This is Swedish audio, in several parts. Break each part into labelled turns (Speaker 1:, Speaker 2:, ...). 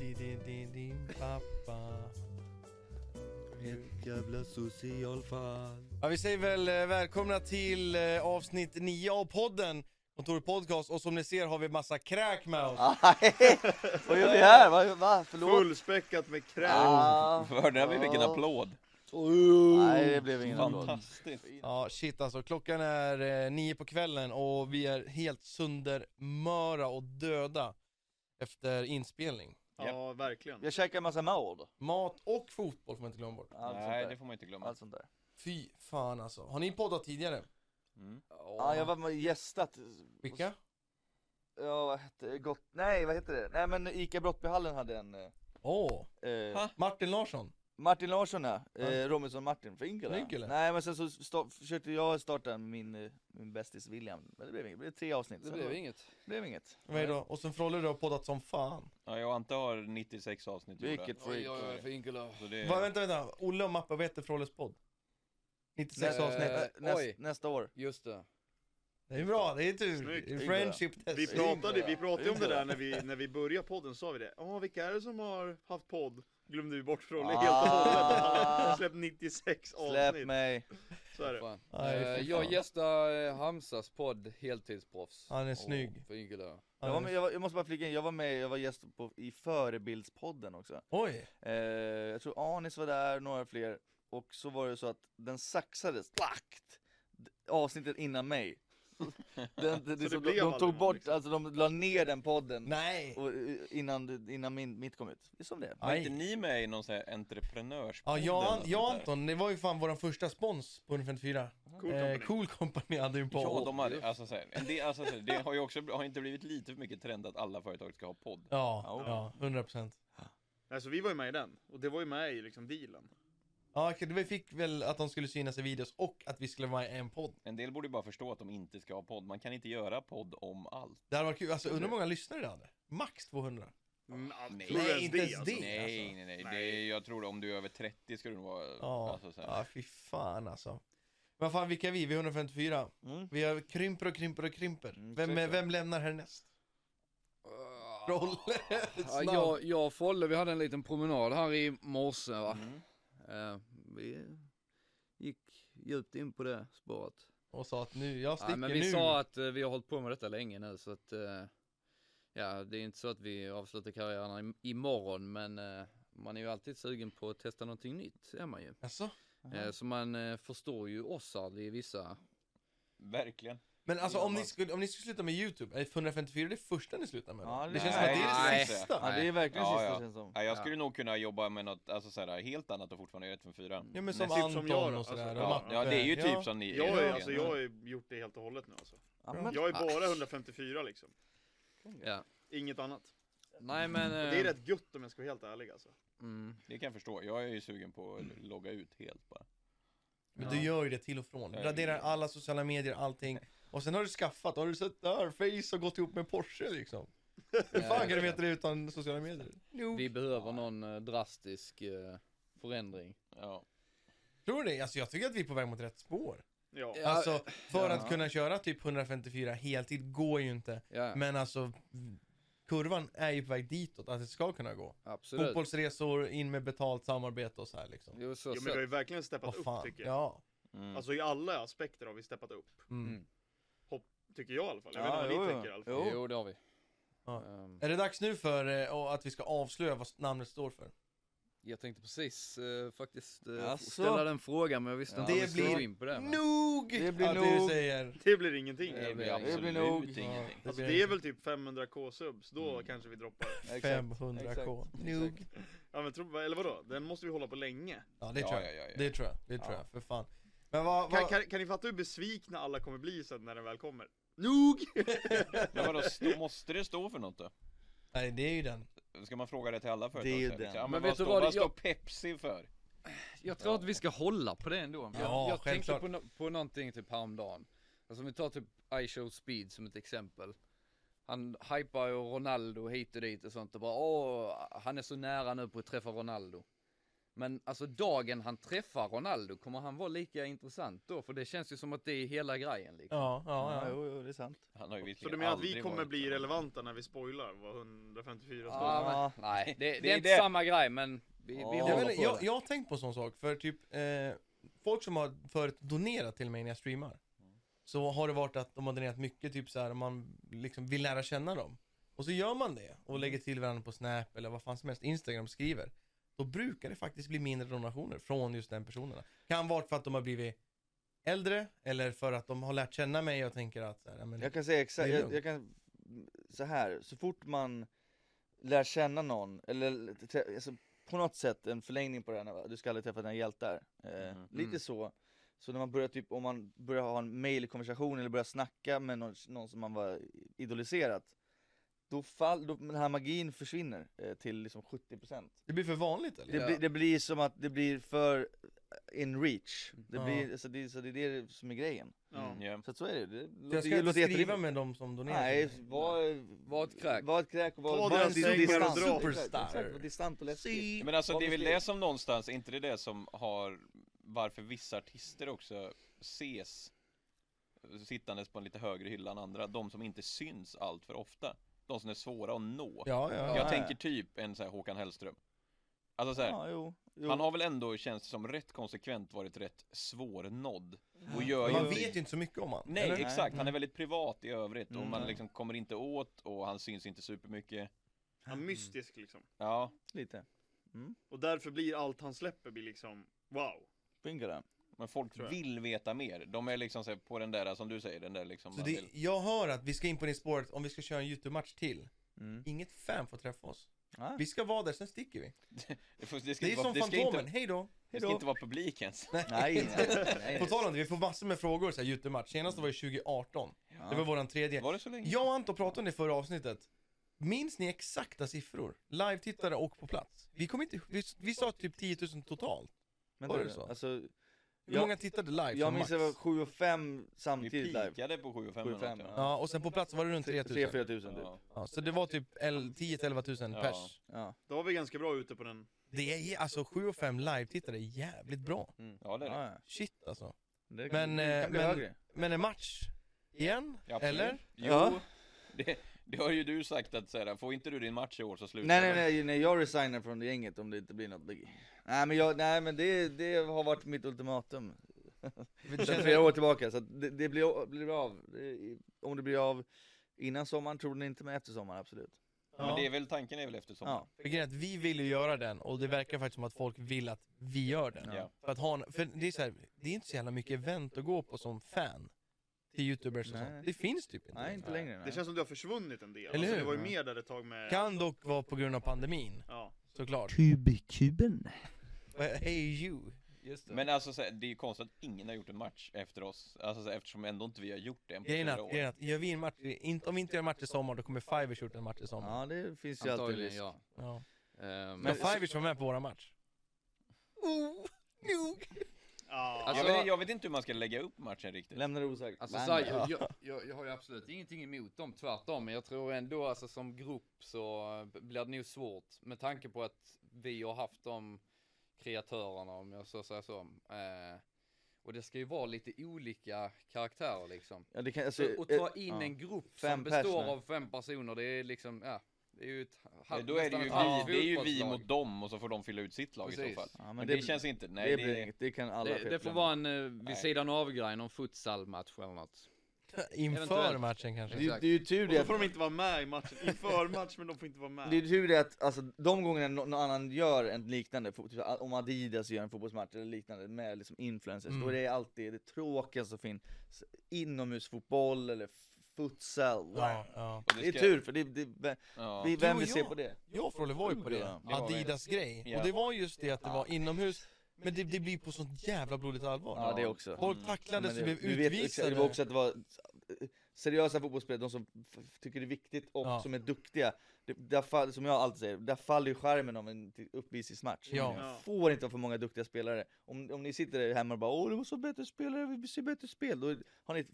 Speaker 1: Di, di, di, din pappa.
Speaker 2: Ett jävla socialfall.
Speaker 1: Ja, vi säger väl eh, välkomna till eh, avsnitt 9 av podden. Kontoret Podcast och som ni ser har vi massa kräk med oss.
Speaker 3: Nej, vad gör vi här? Va? Va? Förlåt?
Speaker 2: Fullspäckat med kräm.
Speaker 3: Ah,
Speaker 4: Hörde ni vilken
Speaker 3: Ja.
Speaker 4: applåd?
Speaker 3: nej, det blev ingen
Speaker 4: Alltså,
Speaker 3: applåd.
Speaker 4: Fantastiskt.
Speaker 1: Ja shit alltså, klockan är eh, nio på kvällen och vi är helt söndermöra och döda efter inspelning.
Speaker 2: Ja, verkligen.
Speaker 3: Jag käkar en massa maord.
Speaker 1: Mat och fotboll får man inte glömma bort.
Speaker 3: Allt
Speaker 4: Nej,
Speaker 3: sånt
Speaker 4: det
Speaker 3: där.
Speaker 4: får man inte glömma.
Speaker 1: Alltså-
Speaker 3: Allt sånt där.
Speaker 1: Fy fan alltså. Har ni poddat tidigare?
Speaker 4: Mm.
Speaker 3: Ja, jag var med och gästat.
Speaker 1: Vilka?
Speaker 3: Ja, vad hette det? Gott... Nej, vad heter det? Nej, men ICA Brottbyhallen hade en. eh,
Speaker 1: Åh,
Speaker 3: Eh,
Speaker 4: Ha?
Speaker 1: Martin Larsson.
Speaker 3: Martin Larsson ja.
Speaker 1: Ja.
Speaker 3: Eh, Robinson-Martin från Inkela.
Speaker 1: Inkela?
Speaker 3: Nej, men sen så sta- försökte jag starta min, eh, min bästis William. Men det blev inget. Det blev tre avsnitt.
Speaker 5: Det
Speaker 3: Sen
Speaker 5: blev
Speaker 3: då-
Speaker 5: inget.
Speaker 3: blev inget.
Speaker 1: Vad är det då? Och sen Frolle du har poddat som fan.
Speaker 4: Ja, jag och Ante har 96 avsnitt gjorda.
Speaker 3: Vilket
Speaker 5: Oj,
Speaker 3: freak.
Speaker 5: oj, oj, för Inkula.
Speaker 4: Så det
Speaker 1: Va,
Speaker 4: är...
Speaker 1: vänta, vänta. Olle och Mappa, vad heter Frolles podd? 96
Speaker 5: Nej,
Speaker 1: avsnitt.
Speaker 5: eh,
Speaker 3: Nä, näst,
Speaker 5: oj.
Speaker 3: nästa år.
Speaker 5: Just det.
Speaker 1: Det är bra, det är
Speaker 2: Snyggt.
Speaker 1: tur. Friendship test.
Speaker 2: Vi pratade, vi pratade om det
Speaker 3: Yngre.
Speaker 2: där när vi, när vi började podden, sa vi det. Ja, vilka är det som har haft podd? Glömde vi bort Frolle helt och hållet. Han har släppt 96
Speaker 3: Släpp
Speaker 2: avsnitt.
Speaker 3: mig.
Speaker 2: Så är det.
Speaker 5: Fan.
Speaker 1: Nej,
Speaker 5: Eh,
Speaker 1: fy fan.
Speaker 5: jag gästade eh, Hamsas podd Heltidsproffs.
Speaker 1: Han är
Speaker 5: Åh,
Speaker 1: snygg.
Speaker 5: För Inkula.
Speaker 3: Jag, var med, jag, var, jag måste bara flika in, jag var med, jag var gäst på, i förebildspodden också.
Speaker 1: Oj!
Speaker 3: Eh, jag tror Anis var där, några fler. Och så var det så att den saxades, plakt, d- avsnittet innan mig. Den, den,
Speaker 2: det
Speaker 3: liksom,
Speaker 2: blev
Speaker 3: de, de
Speaker 2: aldrig
Speaker 3: tog
Speaker 2: någon,
Speaker 3: bort,
Speaker 2: liksom.
Speaker 3: alltså de la ner den podden
Speaker 1: Nej!
Speaker 3: och, eh, innan, det- innan min, mitt kom ut. Det är som det är.
Speaker 4: Var inte
Speaker 1: Aj.
Speaker 4: ni med i någon sån här entreprenörspodd?
Speaker 1: Ja, jag,
Speaker 4: eller
Speaker 1: jag
Speaker 4: sånt där?
Speaker 1: Anton, det var ju fan vår första spons på 154.
Speaker 2: Cool
Speaker 1: eh,
Speaker 2: company.
Speaker 1: cool Company hade ju en podd.
Speaker 4: Ja, de har,
Speaker 5: just.
Speaker 4: alltså, så här, en del, alltså, så här, det har ju också har inte blivit lite för mycket trend att alla företag ska ha podd.
Speaker 1: Ja, ja, 100 procent.
Speaker 2: Alltså, vi var ju med i den. Och det var ju med i liksom dealen.
Speaker 1: Ja, okej, vi fick väl att de skulle synas i videos och att vi skulle vara med i en podd.
Speaker 4: En del borde ju bara förstå att de inte ska ha podd. Man kan inte göra podd om allt.
Speaker 1: Det hade varit kul, alltså undrar hur många lyssnare det hade? Max 200?
Speaker 2: Mm, ja,
Speaker 4: Nej.
Speaker 2: tror du
Speaker 1: Nej, inte ens
Speaker 2: alltså?
Speaker 1: det.
Speaker 4: Nej, nej, nej. Det är, jag tror om du är över 30 ska du nog vara...
Speaker 1: Ja,
Speaker 4: Alltså, så här.
Speaker 1: ja fy fan alltså. Men fan vilka är vi? Vi är 154.
Speaker 3: Mm.
Speaker 1: Vi har krymper och krymper och krymper.
Speaker 3: Mm,
Speaker 1: Vem,
Speaker 3: säkert.
Speaker 1: vem lämnar härnäst?
Speaker 5: Ah.
Speaker 1: Rolle,
Speaker 5: Ja,
Speaker 1: snabb.
Speaker 5: jag, jag och Folle, vi hade en liten promenad här i morse va.
Speaker 4: Mm.
Speaker 5: Eh, vi gick djupt in på det spåret.
Speaker 1: Och sa att nu, jag sticker
Speaker 5: Ja, men vi
Speaker 1: nu.
Speaker 5: sa att eh, vi har hållit på med detta länge nu så att eh, ja, det är inte så att vi avslutar karriären i, imorgon men eh, man är ju alltid sugen på att testa någonting nytt är man ju.
Speaker 1: Alltså?
Speaker 5: Eh, så man eh, förstår ju oss aldrig i vissa.
Speaker 4: Verkligen.
Speaker 1: Men alltså om ni,
Speaker 5: Ja.
Speaker 1: skulle, om ni skulle sluta med YouTube, är 154 det första ni slutar med? då?
Speaker 3: Ja,
Speaker 1: det,
Speaker 3: det-
Speaker 1: känns som att det är det
Speaker 5: Nej.
Speaker 1: sista.
Speaker 3: Ja, det är verkligen
Speaker 4: Ja,
Speaker 3: sista
Speaker 4: ja.
Speaker 3: känns som.
Speaker 4: Ja, jag skulle nog kunna jobba med något alltså, så här, helt annat och fortfarande göra 154.
Speaker 1: Ja men som
Speaker 2: Typ som
Speaker 1: Anton
Speaker 2: jag då,
Speaker 1: och sådär.
Speaker 2: alltså.
Speaker 1: och
Speaker 4: Ja,
Speaker 1: Mappe.
Speaker 4: ja, det är ju typ
Speaker 1: Ja.
Speaker 4: som ni
Speaker 2: Jag, är,
Speaker 4: egentligen.
Speaker 2: alltså, jag har ju gjort det helt och hållet nu alltså.
Speaker 3: Ja, men,
Speaker 2: Jag är bara
Speaker 5: Asch.
Speaker 2: 154 liksom.
Speaker 5: Ja.
Speaker 2: Inget annat.
Speaker 5: Nej men. eh,
Speaker 2: Och det är rätt gött om jag ska vara helt ärlig alltså.
Speaker 5: Mm,
Speaker 4: Det kan jag förstå. Jag är ju sugen på att logga ut helt bara.
Speaker 1: Men du gör ju det till och från. Du
Speaker 4: Ja.
Speaker 1: raderar alla sociala medier, allting. Och sen har du skaffat, har du sett där, Face har gått ihop med Porsche liksom. Hur
Speaker 5: Ja,
Speaker 1: fan kan du
Speaker 5: exakt.
Speaker 1: veta det utan sociala medier? Jo.
Speaker 5: vi behöver någon eh, drastisk eh, förändring.
Speaker 4: Ja.
Speaker 1: Tror du det? Alltså jag tycker att vi är på väg mot rätt spår.
Speaker 2: Ja.
Speaker 5: Ja.
Speaker 1: alltså för
Speaker 5: ja.
Speaker 1: att kunna köra typ 154 heltid går ju inte.
Speaker 5: Ja,
Speaker 1: Men alltså kurvan är ju på väg ditåt, att det ska kunna gå.
Speaker 5: absolut.
Speaker 1: Fotbollsresor, in med betalt samarbete och så här liksom.
Speaker 5: Jo, så,
Speaker 2: Jo, men vi har ju verkligen steppat
Speaker 1: Vad
Speaker 2: upp
Speaker 1: fan,
Speaker 2: tycker jag.
Speaker 1: ja.
Speaker 4: Mm.
Speaker 2: Alltså i alla aspekter har vi steppat upp.
Speaker 1: Mm.
Speaker 5: Mm.
Speaker 2: Tycker jag i alla fall. Jag
Speaker 3: Ja,
Speaker 2: vet inte vad ni
Speaker 3: jo, jo.
Speaker 2: tänker i alla fall.
Speaker 5: så.
Speaker 3: Jo.
Speaker 5: Jo det har vi.
Speaker 1: Ja.
Speaker 5: Ehm,
Speaker 1: Är det dags nu för eh, och att vi ska avslöja vad namnet står för?
Speaker 5: jag tänkte precis eh, faktiskt eh,
Speaker 3: Jaså?
Speaker 5: ställa den frågan men jag visste
Speaker 3: Ja.
Speaker 5: inte
Speaker 1: Det
Speaker 5: att vi skulle
Speaker 1: blir
Speaker 5: gå in på det. Men...
Speaker 1: Nog!
Speaker 3: Det blir
Speaker 1: att du
Speaker 3: nog.
Speaker 1: säger.
Speaker 2: Det blir ingenting.
Speaker 4: det blir
Speaker 5: det
Speaker 4: absolut
Speaker 3: blir nog-
Speaker 4: ingenting.
Speaker 1: Ja,
Speaker 2: Alltså
Speaker 1: blir
Speaker 2: det är väl typ 500k subs, då kanske vi droppar.
Speaker 3: exakt.
Speaker 1: 500k.
Speaker 3: Exakt.
Speaker 1: Nog.
Speaker 2: Ja men tro, eller vadå? Den måste vi hålla på länge.
Speaker 1: Ja, det
Speaker 4: Ja,
Speaker 1: tror jag.
Speaker 4: ja, ja, ja.
Speaker 1: Det tror jag. Det tror jag. För fan. Men vad...
Speaker 2: Kan,
Speaker 1: vad...
Speaker 2: kan, kan ni fatta hur besvikna alla kommer bli sen när den väl kommer? Nog!
Speaker 4: Men vadå, stå, måste det stå för något då?
Speaker 1: Nej, det är ju den.
Speaker 4: Ska man fråga det till alla företag?
Speaker 3: Det är ju
Speaker 4: så här,
Speaker 3: den.
Speaker 4: liksom? Ja, men,
Speaker 5: Men
Speaker 4: vad,
Speaker 5: vet du
Speaker 4: står,
Speaker 5: vad,
Speaker 4: vad står
Speaker 5: jag-
Speaker 4: Pepsi för?
Speaker 5: Jag tror att vi ska hålla på det ändå. Jag,
Speaker 1: Ja,
Speaker 5: jag tänkte
Speaker 1: självklart.
Speaker 5: på, no- på någonting typ häromdagen. Alltså om vi tar typ I Show Speed som ett exempel. Han hypar ju Ronaldo hit och dit och sånt och bara åh, han är så nära nu på att träffa Ronaldo. Men alltså dagen han träffar Ronaldo, kommer han vara lika intressant då? För det känns ju som att det är hela grejen liksom.
Speaker 1: Ja, ja,
Speaker 3: Ja,
Speaker 1: ja.
Speaker 3: jo, jo, det är sant.
Speaker 4: Han har ju
Speaker 2: Så
Speaker 4: verkligen
Speaker 2: du menar att vi
Speaker 4: aldrig
Speaker 2: kommer
Speaker 4: varit-
Speaker 2: bli relevanta när vi spoilar vad 154 står?
Speaker 5: Ja, men,
Speaker 3: Ja.
Speaker 5: nej, det, det,
Speaker 4: Det är
Speaker 5: är inte
Speaker 4: det.
Speaker 5: samma grej men vi, vi
Speaker 3: Ja.
Speaker 1: Jag,
Speaker 5: håller
Speaker 1: vet,
Speaker 5: på
Speaker 1: inte,
Speaker 5: det.
Speaker 1: jag, jag har tänkt på en sån sak, för typ eh, folk som har förut donerat till mig när jag streamar Så har det varit att de har donerat mycket, typ så här, man liksom vill lära känna dem Och så gör man det och lägger till varandra på Snap eller vad fan som helst, Instagram skriver Då brukar det faktiskt bli mindre donationer från just den personerna Kan vara för att de har blivit äldre eller för att de har lärt känna mig och tänker att så här, ja, men,
Speaker 3: Jag kan säga exakt,
Speaker 1: Det är
Speaker 3: jag, jag kan, så här, så fort man lär känna någon, eller trä- alltså, på något sätt en förlängning på det här, när du ska aldrig träffa dina hjältar. Eh,
Speaker 4: Mhm.
Speaker 3: Lite
Speaker 5: Mm.
Speaker 3: så. Så när man börjar typ, om man börjar ha en mailkonversation eller börjar snacka med någon, någon som man var idoliserat, då faller, då, den här magin försvinner eh, till liksom 70%.
Speaker 1: Det blir för vanligt eller?
Speaker 3: Det,
Speaker 5: Ja.
Speaker 3: blir, det blir som att det blir för eh, in reach. Det,
Speaker 1: Ja.
Speaker 3: blir, alltså, det, så det är det som är grejen.
Speaker 2: Ja.
Speaker 4: Mm, ja.
Speaker 3: Så att så är det. det
Speaker 1: Så jag
Speaker 3: låter-
Speaker 1: ska
Speaker 3: det
Speaker 1: inte
Speaker 3: låter
Speaker 1: skriva
Speaker 3: jätterimligt.
Speaker 1: med dem som donerar
Speaker 3: Nej,
Speaker 1: till mig.
Speaker 3: var,
Speaker 5: Var ett kräk.
Speaker 3: Var ett kräk och var,
Speaker 2: Ta
Speaker 3: var
Speaker 2: den sängen och
Speaker 3: distant.
Speaker 2: dra.
Speaker 1: Superstar.
Speaker 3: Exakt, var distant och läskigt.
Speaker 4: Men alltså
Speaker 3: Vad
Speaker 4: det är väl
Speaker 3: beskrev-
Speaker 4: det som någonstans, är inte det det som har varför vissa artister också ses eh, sittandes på en lite högre hylla än andra, de som inte syns allt för ofta. De som är svåra att nå.
Speaker 1: Ja, ja,
Speaker 4: Jag
Speaker 1: ja.
Speaker 3: ja.
Speaker 4: tänker typ en så här Håkan Hellström. Alltså så här,
Speaker 3: Ja, jo. jo.
Speaker 4: han har väl ändå känns det som rätt konsekvent varit rätt svårnådd. Och gör ju
Speaker 1: Man
Speaker 4: inte-
Speaker 1: vet ju inte så mycket om han
Speaker 4: Nej
Speaker 1: eller?
Speaker 4: exakt,
Speaker 3: Nej.
Speaker 4: han är väldigt privat i övrigt och
Speaker 3: Mm.
Speaker 4: man liksom kommer inte åt och han syns inte supermycket.
Speaker 2: Ja, mystisk liksom.
Speaker 4: Ja,
Speaker 3: Lite.
Speaker 2: Och därför blir allt han släpper blir liksom wow.
Speaker 3: Bingo där.
Speaker 4: men folk
Speaker 2: Tror jag.
Speaker 4: vill veta mer. De är liksom så här, på den där som du säger, den där liksom.
Speaker 1: Så
Speaker 4: man
Speaker 1: det,
Speaker 4: vill-
Speaker 1: jag hör att vi ska in på det spåret om vi ska köra en YouTube-match till.
Speaker 3: Mm.
Speaker 1: Inget fan får träffa oss.
Speaker 3: Ah.
Speaker 1: Vi ska vara där, sen sticker vi.
Speaker 4: Det, får, det, ska,
Speaker 1: Det är
Speaker 4: inte vara,
Speaker 1: som
Speaker 4: det, ska inte,
Speaker 1: Fantomen, hej då!
Speaker 4: det ska inte vara publik ens.
Speaker 3: Nej, nej, nej.
Speaker 1: På tal om det, vi får massor med frågor så här YouTube-match. Senast
Speaker 4: Mm.
Speaker 1: var ju 2018. Det var våran tredje.
Speaker 4: Var det så länge?
Speaker 1: Jag och Anton pratade om det i förra avsnittet. Minns ni exakta siffror? Live-tittare och på plats. Vi kom inte vi, vi sa typ 10 000 totalt.
Speaker 3: Vänta
Speaker 1: var det
Speaker 3: nu,
Speaker 1: så?
Speaker 3: Alltså,
Speaker 1: Hur
Speaker 3: Ja.
Speaker 1: många tittade live
Speaker 3: jag
Speaker 1: som
Speaker 3: minns
Speaker 1: max?
Speaker 3: det var 7 och 5
Speaker 4: Vi
Speaker 3: samtidigt live.
Speaker 4: pikade på 7 500
Speaker 3: 7 500,
Speaker 4: ja.
Speaker 1: Ja, och sen på plats var det runt 3 000.
Speaker 3: 3-4 tusen typ.
Speaker 4: Ja.
Speaker 1: Ja, så det var typ 10-11 000
Speaker 4: Ja.
Speaker 1: pers.
Speaker 3: Ja.
Speaker 2: Då var vi ganska bra ute på den.
Speaker 1: Det är alltså 7 och 5 live-tittare är jävligt bra.
Speaker 4: ja, det är det.
Speaker 3: Ja, ja.
Speaker 1: Shit alltså.
Speaker 3: Det kan-
Speaker 1: Men,
Speaker 3: det
Speaker 1: eh,
Speaker 3: kan bli
Speaker 1: men-
Speaker 3: högre.
Speaker 1: Men en match igen?
Speaker 4: Ja, absolut.
Speaker 1: Eller?
Speaker 4: Jo,
Speaker 3: Ja.
Speaker 4: det, det har ju du sagt att så här, får inte du din match i år så slutar
Speaker 3: Nej,
Speaker 4: du.
Speaker 3: nej, nej, nej, jag resignar från det gänget om det inte blir något. Nej, men, jag, nej, men det, det har varit mitt ultimatum. Sen flera
Speaker 1: Känner,
Speaker 3: år tillbaka, så att det, det blir, blir av. Det- Om det blir av innan sommaren tror den inte, men efter sommaren absolut.
Speaker 4: Men det är
Speaker 1: ja.
Speaker 4: väl, tanken är väl efter sommaren.
Speaker 3: Ja.
Speaker 1: Grejen är att vi vill ju göra den och det verkar faktiskt som att folk vill att vi gör den.
Speaker 4: Ja.
Speaker 1: För, att ha en, för det är så här, det är inte så jävla mycket event att gå på som fan till youtubers och
Speaker 3: Nej.
Speaker 1: sånt. Det finns typ inte.
Speaker 3: Nej, inte längre. Nej.
Speaker 2: Det känns som du har försvunnit en del.
Speaker 1: Eller
Speaker 2: alltså,
Speaker 1: hur?
Speaker 2: du var ju
Speaker 3: Ja.
Speaker 2: med där ett tag med...
Speaker 1: Kan dock vara på grund av pandemin,
Speaker 2: Ja.
Speaker 1: såklart.
Speaker 6: Kubikuben.
Speaker 1: Hey you! Just
Speaker 4: Men alltså så här, det är ju konstigt att ingen har gjort en match efter oss. Alltså så här, eftersom ändå inte vi har gjort det än på
Speaker 1: Grejen är att,
Speaker 4: fyra år.
Speaker 1: grejen är att gör vi en match, inte, om vi inte gör en match i sommar då kommer Fivers gjort en match i sommar.
Speaker 3: Ja, det finns ju alltid
Speaker 5: Antagligen
Speaker 3: risk.
Speaker 5: ja.
Speaker 1: Ja.
Speaker 5: Ehm,
Speaker 1: Men
Speaker 3: Men-
Speaker 1: Fivers var med på våra match. Oh, no.
Speaker 2: Ja.
Speaker 5: Alltså-
Speaker 4: jag, vet, jag vet inte hur man ska lägga upp matchen riktigt.
Speaker 3: Lämna det osagt.
Speaker 5: Alltså
Speaker 3: Nej,
Speaker 5: så här,
Speaker 3: nej.
Speaker 5: jag, jag- jag, jag har ju absolut ingenting emot dem, tvärtom. Men jag tror ändå alltså som grupp så eh, blir det nog svårt. Med tanke på att vi har haft de kreatörerna om jag så säger så. Eh, och det ska ju vara lite olika karaktärer liksom.
Speaker 3: ja, det kan, alltså,
Speaker 5: Så att ta
Speaker 3: eh,
Speaker 5: in
Speaker 3: ja.
Speaker 5: en grupp
Speaker 3: Fem
Speaker 5: som
Speaker 3: pers,
Speaker 5: består
Speaker 3: nej.
Speaker 5: av fem personer, det är liksom, ja. Det är ju ett
Speaker 4: Nej,
Speaker 5: halvt,
Speaker 4: Eh, då är det
Speaker 5: nästan
Speaker 4: ju vi,
Speaker 5: ett halvt
Speaker 4: det är ju vi
Speaker 5: fotbollslag.
Speaker 4: mot dem och så får de fylla ut sitt lag i
Speaker 5: Precis.
Speaker 4: så fall.
Speaker 3: Ja, men
Speaker 4: men,
Speaker 3: det-
Speaker 4: det, känns inte, nej
Speaker 3: det,
Speaker 4: det,
Speaker 3: blir inget, det kan alla
Speaker 5: Det,
Speaker 3: fel
Speaker 5: det får
Speaker 3: glömma.
Speaker 5: vara en eh, vid
Speaker 4: typ, Nej.
Speaker 5: sidan av-grej, någon futsalmatch eller något.
Speaker 1: Inför
Speaker 5: Eventuellt.
Speaker 1: matchen
Speaker 3: det,
Speaker 1: kanske.
Speaker 3: är ju- det är ju tur
Speaker 2: Och
Speaker 3: det
Speaker 2: då
Speaker 3: att,
Speaker 2: får de inte vara med i matchen. I förmatch, men de får inte vara med.
Speaker 3: det är ju tur det att alltså, de gångerna nå- någon annan gör en liknande, fo- typ, om Adidas gör en fotbollsmatch eller liknande med liksom influencers,
Speaker 1: Mm.
Speaker 3: då är det alltid det tråkigaste som finns. Inomhusfotboll eller futsal.
Speaker 1: Ja, ja.
Speaker 4: och
Speaker 3: Det är
Speaker 4: ska-
Speaker 3: tur för det, det,
Speaker 4: ja.
Speaker 3: vi,
Speaker 1: Du och
Speaker 3: vem vill se
Speaker 1: jag.
Speaker 3: på det?
Speaker 1: Jag och Frolle var ju på det,
Speaker 3: Ja,
Speaker 4: det var vi.
Speaker 1: Adidas grej.
Speaker 4: Ja.
Speaker 1: Och det var just det att det var inomhus, men det, det blir på sånt jävla blodigt allvar.
Speaker 3: Ja det också.
Speaker 1: Folk tacklades och
Speaker 3: Men det-
Speaker 1: blev
Speaker 3: du vet exakt, Det var också
Speaker 1: utvisade.
Speaker 3: att det var eh, seriösa fotbollsspelare, de som f- tycker det är viktigt och
Speaker 1: Ja.
Speaker 3: som är duktiga. Det, där fall, som jag alltid säger, där faller ju skärmen av en t- uppvisningsmatch.
Speaker 1: Ja.
Speaker 2: Ja.
Speaker 3: Får inte ha för många duktiga spelare. Om, om ni sitter där hemma och bara åh det var så bättre spelare, vi vill se bättre spel. Då har ni, f-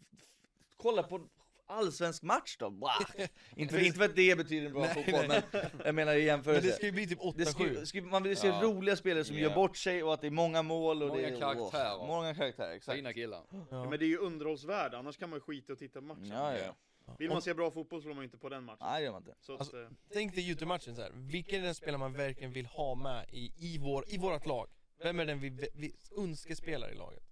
Speaker 3: kolla på allsvensk match då? Blah. inte, för, inte för att det betyder en bra fotboll, men jag menar i
Speaker 1: Men det
Speaker 3: jämförelse.
Speaker 1: ska ju bli typ
Speaker 3: Det ska, ju-
Speaker 1: 8-7.
Speaker 3: ska, ju- man vill se
Speaker 4: Ja.
Speaker 3: roliga spelare som
Speaker 4: Ja.
Speaker 3: gör bort sig och att det är många mål och det
Speaker 5: Många
Speaker 3: är...
Speaker 5: karaktärer.
Speaker 3: Åh, många karaktärer, exakt.
Speaker 5: Fina killar.
Speaker 1: Ja.
Speaker 2: Men det är ju underhållsvärde, annars kan man ju skita och titta på matchen.
Speaker 3: Ja, ja.
Speaker 2: Vill man se bra fotboll så slår man ju inte på den matchen.
Speaker 3: Nej, det gör man inte.
Speaker 2: Så att,
Speaker 1: Alltså-
Speaker 2: eh,
Speaker 1: Tänk dig Youtube-matchen så här. vilken är den spelare man verkligen vill ha med i, i, vår, i vårt lag? Vem är den vi, vi önskespelar i laget?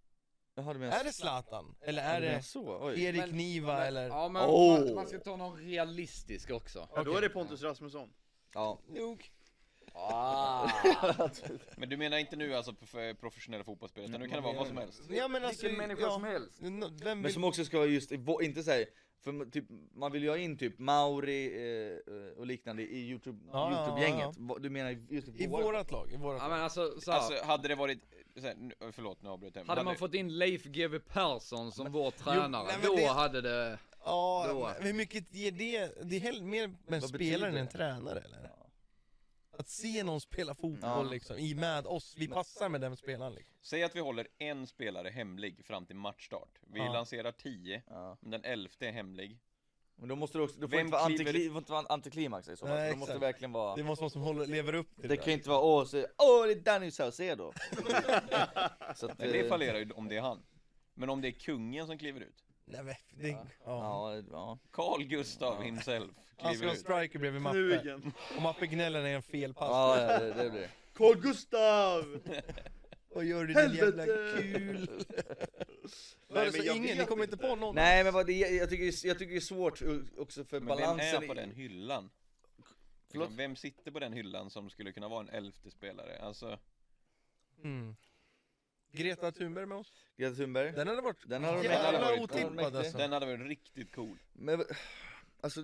Speaker 3: Jaha, du menar
Speaker 1: Är det Zlatan? Eller är
Speaker 3: du menar
Speaker 1: det
Speaker 3: så? Oj.
Speaker 1: Erik
Speaker 5: Men-
Speaker 1: Niva eller?
Speaker 5: Ja, men
Speaker 3: Oh.
Speaker 5: man, man ska ta någon realistisk också.
Speaker 2: ja, då
Speaker 1: Okej.
Speaker 2: är det Pontus Rasmusson.
Speaker 3: Ja.
Speaker 1: Nog.
Speaker 5: Ah.
Speaker 4: Men du menar inte nu alltså prof- professionella fotbollsspelare, utan nu kan det vara vad som helst?
Speaker 1: Ja men alltså, ja.
Speaker 5: helst.
Speaker 1: Nå- Vem
Speaker 3: Men
Speaker 1: vill...
Speaker 3: som också ska vara just, i vå- inte såhär, för m- typ, man vill ju ha in typ Mauri eh, eh, och liknande i Youtube-
Speaker 1: Ja, ja,
Speaker 3: Youtube-gänget.
Speaker 1: ja,
Speaker 3: Vad- Du menar just
Speaker 1: I
Speaker 3: vår-
Speaker 1: vårat lag, i vårat
Speaker 5: Ja,
Speaker 1: lag.
Speaker 5: men alltså, så här,
Speaker 4: Alltså hade det varit, så här, nu- förlåt nu avbröt jag men
Speaker 5: hade man
Speaker 4: hade-
Speaker 5: fått in Leif GW Persson som vår tränare,
Speaker 1: nej, men
Speaker 5: då
Speaker 1: det-
Speaker 5: hade det...
Speaker 1: Ja,
Speaker 5: Då.
Speaker 1: men hur mycket ger det? Det är hell- mer med
Speaker 3: Vad
Speaker 1: spelaren
Speaker 3: betyder
Speaker 1: än
Speaker 3: det?
Speaker 1: tränare eller?
Speaker 3: Ja.
Speaker 1: Att se någon spela fotboll
Speaker 3: Ja.
Speaker 1: liksom, i med oss, vi passar med den spelaren liksom.
Speaker 4: Säg att vi håller en spelare hemlig fram till matchstart. Vi
Speaker 1: Ja.
Speaker 4: lanserar 10,
Speaker 3: Ja.
Speaker 4: men den elfte är hemlig.
Speaker 3: Men då måste du också, du får
Speaker 4: Vem
Speaker 3: inte vara
Speaker 4: kliver-
Speaker 3: antikli- du får inte vara antiklimax i så fall.
Speaker 1: Nej,
Speaker 3: Nej, det måste
Speaker 1: exakt.
Speaker 3: verkligen vara,
Speaker 1: Det
Speaker 3: det,
Speaker 1: måste vara som håller, lever upp till det.
Speaker 3: kan ju inte vara åh, så, åh det är Danny Saucedo. så att,
Speaker 4: Men det
Speaker 3: eh,
Speaker 4: fallerar ju om det är han. Men om det är kungen som kliver ut.
Speaker 1: Nej men, det... Ja.
Speaker 3: Ja, det- ja.
Speaker 4: Carl Gustav himself
Speaker 1: Han ska
Speaker 4: kliver
Speaker 1: ha en
Speaker 4: ut.
Speaker 1: striker bredvid Mappe.
Speaker 2: Knugen.
Speaker 1: Och Mappe gnäller när jag fel pass.
Speaker 3: ja ja, det, det blir det.
Speaker 2: Carl Gustav!
Speaker 1: Vad gör du din jävla
Speaker 2: Helvete!
Speaker 1: kul?
Speaker 2: Nej,
Speaker 1: Nej,
Speaker 2: men jag
Speaker 1: men ingen, ni
Speaker 2: vet
Speaker 1: kommer inte på någon?
Speaker 3: Nej men vad det, jag, tycker, det är- jag tycker det är svårt eh, också för
Speaker 4: Men vem
Speaker 3: balansen.
Speaker 4: är på
Speaker 3: i-
Speaker 4: den hyllan?
Speaker 3: Förlåt?
Speaker 4: Vem sitter på den hyllan som skulle kunna vara en elfte spelare? Alltså,
Speaker 1: Mm. Greta Thunberg med oss?
Speaker 3: Greta Thunberg.
Speaker 1: Den hade varit
Speaker 3: Den hade varit
Speaker 1: jävla
Speaker 4: mäktig.
Speaker 3: Den hade
Speaker 1: otippad
Speaker 3: varit
Speaker 1: alltså.
Speaker 4: den hade varit riktigt cool.
Speaker 3: Men, alltså,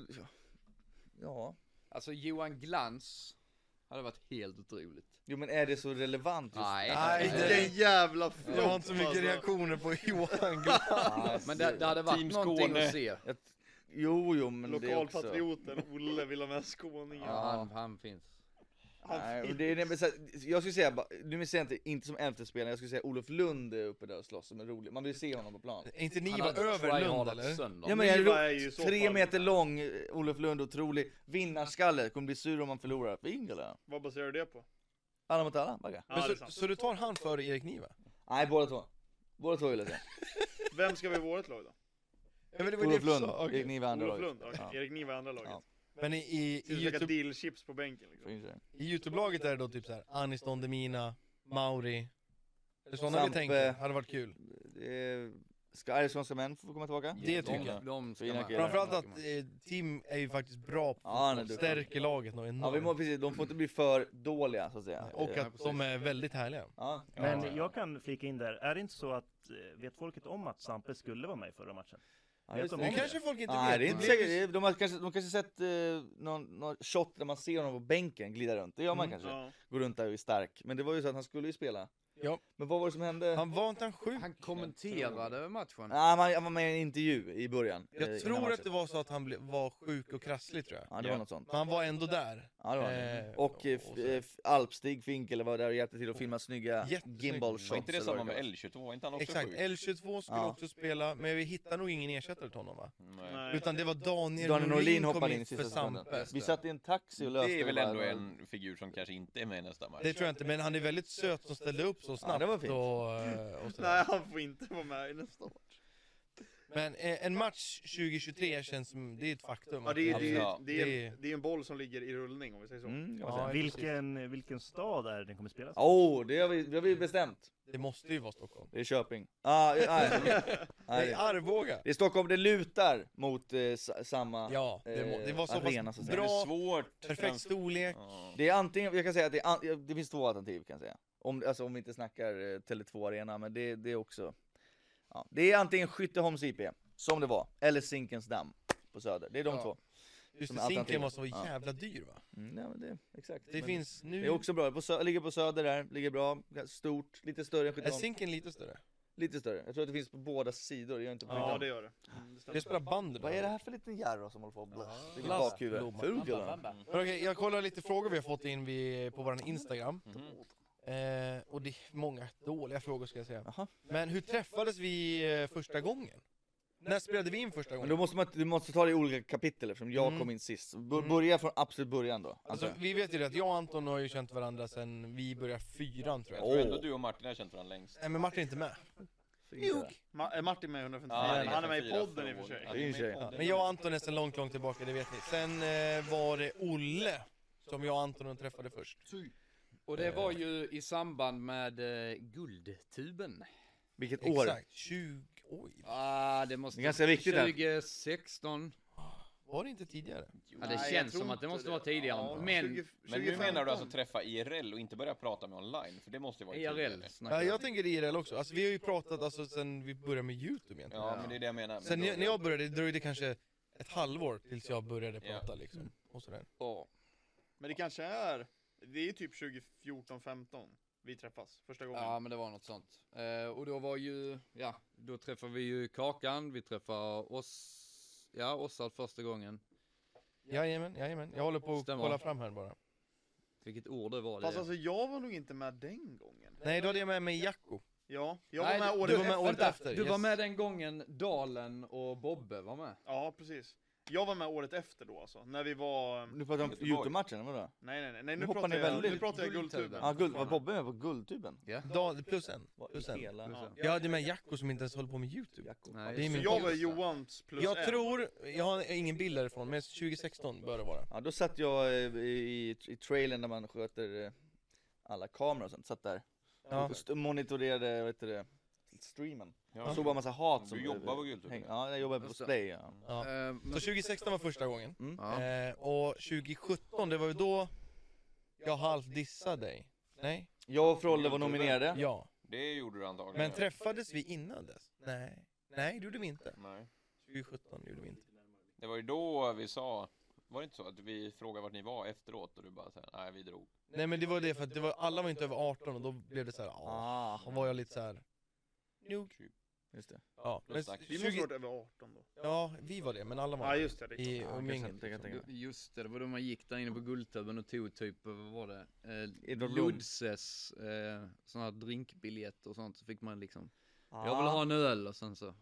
Speaker 3: ja.
Speaker 5: Alltså Johan Glans hade varit helt otroligt.
Speaker 3: Jo men är det så relevant just
Speaker 5: Nej.
Speaker 1: Nej, det-
Speaker 2: Vilken jävla flopp
Speaker 1: Jag har inte så mycket
Speaker 2: alltså.
Speaker 1: reaktioner på Johan Glans.
Speaker 5: Men det, det hade varit
Speaker 4: Team
Speaker 5: någonting
Speaker 4: Skåne.
Speaker 5: att se.
Speaker 3: Alltså, Jag, jo jo men det är också...
Speaker 2: Lokalpatrioten Olle vill ha med skåningen.
Speaker 5: Ja, han, han finns.
Speaker 2: Han
Speaker 3: Nej, men
Speaker 2: fick-
Speaker 3: det är, nej, men så här, jag skulle säga, bara- nu säger jag inte, inte som elfte spelare, jag skulle säga Olof Lund är uppe där och slåss som en rolig, man vill se honom på plan.
Speaker 1: Är inte ni
Speaker 5: Han
Speaker 1: var
Speaker 5: hade
Speaker 1: över Lund
Speaker 5: tryhardat
Speaker 1: eller?
Speaker 5: sönder.
Speaker 3: Ja men är
Speaker 2: Niva är
Speaker 3: det
Speaker 2: ju i
Speaker 3: ro-
Speaker 2: så
Speaker 3: tre
Speaker 2: fall-
Speaker 3: meter lång, eh, Olof Lund otrolig, vinnarskalle, kommer bli sur om man förlorar. Vingala.
Speaker 2: Vad baserar du det på?
Speaker 3: Alla mot alla, bagga.
Speaker 2: Ja, det är
Speaker 1: Men så,
Speaker 2: sant.
Speaker 1: så du tar han före Erik Niva?
Speaker 3: Nej båda två. Båda två vill jag säga.
Speaker 2: Vem ska vara i vårt lag då?
Speaker 1: Ja, men det var det
Speaker 3: Olof
Speaker 1: du sa,
Speaker 3: Lund,
Speaker 1: okej.
Speaker 3: Erik Niva andra
Speaker 2: Olof
Speaker 3: laget.
Speaker 2: Lund? Okej,
Speaker 3: Ja,
Speaker 2: Erik Niva i andra laget.
Speaker 3: Ja.
Speaker 1: Men i, i,
Speaker 2: Ska
Speaker 1: i,
Speaker 2: vi käka
Speaker 1: YouTube,
Speaker 2: dillchips på bänken
Speaker 3: får
Speaker 2: liksom.
Speaker 3: vi se.
Speaker 1: i Youtube-laget är det då typ såhär Aniston Demina, Mauri Eller sådana vi
Speaker 3: Sampe.
Speaker 1: tänker, hade varit kul
Speaker 3: Det är- Ska Arvidsson män få komma tillbaka?
Speaker 1: Det
Speaker 5: De-
Speaker 1: tycker jag.
Speaker 5: De ska
Speaker 3: Fina
Speaker 5: med.
Speaker 3: killar.
Speaker 1: Framförallt att eh, Tim är ju faktiskt bra på
Speaker 3: Ja, han är
Speaker 1: fotboll,
Speaker 3: duktig.
Speaker 1: stärker laget något enormt
Speaker 3: Ja vi må, precis, de får inte bli för dåliga så att säga.
Speaker 1: Och
Speaker 3: Eh,
Speaker 1: att de är väldigt härliga
Speaker 3: Ja.
Speaker 6: Men
Speaker 4: Ja, ja.
Speaker 6: jag kan flika in där, är det inte så att, eh, vet folket om att Sampe skulle vara med i förra matchen?
Speaker 3: Ja,
Speaker 6: Vet
Speaker 3: just
Speaker 6: de
Speaker 1: Nu
Speaker 6: om
Speaker 1: kanske folk inte vet
Speaker 3: Nej det är inte
Speaker 1: blev-
Speaker 3: säkert, Det är- de har kanske, de har kanske sett eh, någon, någon shot där man ser honom på bänken glida runt, det gör man
Speaker 1: Mm.
Speaker 3: kanske.
Speaker 2: Ja.
Speaker 3: Går runt där och är stark. Men det var ju så att han skulle ju spela.
Speaker 1: Ja.
Speaker 3: Men vad var det som hände?
Speaker 1: Han var inte han sjuk?
Speaker 5: Han kommenterade matchen.
Speaker 3: Nej, man, han var med i en intervju i början. eh,
Speaker 1: Jag
Speaker 3: innan
Speaker 1: tror att
Speaker 3: matchen.
Speaker 1: det var så att han ble, var sjuk och krasslig tror jag
Speaker 3: Ja det var
Speaker 4: Ja.
Speaker 3: något sånt.
Speaker 1: Men han var ändå där
Speaker 3: Ja, det var det.
Speaker 1: Eh,
Speaker 3: och eh, f-
Speaker 1: och så-
Speaker 3: eh, f- Alpstig Finkel var där och hjälpte till att filma snygga
Speaker 1: Jättesnyggt.
Speaker 3: gimbal
Speaker 4: Var
Speaker 3: shots.
Speaker 4: inte det
Speaker 3: eller
Speaker 4: samma
Speaker 3: vad
Speaker 4: med
Speaker 3: kallas.
Speaker 4: L22? Var inte han
Speaker 2: Alltså
Speaker 4: också
Speaker 1: Exakt,
Speaker 4: sjuk?
Speaker 1: L22 skulle
Speaker 3: Ja.
Speaker 1: också spela, men vi hittar nog ingen ersättare till honom va?
Speaker 4: Nej.
Speaker 2: Nej.
Speaker 1: Utan det var Daniel,
Speaker 3: Daniel Norlin
Speaker 1: kom
Speaker 3: hoppade in i
Speaker 1: för
Speaker 3: sista sekunden.
Speaker 1: Sampe.
Speaker 5: Just
Speaker 3: Vi
Speaker 5: det.
Speaker 3: satt i en taxi och löste
Speaker 4: Det är väl
Speaker 3: bara-
Speaker 4: ändå en figur som kanske inte är med i nästa match?
Speaker 1: Det tror jag inte, men han är väldigt söt som ställde upp så snabbt.
Speaker 3: det var fint.
Speaker 1: Och, eh, och sådär.
Speaker 2: Nej, han får inte vara med i nästa match.
Speaker 1: men eh, en match 2023 känns som, det är ett faktum.
Speaker 2: Ja, det, är, det,
Speaker 4: Ja.
Speaker 2: är, det,
Speaker 1: Det
Speaker 2: är,
Speaker 1: är-
Speaker 2: det är en boll som ligger i rullning om vi säger så.
Speaker 3: Mm, kan man
Speaker 1: Ja,
Speaker 3: säga.
Speaker 6: vilken, vilken stad är det den kommer spelas i?
Speaker 3: Åh, det har vi, det har vi bestämt.
Speaker 1: det måste ju vara Stockholm.
Speaker 3: Det är Köping. Ah, ja, nej, nej,
Speaker 1: Nej,
Speaker 3: det-
Speaker 1: Arboga!
Speaker 3: det är Stockholm, det lutar mot eh, sa- samma...
Speaker 1: Ja, det, må, det var så
Speaker 3: Eh, Arena, så
Speaker 1: pass
Speaker 3: att
Speaker 4: Men
Speaker 3: säga.
Speaker 4: det är
Speaker 1: bra,
Speaker 4: svårt.
Speaker 1: perfekt storlek.
Speaker 4: Ja.
Speaker 3: Det är antingen, jag kan säga att det, är an, ja, det finns två alternativ kan jag säga. Om, alltså om vi inte snackar eh, Tele2 Arena, men det, det är också... Ja. Det är antingen Skytteholms IP, som det var, eller Zinkens damm på Söder. Det är de
Speaker 5: Ja.
Speaker 3: två.
Speaker 1: Just
Speaker 3: som
Speaker 1: det,
Speaker 3: alternativ.
Speaker 1: Zinken var så
Speaker 3: Ja.
Speaker 1: jävla dyr va?
Speaker 3: Mm, ja, men det, exakt.
Speaker 1: Det
Speaker 3: men,
Speaker 1: finns nu...
Speaker 3: Det är också bra, på sö, ligger på Söder där, ligger bra, stort, lite större än
Speaker 1: är
Speaker 3: Skytteholm.
Speaker 1: Zinken lite större?
Speaker 3: Lite större. Jag tror att det finns på båda sidor, det gör inte på
Speaker 2: Ja,
Speaker 3: Skytteholm.
Speaker 2: det gör det. Mm, det stämmer.
Speaker 1: Det spelar bandy
Speaker 3: Vad är
Speaker 1: då.
Speaker 3: det här för liten Jarro som håller på och blåser i mitt
Speaker 1: Blast.
Speaker 3: bakhuvud?
Speaker 1: Blomma.
Speaker 3: Ful gubben.
Speaker 1: Men okej, jag kollar lite frågor vi har fått in vid, på vår Instagram.
Speaker 3: Mm.
Speaker 4: Mhm.
Speaker 1: Eh, och det är många dåliga frågor ska jag säga.
Speaker 3: Jaha.
Speaker 1: Men hur träffades vi eh, första gången? När spelade vi in första
Speaker 3: Men
Speaker 1: gången?
Speaker 3: då måste man, du måste ta det i olika kapitel eftersom jag
Speaker 1: Mm.
Speaker 3: kom in sist. B- börja från absolut början då. Alltså,
Speaker 1: Alltså, vi vet ju det att jag och Anton har ju känt varandra sedan vi började fyran tror
Speaker 4: Jag
Speaker 1: jag.
Speaker 4: tror ändå
Speaker 3: Åh.
Speaker 4: du och Martin har känt varandra längst.
Speaker 1: Nej men Martin är inte med.
Speaker 2: Ma- är Martin med i 154?
Speaker 4: Ja, det är
Speaker 2: han är med i
Speaker 4: 154
Speaker 2: podden i och för
Speaker 4: frågor.
Speaker 2: sig.
Speaker 4: Ja, det är med i
Speaker 3: Det är ju-
Speaker 4: podden.
Speaker 1: Men jag och Anton är sedan långt, långt tillbaka, det vet ni. Sen eh, var det Olle som jag och Anton träffade först.
Speaker 5: Och det var ju i samband med eh, guldtuben.
Speaker 3: vilket år?
Speaker 1: Exakt, 20... Oj,
Speaker 5: Ah, det måste
Speaker 3: Det är ganska viktigt det.
Speaker 5: 2016.
Speaker 1: var det inte tidigare?
Speaker 5: Ja, det
Speaker 2: Nej, jag
Speaker 5: känns
Speaker 2: tror
Speaker 5: som att det
Speaker 2: inte
Speaker 5: måste vara tidigare.
Speaker 2: Ja,
Speaker 5: men
Speaker 2: 20-
Speaker 4: Men nu menar du alltså
Speaker 2: 2015.
Speaker 4: träffa IRL och inte börja prata med online? För det måste ju vara
Speaker 5: IRL
Speaker 4: tidigare.
Speaker 1: Ja,
Speaker 5: E snackar
Speaker 1: jag tänker IRL också. Alltså, vi har ju pratat alltså, sen vi började med YouTube egentligen.
Speaker 4: Ja, men det är det jag menar. Men
Speaker 1: Sen
Speaker 4: då-
Speaker 1: när jag började, det dröjde kanske ett halvår tills jag började
Speaker 4: Ja.
Speaker 1: prata liksom. Och sådär.
Speaker 5: jag.
Speaker 2: Men det kanske är, det är ju typ 2014-15 vi träffas första gången.
Speaker 5: Ja, men det var något sånt. Eh, och då var ju, ja, då träffade vi ju Kakan, vi träffade oss, ja, Ossard första gången.
Speaker 1: Jajamän, jajamän. Jag håller på att
Speaker 5: Stämmer.
Speaker 1: kolla fram här bara.
Speaker 5: Vilket ord det var.
Speaker 2: Fast
Speaker 5: det.
Speaker 2: alltså jag var nog inte med den gången.
Speaker 1: Nej, då hade jag med mig Jacko.
Speaker 2: Ja, jag
Speaker 5: Nej,
Speaker 2: var med
Speaker 5: du-
Speaker 2: året
Speaker 1: du var med
Speaker 2: efter.
Speaker 1: året
Speaker 5: Vänta,
Speaker 1: efter,
Speaker 5: Du
Speaker 1: yes.
Speaker 5: var med den gången Dalen och Bobbe var med.
Speaker 2: Ja, precis. Jag var med året efter då alltså, när vi var...
Speaker 3: Nu pratar vi om
Speaker 4: Göteborg.
Speaker 3: Youtube-matchen, eller vadå?
Speaker 2: Nej nej nej, nej
Speaker 3: Nu
Speaker 2: nu,
Speaker 3: hoppar
Speaker 2: pratar
Speaker 3: ni
Speaker 2: jag,
Speaker 3: väldigt.
Speaker 2: nu pratar jag guldtuben.
Speaker 5: Guldtuben.
Speaker 3: Ja, guld, var Bobbe med på Guldtuben?
Speaker 1: Da, plus en.
Speaker 3: Vad
Speaker 1: Plus
Speaker 3: i
Speaker 1: en.
Speaker 3: hela-
Speaker 2: Ja.
Speaker 1: Jag hade med Jacko som inte ens håller på med YouTube.
Speaker 5: Nej,
Speaker 1: det är
Speaker 5: just
Speaker 2: Så
Speaker 1: min
Speaker 2: jag var
Speaker 5: Just det.
Speaker 2: Johans plus
Speaker 1: Jag
Speaker 2: en.
Speaker 1: tror, jag har ingen bild därifrån, men 2016 bör det vara.
Speaker 3: Ja, då satt jag eh, i, i trailern när man sköter eh, alla kameror och sånt, satt där
Speaker 1: Ja.
Speaker 3: och st- monitorerade, vad heter det, streamen.
Speaker 4: Ja.
Speaker 3: Såg bara massa hat som...
Speaker 4: Du jobbar på Youtube?
Speaker 3: häng- Ja, jag jobbar på
Speaker 5: Just det.
Speaker 3: Splay. Ja.
Speaker 1: Ja.
Speaker 5: Eh, men-
Speaker 1: Så 2016 var första gången.
Speaker 3: Mm.
Speaker 5: ja.
Speaker 1: Eh, och 2017, det var ju då jag halvt dissade dig. Nej?
Speaker 3: Jag och Frolle var
Speaker 4: Youtube.
Speaker 3: nominerade.
Speaker 1: Ja.
Speaker 4: Det gjorde du antagligen.
Speaker 1: Men träffades vi innan dess? Nej. Nej, det gjorde vi inte.
Speaker 4: Nej.
Speaker 1: 2017 gjorde vi inte.
Speaker 4: Det var ju då vi sa, var det inte så att vi frågade vart ni var efteråt och du bara såhär, nej vi drog.
Speaker 1: Nej men det var det för att det var, alla var inte över 18 och då blev det så här, ja.
Speaker 3: Ah,
Speaker 1: Då var jag lite så här. Nog.
Speaker 3: just det.
Speaker 1: Ja, men
Speaker 4: Plus tack.
Speaker 2: Vi måste
Speaker 1: 20,
Speaker 2: varit över 18 då.
Speaker 1: ja, vi var det, men alla var
Speaker 2: Ja
Speaker 1: inte
Speaker 2: just det, det är klart.
Speaker 1: i
Speaker 3: Ja,
Speaker 1: umgänget. liksom.
Speaker 3: kanske inte, kan jag tänka mig.
Speaker 5: Just det, det var då man gick där inne på Guldtuben och tog typ, vad var det? Eh,
Speaker 3: Edvard Blom.
Speaker 5: Lodses eh, sådana här drinkbiljetter och sånt, så fick man liksom,
Speaker 3: Ah.
Speaker 5: jag vill ha en öl och sen så, här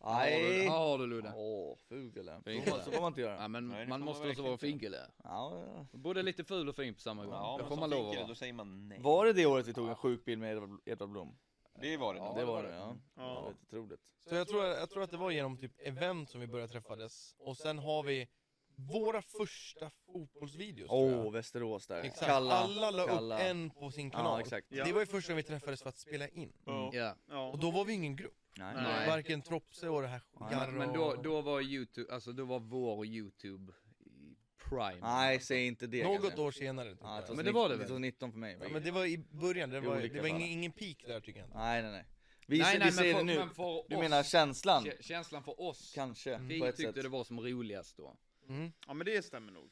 Speaker 5: har du-
Speaker 3: Nej!
Speaker 5: här har du Ludde.
Speaker 3: Åh, ful eller?
Speaker 5: Ful.
Speaker 3: Så får- Så får man inte
Speaker 5: Ja,
Speaker 3: göra.
Speaker 5: men
Speaker 4: Nej, det får
Speaker 5: man
Speaker 4: man
Speaker 5: måste också
Speaker 4: verkligen
Speaker 5: vara
Speaker 4: inte.
Speaker 5: finkel där.
Speaker 3: Ja, ja.
Speaker 5: Både lite ful och fin på samma gång.
Speaker 4: Ja,
Speaker 5: det
Speaker 4: men
Speaker 5: får
Speaker 4: som
Speaker 5: man lov att
Speaker 4: finkare,
Speaker 5: vara.
Speaker 4: Då säger man nej.
Speaker 3: Var det det året vi tog en sjuk bild med Edvard- Edvard Blom?
Speaker 4: Det var det. nog.
Speaker 3: det var det, ja.
Speaker 2: Ja.
Speaker 3: Det var helt otroligt.
Speaker 1: Så jag tror, jag tror att det var genom typ event som vi började träffades. Och sen har vi våra första fotbollsvideos
Speaker 3: Åh,
Speaker 1: tror jag.
Speaker 3: Västerås där.
Speaker 1: Exakt.
Speaker 3: Kalla.
Speaker 1: Alla la
Speaker 3: Kalla.
Speaker 1: upp en på sin kanal.
Speaker 3: Ja, exakt.
Speaker 2: Ja.
Speaker 1: Det var ju första gången vi träffades för att spela in.
Speaker 2: Ja.
Speaker 5: Ja.
Speaker 2: Ja.
Speaker 1: Och då var vi ingen grupp.
Speaker 3: Nej.
Speaker 5: Nej.
Speaker 1: Varken Tropse och det här
Speaker 3: Men-
Speaker 1: Jarro
Speaker 5: Men, men då,
Speaker 1: och-
Speaker 5: då var YouTube, alltså då var vår YouTube i prime.
Speaker 3: Nej, säg inte det.
Speaker 1: Något
Speaker 3: kanske.
Speaker 1: år senare. typ.
Speaker 3: Ja,
Speaker 1: Ja,
Speaker 5: Men det var det väl?
Speaker 3: 2019 för mig. va?
Speaker 1: men det var i början, det
Speaker 3: I
Speaker 1: var,
Speaker 3: olika
Speaker 1: det var ingen,
Speaker 3: fall.
Speaker 1: ingen peak där tycker jag inte.
Speaker 3: Nej, nej, nej. Vi,
Speaker 5: nej,
Speaker 3: ser-
Speaker 5: nej,
Speaker 3: vi
Speaker 5: men
Speaker 3: ser
Speaker 5: för,
Speaker 3: det nu.
Speaker 5: men för
Speaker 3: Du
Speaker 5: oss,
Speaker 3: menar känslan?
Speaker 5: kä- känslan för oss.
Speaker 3: Kanske,
Speaker 5: vi
Speaker 3: på ett
Speaker 5: tyckte
Speaker 3: sätt.
Speaker 5: det var som roligast då.
Speaker 1: Mm.
Speaker 2: ja men det stämmer nog.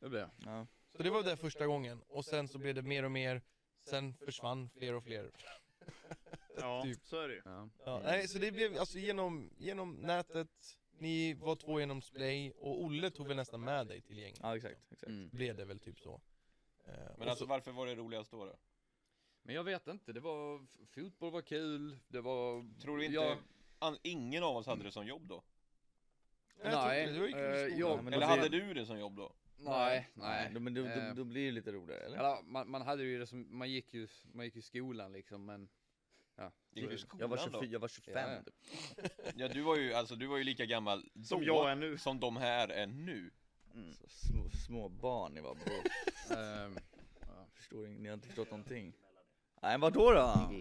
Speaker 5: Det blev.
Speaker 3: Ja.
Speaker 1: Så det var där första gången, och sen så blev det mer och mer, sen försvann fler och fler.
Speaker 2: Ja,
Speaker 1: Typ.
Speaker 2: så är det ju.
Speaker 5: Ja.
Speaker 1: Ja, nej, så det blev alltså genom, genom nätet, ni var två genom Splay, och Olle tog väl nästan med dig till gänget.
Speaker 3: ja, exakt. exakt.
Speaker 5: Mm.
Speaker 1: Blev det väl typ så. Eh, och
Speaker 4: Men alltså
Speaker 1: så,
Speaker 4: varför var det roligast då? då?
Speaker 5: Men jag vet inte, det var, f- fotboll var kul, det var...
Speaker 4: Tror du inte,
Speaker 5: Jag,
Speaker 4: an, ingen av oss hade det som jobb då?
Speaker 1: Nej, jag
Speaker 5: nej,
Speaker 1: tyckte det var ju kul i
Speaker 5: eh,
Speaker 1: skolan.
Speaker 5: jag-
Speaker 3: Ja, men alltså,
Speaker 4: Eller
Speaker 3: då blir-
Speaker 4: hade du det som jobb då?
Speaker 5: nej, nej.
Speaker 3: Då- Men då, då,
Speaker 5: Eh,
Speaker 3: då blir det lite roligare, eller?
Speaker 5: eller, man, man hade ju det som, man gick ju, man gick ju i skolan liksom men... Ja.
Speaker 4: Gick du i
Speaker 3: Jag var,
Speaker 4: skolan
Speaker 3: 24, jag var 25
Speaker 5: Ja, ja.
Speaker 3: typ.
Speaker 4: Ja du var ju, alltså du var ju lika gammal
Speaker 2: Som
Speaker 4: då
Speaker 2: jag är nu.
Speaker 4: som de här är nu.
Speaker 3: Mm. Så små, små barn ni var bro.
Speaker 5: ehm,
Speaker 3: Förstår ing- ni har inte förstått någonting. Nej, vadå då?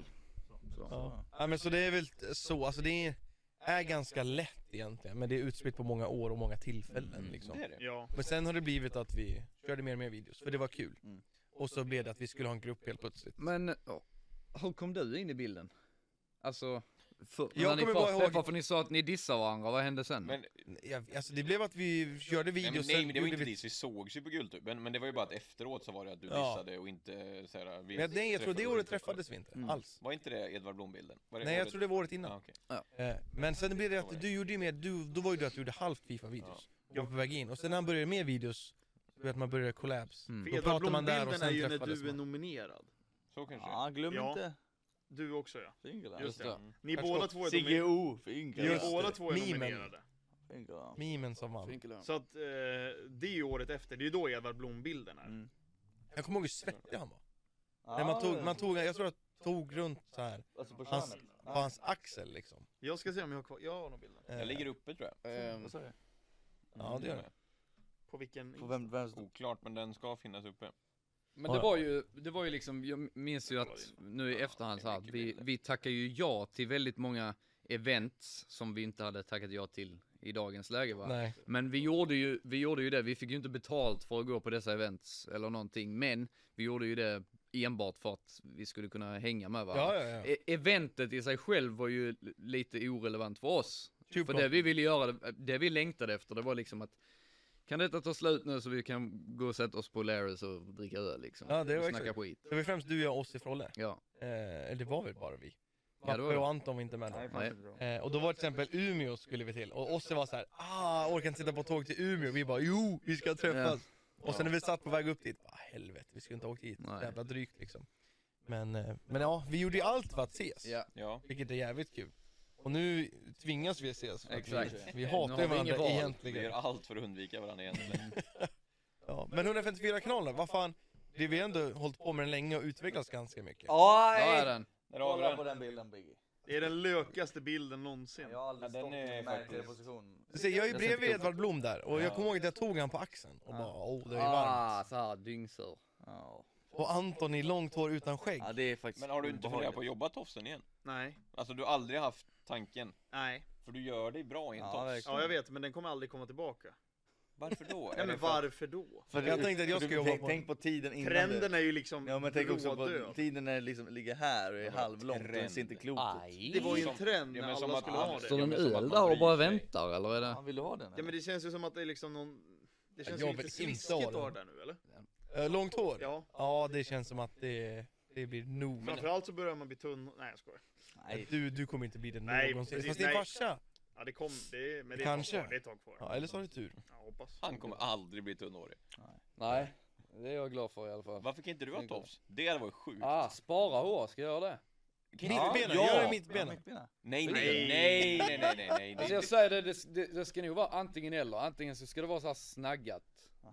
Speaker 1: Ja. ja, men så det är väl t- så, alltså det är, är ganska lätt egentligen, men det är utspritt på många år och många tillfällen liksom.
Speaker 4: Det är det.
Speaker 2: Ja.
Speaker 1: Men sen har det blivit att vi körde mer och mer videos, för det var kul.
Speaker 3: Mm.
Speaker 1: Och så blev det att vi skulle ha en grupp helt plötsligt.
Speaker 5: Men ja, hur kom du in i bilden? Alltså, för,
Speaker 1: Jag
Speaker 5: när ni
Speaker 1: kommer bara
Speaker 5: först
Speaker 1: ihåg-
Speaker 5: träffade, för ni sa att ni dissade varandra, vad hände sen?
Speaker 4: Men,
Speaker 1: Ja, alltså det blev att vi körde
Speaker 4: nej,
Speaker 1: videos,
Speaker 4: men, nej, men det var
Speaker 1: gjorde
Speaker 4: inte
Speaker 1: vi...
Speaker 4: diss, vi sågs ju på Guldtuben, men det var ju bara att efteråt så var det att du
Speaker 1: Ja.
Speaker 4: dissade och inte eh, såhär, vi
Speaker 1: Men jag, nej, jag tror det
Speaker 4: träffades
Speaker 1: året
Speaker 4: inte.
Speaker 1: träffades vi inte
Speaker 3: Mm.
Speaker 1: alls.
Speaker 4: Var inte det Edvard Blom-bilden? Var det
Speaker 1: Nej, jag
Speaker 4: året-
Speaker 1: tror det var året innan.
Speaker 4: Ah, okej.
Speaker 1: Eh, Men sen blev det att du gjorde ju mer, du, då var ju du att du gjorde halvt Fifa-videos. Och var på väg in. Och sen när han började med videos, så blev det att man började collabs.
Speaker 5: Mm.
Speaker 2: För
Speaker 1: Då
Speaker 2: Edvard
Speaker 1: pratar man där och
Speaker 2: Blom-bilden
Speaker 1: sen
Speaker 2: är ju när
Speaker 1: träffades
Speaker 2: du är
Speaker 1: man.
Speaker 2: nominerad.
Speaker 4: Så kanske det är.
Speaker 3: Ja, glöm
Speaker 2: Ja.
Speaker 3: inte.
Speaker 2: Du också ja.
Speaker 3: Fingal,
Speaker 2: Just det.
Speaker 4: Mm.
Speaker 2: Ni
Speaker 1: Kanske
Speaker 2: båda
Speaker 1: också
Speaker 2: två är,
Speaker 3: Sigge
Speaker 2: nomi-
Speaker 3: O,
Speaker 2: ni
Speaker 3: Fingal.
Speaker 1: Just
Speaker 2: båda
Speaker 1: det.
Speaker 2: två är
Speaker 1: Mimen.
Speaker 2: nominerade.
Speaker 3: Fingal.
Speaker 1: Memen som vann.
Speaker 5: Finkelö.
Speaker 2: Så att eh, det är ju året efter, det är ju då Edvard Blom-bilden är.
Speaker 3: Mm.
Speaker 1: Jag kommer ihåg hur svettig han var.
Speaker 3: Ja,
Speaker 1: Nej, man tog,
Speaker 3: det-
Speaker 1: man tog, jag tror jag tog runt så här
Speaker 3: Alltså på
Speaker 1: hans-
Speaker 3: könet?
Speaker 1: på hans axel liksom.
Speaker 2: Jag ska se om jag har kvar, jag har nog bilden.
Speaker 1: Eh,
Speaker 4: Jag ligger uppe tror jag.
Speaker 5: Ehm,
Speaker 3: sa du?
Speaker 1: Ja, det gör det.
Speaker 2: På vilken?
Speaker 3: På vem, vem som...
Speaker 4: Mm. Oklart, men den ska finnas uppe.
Speaker 5: Men
Speaker 1: Ja,
Speaker 5: det
Speaker 1: ja.
Speaker 5: var ju, det var ju liksom, jag minns ju att nu i efterhand så här, att vi, vi tackar ju ja till väldigt många events som vi inte hade tackat ja till i dagens läge
Speaker 3: Mm.
Speaker 5: va?
Speaker 1: Nej.
Speaker 5: Men vi gjorde, ju, vi gjorde ju det, vi fick ju inte betalt för att gå på dessa events eller någonting, men vi gjorde ju det enbart för att vi skulle kunna hänga med varandra.
Speaker 1: Ja, ja, ja.
Speaker 5: E- Eventet i sig själv var ju l- lite orelevant för oss.
Speaker 1: Typ
Speaker 5: för
Speaker 1: då.
Speaker 5: det vi ville göra, det- det vi längtade efter, det var liksom att kan detta ta slut nu så vi kan gå och sätta oss på Larrys och dricka öl liksom.
Speaker 1: Ja, det var
Speaker 5: och snacka
Speaker 1: exakt.
Speaker 5: skit.
Speaker 1: Det var ju främst du, jag, Ossi, Frolle.
Speaker 5: Ja.
Speaker 1: Eh, eller det var väl bara vi.
Speaker 5: Ja, det var
Speaker 1: Mappe
Speaker 5: det.
Speaker 1: och Anton var inte med där.
Speaker 5: Nej.
Speaker 1: Eh, och då var till exempel Umeå skulle vi till. Och Ossi var så här, ah, orkar inte sitta på tåg till Umeå. Vi bara, jo, vi ska träffas. Och sen när vi satt på väg upp dit, bara, helvete, vi skulle inte ha åkt hit.
Speaker 5: Nej.
Speaker 1: Jävla drygt liksom. Men, eh, men ja, vi gjorde ju allt för att ses.
Speaker 5: Ja.
Speaker 4: Ja,
Speaker 1: Vilket är jävligt kul. Och nu tvingas vi ses. för att
Speaker 5: Exakt.
Speaker 1: Vi, vi
Speaker 5: Nu
Speaker 1: hatar
Speaker 5: har
Speaker 1: ju
Speaker 5: vi inget
Speaker 1: varandra
Speaker 5: val.
Speaker 4: vi gör
Speaker 1: egentligen.
Speaker 4: allt för att undvika varandra egentligen.
Speaker 1: Ja. Men 154 kanaler, vad fan. Det vi har ändå hållit på med den länge och utvecklats ganska mycket.
Speaker 3: Ja,
Speaker 5: Där är
Speaker 3: hej!
Speaker 5: den.
Speaker 4: Där har vi
Speaker 3: Kolla på
Speaker 4: den.
Speaker 3: den bilden Biggie.
Speaker 2: Det är den lökaste bilden någonsin.
Speaker 3: Jag har aldrig
Speaker 4: Ja, den
Speaker 3: stått i
Speaker 4: är
Speaker 3: en märkligare
Speaker 4: faktiskt-
Speaker 3: position.
Speaker 1: Du ser, jag är ju
Speaker 5: Jag ser
Speaker 1: bredvid
Speaker 5: inte upp.
Speaker 1: Edvard Blom där och jag
Speaker 4: Ja.
Speaker 1: kommer ihåg att jag tog han på axeln och bara åh det är varmt.
Speaker 5: Ah, så här dyngsur.
Speaker 3: Ja.
Speaker 1: Och Anton i långt hår utan skägg.
Speaker 3: ja, det är faktiskt
Speaker 4: Men har du inte funderat
Speaker 3: obehagligt.
Speaker 4: på att jobba tofsen igen?
Speaker 2: Nej,
Speaker 4: Alltså du har aldrig haft tanken,
Speaker 2: nej.
Speaker 4: för du gör dig bra i en
Speaker 3: Ja,
Speaker 4: tofs.
Speaker 3: verkligen.
Speaker 2: Ja jag vet, men den kommer aldrig komma tillbaka.
Speaker 4: Varför då? Är
Speaker 2: Nej
Speaker 4: det
Speaker 2: men
Speaker 4: för att-
Speaker 2: varför då?
Speaker 3: För
Speaker 1: Jag
Speaker 3: du-
Speaker 1: tänkte att jag
Speaker 3: för
Speaker 1: ska
Speaker 3: du-
Speaker 1: jobba
Speaker 3: tänk,
Speaker 1: på-
Speaker 3: Tänk på tiden innan
Speaker 2: Trenden
Speaker 3: det.
Speaker 2: är ju liksom
Speaker 3: Ja men tänk också på
Speaker 2: rådöd.
Speaker 3: tiden när det liksom ligger här och är
Speaker 4: Vadå
Speaker 3: halvlångt och det ser inte
Speaker 4: trend?
Speaker 3: klokt ut.
Speaker 2: Det var ju en trend
Speaker 4: Ja,
Speaker 2: när
Speaker 4: men som
Speaker 2: alla
Speaker 4: att
Speaker 2: skulle
Speaker 4: alla-
Speaker 2: ha det.
Speaker 5: Står
Speaker 4: Ja,
Speaker 5: den
Speaker 4: men som att
Speaker 5: öl
Speaker 4: man
Speaker 5: där och
Speaker 4: bryr
Speaker 5: bara
Speaker 4: sig.
Speaker 5: väntar eller är det?
Speaker 3: Han ville ha den.
Speaker 2: Ja men
Speaker 3: eller?
Speaker 2: det känns ju som att det är liksom någon... Det känns
Speaker 1: jag
Speaker 2: ju
Speaker 1: vill
Speaker 2: lite
Speaker 1: inte ha
Speaker 2: sliskigt att
Speaker 1: den.
Speaker 2: ha det där nu eller?
Speaker 1: Eh, långt hår? Ja.
Speaker 2: Ja.
Speaker 1: det känns som att det, det blir nog.
Speaker 2: Framförallt så börjar man bli tunn. Nej jag skojar.
Speaker 3: Nej.
Speaker 1: Du, du kommer inte bli det
Speaker 2: Nej,
Speaker 1: någonsin.
Speaker 2: precis,
Speaker 1: Fast din
Speaker 2: nej.
Speaker 1: farsa.
Speaker 2: Ja det kom, det, men det är
Speaker 1: Kanske.
Speaker 2: ett tag kvar. Det är ett tag kvar.
Speaker 1: Ja, eller så har du tur.
Speaker 2: Ja, hoppas.
Speaker 4: Han kommer aldrig bli tunnhårig.
Speaker 5: Nej, det är jag glad för i alla fall.
Speaker 4: Varför kan inte du ha
Speaker 5: Det går.
Speaker 4: tofs? Det hade varit sjukt.
Speaker 5: Ah, spara hår, ska jag göra det?
Speaker 4: Kan inte du-
Speaker 1: Mittbena,
Speaker 3: ja.
Speaker 1: gör det
Speaker 3: Ja,
Speaker 1: mittbena.
Speaker 3: mittbena.
Speaker 4: Nej, nej,
Speaker 2: Nej.
Speaker 4: nej, nej, nej, nej, nej, nej.
Speaker 5: Alltså jag säger det, det, det, det ska nog vara antingen eller. Antingen så ska det vara så här snaggat.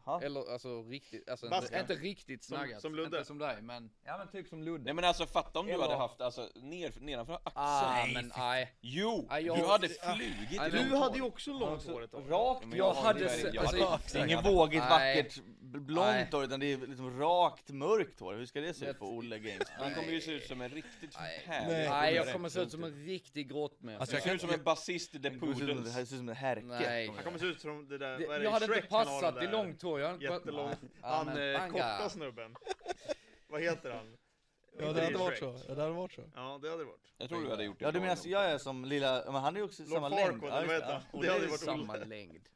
Speaker 3: Jaha.
Speaker 5: Eller alltså riktigt, alltså
Speaker 2: Baska.
Speaker 5: inte, inte riktigt
Speaker 2: Som-
Speaker 5: snaggat.
Speaker 2: som Ludde.
Speaker 5: Inte som dig men, ja men typ som Ludde.
Speaker 4: Nej men alltså fatta om du
Speaker 3: Eller-
Speaker 4: hade haft, alltså ner, nedanför axeln.
Speaker 5: Ah men nej.
Speaker 4: Jo!
Speaker 3: Ah,
Speaker 5: Nej, jag-
Speaker 4: Du hade flugit
Speaker 5: Nej,
Speaker 4: i
Speaker 5: men-
Speaker 2: Du
Speaker 4: långt
Speaker 2: hade
Speaker 4: hår.
Speaker 2: ju också
Speaker 3: typ
Speaker 2: långt hår ett tag.
Speaker 3: Rakt,
Speaker 4: Ja,
Speaker 3: jag,
Speaker 4: men jag
Speaker 5: hade
Speaker 4: hade
Speaker 5: sett-
Speaker 4: jag
Speaker 5: alltså-
Speaker 4: hade
Speaker 3: Det är
Speaker 4: exakt.
Speaker 3: inget vågigt,
Speaker 5: Nej.
Speaker 3: vackert, bl- blont hår utan det är liksom rakt, mörkt hår. Hur ska det se
Speaker 5: Jag-
Speaker 3: ut på Olle Games?
Speaker 4: Han kommer ju se ut som en riktigt
Speaker 5: Nej.
Speaker 4: härlig
Speaker 1: Nej.
Speaker 5: Nej jag
Speaker 4: polare.
Speaker 5: kommer se ut som en riktig grottmänniska.
Speaker 1: Alltså,
Speaker 4: Jag
Speaker 1: jag
Speaker 4: ser ut som en basist i The
Speaker 3: Det kommer se ut som- det
Speaker 4: Poodles.
Speaker 3: här ser ut som en härke. kommer
Speaker 5: Nej.
Speaker 2: Han
Speaker 3: jag
Speaker 2: kommer
Speaker 3: göra.
Speaker 2: se ut som det där,
Speaker 5: Det,
Speaker 2: vad är det,
Speaker 5: jag hade inte
Speaker 2: Shrek han har
Speaker 5: passat
Speaker 2: den
Speaker 5: i
Speaker 2: där
Speaker 5: långt hår. Jag hade inte
Speaker 2: Jättelång.
Speaker 5: Nej. Ja,
Speaker 2: Han
Speaker 5: men
Speaker 2: eh,
Speaker 5: banga.
Speaker 2: korta snubben. vad heter han?
Speaker 1: Ja, det hade varit så. Ja, det hade varit så.
Speaker 2: Ja det hade varit.
Speaker 4: Jag tror du hade gjort det
Speaker 3: Ja du
Speaker 4: bra
Speaker 3: menar,
Speaker 4: ändå.
Speaker 3: jag är som lilla, men han är ju också i
Speaker 2: Lord
Speaker 3: samma
Speaker 2: Farquaad,
Speaker 3: längd.
Speaker 2: eller vad
Speaker 3: just det.
Speaker 2: heter han?
Speaker 5: Det
Speaker 2: Det hade
Speaker 5: är
Speaker 2: varit
Speaker 5: samma längd.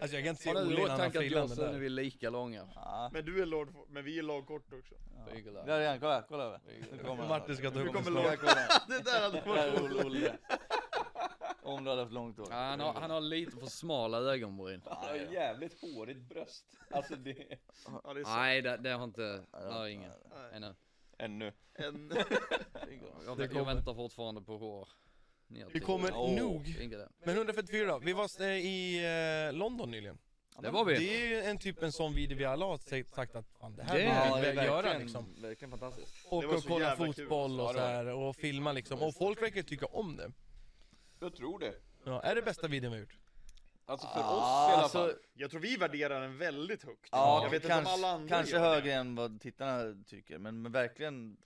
Speaker 1: Alltså jag kan inte se
Speaker 5: Har du
Speaker 1: Olle
Speaker 5: i
Speaker 1: innan han
Speaker 5: åtanke att
Speaker 1: frillar
Speaker 5: jag
Speaker 1: med
Speaker 5: sen är
Speaker 1: där.
Speaker 5: vi lika långa?
Speaker 3: Ja,
Speaker 2: Men du är lord, men vi är lag kort också.
Speaker 5: Fygel
Speaker 3: där är han, kolla, kolla över. Nu kommer han.
Speaker 1: Martin ska ta
Speaker 2: Nu
Speaker 1: upp
Speaker 2: kommer
Speaker 1: en
Speaker 2: Lars.
Speaker 1: snart.
Speaker 3: Kolla, kolla.
Speaker 2: Det där hade
Speaker 3: Där
Speaker 2: varit
Speaker 3: är Olle, Olle. Om du hade haft långt hår.
Speaker 5: Ja, Ah, han, har, han har lite för smala ögonbryn.
Speaker 4: Han har jävligt hårigt bröst. Alltså det...
Speaker 2: Ja det är så.
Speaker 5: Nej, det, det har inte, det har ingen.
Speaker 2: Nej.
Speaker 5: Ännu.
Speaker 4: Ännu.
Speaker 2: En,
Speaker 5: Jag, vä- jag väntar fortfarande på hår. Ner
Speaker 1: Vi
Speaker 5: till-
Speaker 1: kommer
Speaker 3: Åh.
Speaker 1: nog.
Speaker 5: Inte det.
Speaker 1: Men 154, vi var eh, i eh, London nyligen.
Speaker 5: Det var vi.
Speaker 1: Det är ju en typ en sån video vi alla har sett- sagt att fan, det här
Speaker 5: Det
Speaker 1: vill
Speaker 5: är
Speaker 1: vi
Speaker 3: det är
Speaker 1: väl göra
Speaker 3: verkligen-
Speaker 1: liksom.
Speaker 3: Verkligen fantastiskt.
Speaker 1: Och,
Speaker 2: Det var
Speaker 1: och
Speaker 2: så
Speaker 1: kolla
Speaker 2: jävla kul. alltså.
Speaker 1: fotboll
Speaker 4: Ja,
Speaker 1: och
Speaker 4: det
Speaker 1: så
Speaker 4: var
Speaker 1: här och filma liksom. Och folk verkar tycka om det.
Speaker 4: Jag tror det.
Speaker 1: Ja, är det bästa videon vi har gjort?
Speaker 4: Alltså för oss i alla fall.
Speaker 3: Alltså,
Speaker 2: jag tror vi värderar den väldigt högt.
Speaker 3: Ja,
Speaker 2: jag vet inte om alla
Speaker 3: kanske,
Speaker 2: andra
Speaker 3: kanske
Speaker 2: gör det.
Speaker 3: högre än vad tittarna tycker, men, men verkligen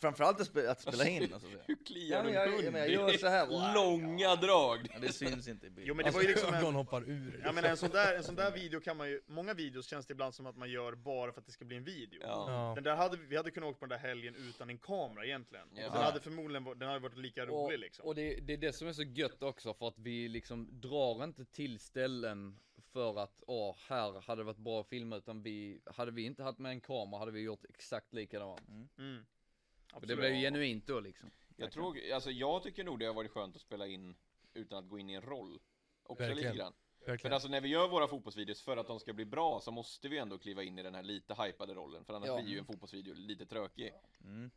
Speaker 3: Framförallt att, spe, att spela in alltså. så.
Speaker 4: Hur
Speaker 3: Ja,
Speaker 4: kliar
Speaker 3: men
Speaker 4: en
Speaker 3: jag-
Speaker 4: hund?
Speaker 3: men jag gör
Speaker 4: Det är
Speaker 3: så här.
Speaker 4: Långa drag.
Speaker 3: Ja, det syns inte i
Speaker 2: Jo
Speaker 3: bilden.
Speaker 2: men det var ju liksom en,
Speaker 1: Alltså, ögon hoppar ur.
Speaker 2: ja, men en, sån där, en sån där video kan man ju, många videos känns det ibland som att man gör bara för att det ska bli en video.
Speaker 4: Ja.
Speaker 1: Ja.
Speaker 2: Den där hade, vi hade kunnat åka på den där helgen utan en kamera egentligen.
Speaker 4: Ja.
Speaker 2: Och den hade förmodligen varit- den hade varit lika
Speaker 5: Och,
Speaker 2: rolig liksom.
Speaker 5: och det, det är det som är så gött också för att vi liksom drar inte till ställen för att åh, här hade det varit bra att filma utan vi, hade vi inte haft med en kamera hade vi gjort exakt likadant.
Speaker 2: Mm.
Speaker 5: Och det
Speaker 2: Absolut.
Speaker 5: blev ju genuint då liksom.
Speaker 4: Jag, tror, alltså jag tycker nog det har varit skönt att spela in utan att gå in i en roll. Också
Speaker 1: Verkligen.
Speaker 4: lite grann. För
Speaker 1: Verkligen.
Speaker 4: alltså när vi gör våra fotbollsvideos, för att de ska bli bra, så måste vi ändå kliva in i den här lite hypade rollen. För annars
Speaker 5: Ja.
Speaker 4: blir ju en fotbollsvideo lite trökig.
Speaker 3: Mm.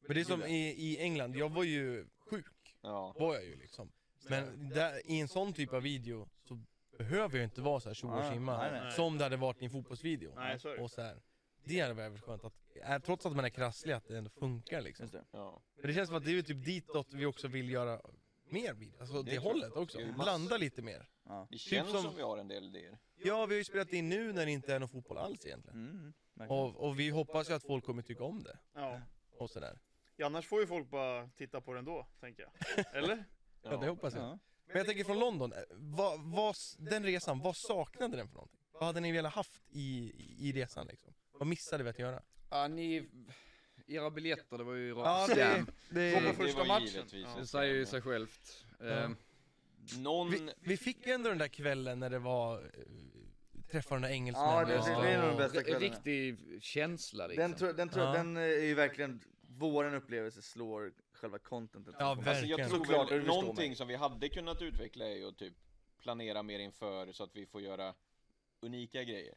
Speaker 1: Men det är som i, i England, jag var ju sjuk,
Speaker 4: Ja.
Speaker 1: var jag ju liksom. Men där, i en sån typ av video så behöver jag inte vara så här tjo och
Speaker 3: Nej, nej,
Speaker 1: tjimma
Speaker 2: Ah, nej.
Speaker 1: som det hade varit i en fotbollsvideo.
Speaker 2: Nej, så är det.
Speaker 1: Och så här. Det hade varit jävligt skönt att, är- trots att man är krasslig, att det ändå funkar liksom.
Speaker 3: Just det.
Speaker 4: Ja.
Speaker 1: Men det känns som att det är ju typ ditåt vi också vill göra mer video, alltså
Speaker 4: Det
Speaker 1: det
Speaker 4: tror jag.
Speaker 1: hållet också.
Speaker 4: Det är ju massor.
Speaker 1: Blanda lite mer.
Speaker 4: Det känns
Speaker 1: som-
Speaker 4: som... vi har en del idéer.
Speaker 1: Ja, vi har ju spelat in nu när det inte är någon fotboll alls egentligen.
Speaker 3: Mm, verkligen.
Speaker 1: Och, och vi hoppas ju att folk kommer tycka om det
Speaker 2: Ja.
Speaker 1: och sådär.
Speaker 2: ja, annars får ju folk bara titta på den då, tänker jag. Eller?
Speaker 1: Ja, det hoppas jag.
Speaker 3: Ja.
Speaker 1: Men jag tänker från London, eh, vad, vad, den resan, vad saknade den för någonting? Vad hade ni velat haft i, i resan liksom? Vad missade vi att göra?
Speaker 5: Ja, ni... Era biljetter, det var ju
Speaker 1: Ja,
Speaker 5: rakt
Speaker 1: det,
Speaker 5: scam.
Speaker 1: det,
Speaker 2: Gå på
Speaker 4: det
Speaker 2: första
Speaker 4: var
Speaker 2: matchen.
Speaker 4: givetvis
Speaker 2: Ja.
Speaker 4: en
Speaker 5: Det säger ju
Speaker 4: scam.
Speaker 5: sig självt.
Speaker 1: Ja.
Speaker 5: Ehm,
Speaker 4: Någon... alltså,
Speaker 1: vi, vi fick ju ändå den där kvällen när det var eh, träffa den där engelsmännen.
Speaker 3: Ja, det,
Speaker 1: och-
Speaker 3: det, det är nog den bästa
Speaker 5: r-
Speaker 3: kvällen.
Speaker 5: riktig känsla liksom.
Speaker 3: Den, tror, den, tror,
Speaker 1: Ja.
Speaker 3: den eh, är ju verkligen, våran upplevelse slår själva contentet.
Speaker 1: Ja,
Speaker 4: Alltså jag
Speaker 1: Verkligen.
Speaker 4: tror
Speaker 3: Såklart,
Speaker 4: väl,
Speaker 3: du förstår
Speaker 4: någonting
Speaker 3: mig.
Speaker 4: som vi hade kunnat utveckla är ju att typ planera mer inför så att vi får göra unika grejer.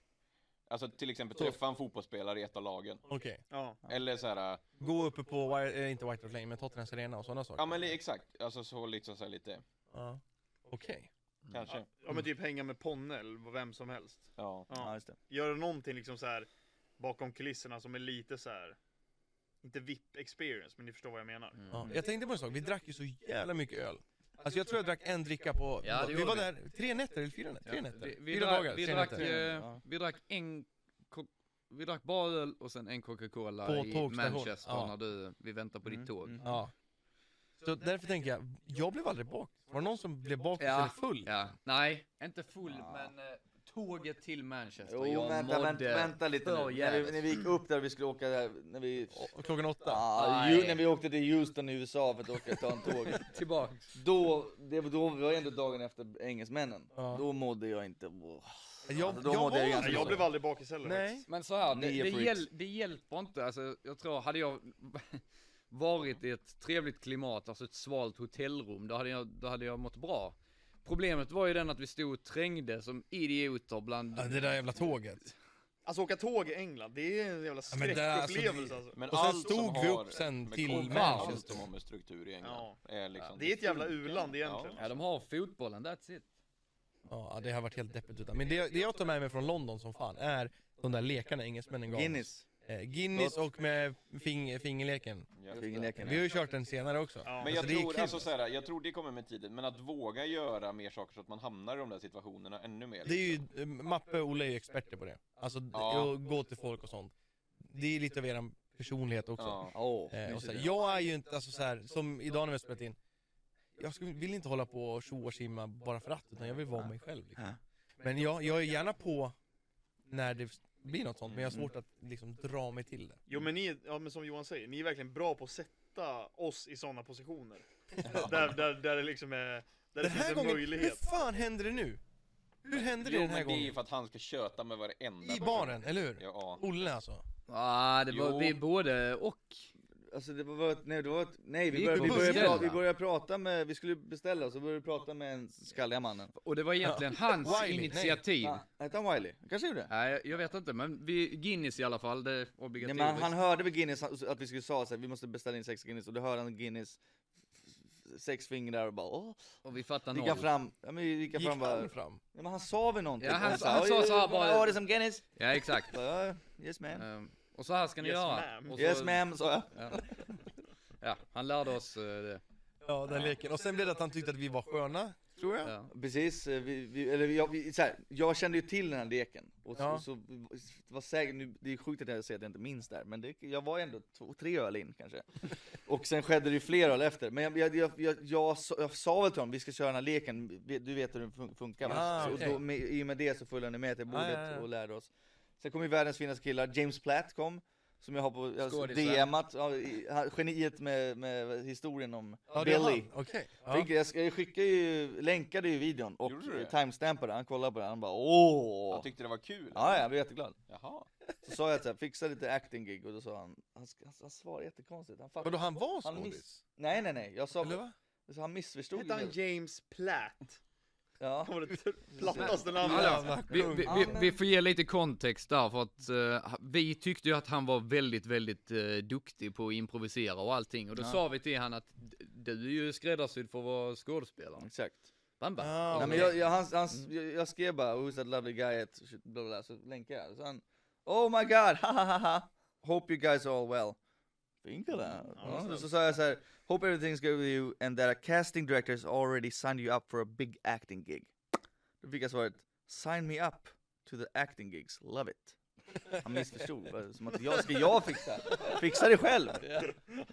Speaker 4: Alltså till exempel träffa en fotbollsspelare i ett av lagen.
Speaker 1: Okej,
Speaker 2: Ja.
Speaker 4: Eller så här,
Speaker 1: gå uppe på, Wi- eh, inte White Hart Lane, men Tottenhams Arena och sådana saker.
Speaker 4: ja men li- exakt, alltså så liksom så här lite,
Speaker 1: Ja. Okej.
Speaker 4: kanske.
Speaker 2: Mm. Ja men typ hänga med Ponne eller vad- vem som helst.
Speaker 4: Ja.
Speaker 3: Ja,
Speaker 2: Ja.
Speaker 3: just det.
Speaker 2: Göra någonting liksom så här bakom kulisserna som är lite så här. Inte VIP experience, men ni förstår vad jag menar.
Speaker 1: Ja. Jag tänkte på en sak, vi drack ju så jävla mycket öl. Alltså jag tror jag drack en dricka på,
Speaker 5: Ja, det
Speaker 1: vi
Speaker 5: gjorde
Speaker 1: var
Speaker 5: vi.
Speaker 1: där tre nätter eller fyra nätter? Tre
Speaker 5: Ja,
Speaker 1: nätter?
Speaker 5: Vi, vi,
Speaker 1: fyra
Speaker 5: drack,
Speaker 1: dagar,
Speaker 5: vi,
Speaker 1: tre
Speaker 5: drack,
Speaker 1: nätter.
Speaker 5: eh,
Speaker 3: Ja.
Speaker 5: vi drack en ko- vi drack bara öl och sen en Coca-Cola
Speaker 1: På
Speaker 5: i
Speaker 1: tågstation,
Speaker 5: Manchester
Speaker 1: ja.
Speaker 5: när du, vi väntar på
Speaker 3: Mm,
Speaker 5: ditt tåg.
Speaker 3: mm.
Speaker 1: Ja. Så därför tänker jag, jag blev aldrig bak. Var det någon som blev bakis
Speaker 5: Ja.
Speaker 1: eller full?
Speaker 5: Ja, nej, inte full
Speaker 3: Ja.
Speaker 5: men eh, tåget till Manchester.
Speaker 3: Jo,
Speaker 5: jag
Speaker 3: vänta,
Speaker 5: mådde
Speaker 3: vänta, vänta lite
Speaker 5: för
Speaker 3: nu. När vi,
Speaker 5: jävligt.
Speaker 3: när vi gick upp där vi skulle åka där, när vi...
Speaker 1: Och Klockan åtta?
Speaker 3: Ah,
Speaker 5: Nej.
Speaker 3: ju, när vi åkte till Houston i USA för att åka ta en tåg.
Speaker 5: tillbaks.
Speaker 3: Då, det var då, det var ändå dagen efter engelsmännen.
Speaker 1: Ja.
Speaker 3: Då mådde jag inte... Åh.
Speaker 1: Jag,
Speaker 3: då
Speaker 1: jag var
Speaker 3: mådde jag
Speaker 1: inte
Speaker 2: Nej,
Speaker 3: ganska
Speaker 1: så.
Speaker 2: jag blev aldrig bakis heller
Speaker 1: Nej.
Speaker 2: faktiskt.
Speaker 5: Men så här, det,
Speaker 3: Nio
Speaker 5: det,
Speaker 3: freaks.
Speaker 5: hjäl, det hjälper inte. Alltså, jag tror, hade jag varit i ett trevligt klimat, alltså ett svalt hotellrum, då hade jag, då hade jag mått bra. Problemet var ju den att vi stod och trängde som idioter bland...
Speaker 1: Ja, det där jävla tåget.
Speaker 2: Alltså åka tåg i England, det är en jävla
Speaker 1: Ja, men där, alltså,
Speaker 2: skräckupplevelse alltså.
Speaker 4: Men
Speaker 1: Och sen
Speaker 4: allt som
Speaker 1: stod vi
Speaker 4: har
Speaker 1: upp sen
Speaker 4: med
Speaker 1: till
Speaker 4: koncept,
Speaker 5: Manchester.
Speaker 4: Allt som har med struktur i England. Är liksom,
Speaker 2: Det är ett jävla
Speaker 4: funkar.
Speaker 2: u-land egentligen.
Speaker 5: Ja, de har fotbollen, that's it.
Speaker 1: Ja, det har varit helt deppigt utan. Men det, det jag tar med mig från London som fan är de där lekarna engelsmännen gav oss.
Speaker 3: Guinness.
Speaker 1: Eh, Guinness och med fing, fingerleken.
Speaker 4: Ja.
Speaker 3: Fingerleken.
Speaker 1: Vi har ju kört den senare också.
Speaker 2: Ja.
Speaker 4: Men jag
Speaker 1: Alltså, det är
Speaker 4: tror,
Speaker 1: kul.
Speaker 4: alltså så här, jag tror det kommer med tiden, men att våga göra mer saker så att man hamnar i de där situationerna ännu mer.
Speaker 1: Det är
Speaker 4: liksom.
Speaker 1: ju, eh, Mappe och Olle är ju experter på det. Alltså,
Speaker 4: Ja.
Speaker 1: och gå till folk och sånt. Det är lite av er personlighet också.
Speaker 4: liksom. Ja.
Speaker 3: Åh,
Speaker 1: Eh, och
Speaker 3: mysigt
Speaker 1: så här,
Speaker 3: det.
Speaker 1: jag är ju inte, alltså så här, som idag när vi har spelat in, jag skulle, vill inte hålla på och tjoa och simma bara för att, utan jag vill vara mig själv. Liksom. Men jag, jag är gärna på när det blir något sånt, men jag har svårt att liksom dra mig till det.
Speaker 2: Jo men ni, är- ja men som Johan säger, ni är verkligen bra på att sätta oss i sådana positioner. där, där, där det liksom är, där det
Speaker 1: Den
Speaker 2: finns
Speaker 1: här
Speaker 2: en
Speaker 1: gången, hur
Speaker 2: möjlighet.
Speaker 1: fan händer det nu? Hur hände det
Speaker 4: Jo,
Speaker 1: den här
Speaker 4: men det är ju
Speaker 1: gången?
Speaker 4: för att han ska köta med varenda
Speaker 1: I
Speaker 4: person.
Speaker 1: baren, eller hur?
Speaker 4: Ja.
Speaker 1: Olle alltså.
Speaker 5: Ah, det
Speaker 4: Jo.
Speaker 5: var, vi är både och.
Speaker 3: Alltså det var ett, nej, det var ett, nej vi
Speaker 5: Vi
Speaker 3: började, vi,
Speaker 5: gick på
Speaker 3: började
Speaker 5: bussen.
Speaker 3: prata, vi började prata med, vi skulle beställa och så började vi prata med den skalliga mannen.
Speaker 5: Och det var egentligen hans
Speaker 1: Wiley, nej.
Speaker 5: initiativ.
Speaker 3: Ah, Hette han Wiley? Han kanske gjorde det?
Speaker 5: Nej, jag vet inte, men vi, Guinness i alla fall, det är
Speaker 3: Nej,
Speaker 5: obligatoriskt.
Speaker 3: men han, han hörde vid Guinness att vi skulle säga att vi måste beställa in sex Guinness och då hörde han Guinness sex fingrar och bara åh.
Speaker 5: och vi fattar
Speaker 3: Gick han
Speaker 5: noll.
Speaker 3: fram, ja men gick han
Speaker 1: Gick
Speaker 3: fram bara,
Speaker 1: han
Speaker 3: nej,
Speaker 1: fram?
Speaker 3: men han sa väl någonting?
Speaker 5: Ja, han-
Speaker 3: Och
Speaker 5: han sa
Speaker 3: "Oj,
Speaker 5: så här
Speaker 3: oj,
Speaker 5: bara-
Speaker 3: Ja det är som Guinness.
Speaker 5: Ja, exakt.
Speaker 3: Bara, "Ja, yes ma'am.
Speaker 5: Ehm, och så här ska ni
Speaker 2: Yes,
Speaker 5: göra.
Speaker 2: ma'am.
Speaker 5: Och så,
Speaker 3: Yes ma'am sa jag.
Speaker 5: Ja. ja, han lärde oss eh, det.
Speaker 1: Ja, den leken. Och sen blev det att han tyckte att vi var sköna, tror jag.
Speaker 5: Ja.
Speaker 3: Precis, eh, vi, vi, eller jag, vi, så här, jag kände ju till den här leken och så,
Speaker 1: Ja.
Speaker 3: så var säker, nu, det är sjukt att jag säger att jag inte minns det här, men det, jag var ändå två, tre öl in kanske. Och sen skedde det ju fler öl efter, men jag, jag, jag, jag, jag, sa- jag sa väl till honom, vi ska köra den här leken, vi- du vet hur den fun- funkar va?
Speaker 1: Ah,
Speaker 3: så,
Speaker 1: okej. Ah,
Speaker 3: och då, med, I och med det så följde han med till bordet
Speaker 1: ja, ja.
Speaker 3: och lärde oss. Sen kom ju världens finaste killar, James Platt kom, som jag har på alltså,
Speaker 5: Skådisen.
Speaker 3: DMat, ja, i- han- geniet med, med historien om
Speaker 1: Ja, det är
Speaker 3: Billy.
Speaker 1: han. Okej.
Speaker 3: Ja.
Speaker 1: Ja.
Speaker 3: Jag, sk- jag skickade ju, länkade ju videon och
Speaker 4: Gjorde du det?
Speaker 3: timestampade, han kollade på den, han bara
Speaker 4: Han
Speaker 3: åh!
Speaker 4: tyckte det var kul.
Speaker 3: Ja, ja, jag blev jätteglad.
Speaker 4: Jaha.
Speaker 3: Så sa jag att så här, fixa lite acting-gig och då sa han, han, sk- han, han svarade jättekonstigt, han fattade
Speaker 1: Vadå, han var
Speaker 3: Han miss-
Speaker 1: skådis?
Speaker 3: Nej nej nej, jag
Speaker 1: Eller
Speaker 3: sa,
Speaker 1: va?
Speaker 3: så han missförstod
Speaker 2: Hette han
Speaker 3: mig.
Speaker 2: James Platt?
Speaker 3: Ja.
Speaker 2: Kommer det plattaste namnet.
Speaker 1: Jävla
Speaker 5: Vi,
Speaker 1: kung.
Speaker 5: vi, vi, vi får ge lite kontext där för att eh, ha- vi tyckte ju att han var väldigt, väldigt eh, duktig på att improvisera och allting och då
Speaker 3: Ja.
Speaker 5: sa vi till han att "D- du är ju skräddarsydd för att vara skådespelare.
Speaker 3: Exakt.
Speaker 5: Bam, bam.
Speaker 1: Ah,
Speaker 3: Nej, men
Speaker 1: okej.
Speaker 3: jag, Mm. jag, han, han, jag, jag skrev bara 'Who's that lovely guy?' At, bla, bla, bla, så länkade jag. Så han 'Oh my god, ha ha ha ha! Hope you guys are all well' Vinkade
Speaker 2: Ja,
Speaker 3: Mm, ja,
Speaker 2: snällt.
Speaker 3: Så sa jag så här, 'Hope everything's good with you and that a casting director has already signed you up for a big acting gig' Då fick jag svaret 'Sign me up to the acting gigs, love it' Han missförstod, bara som att jag ska jag fixa, fixa det själv!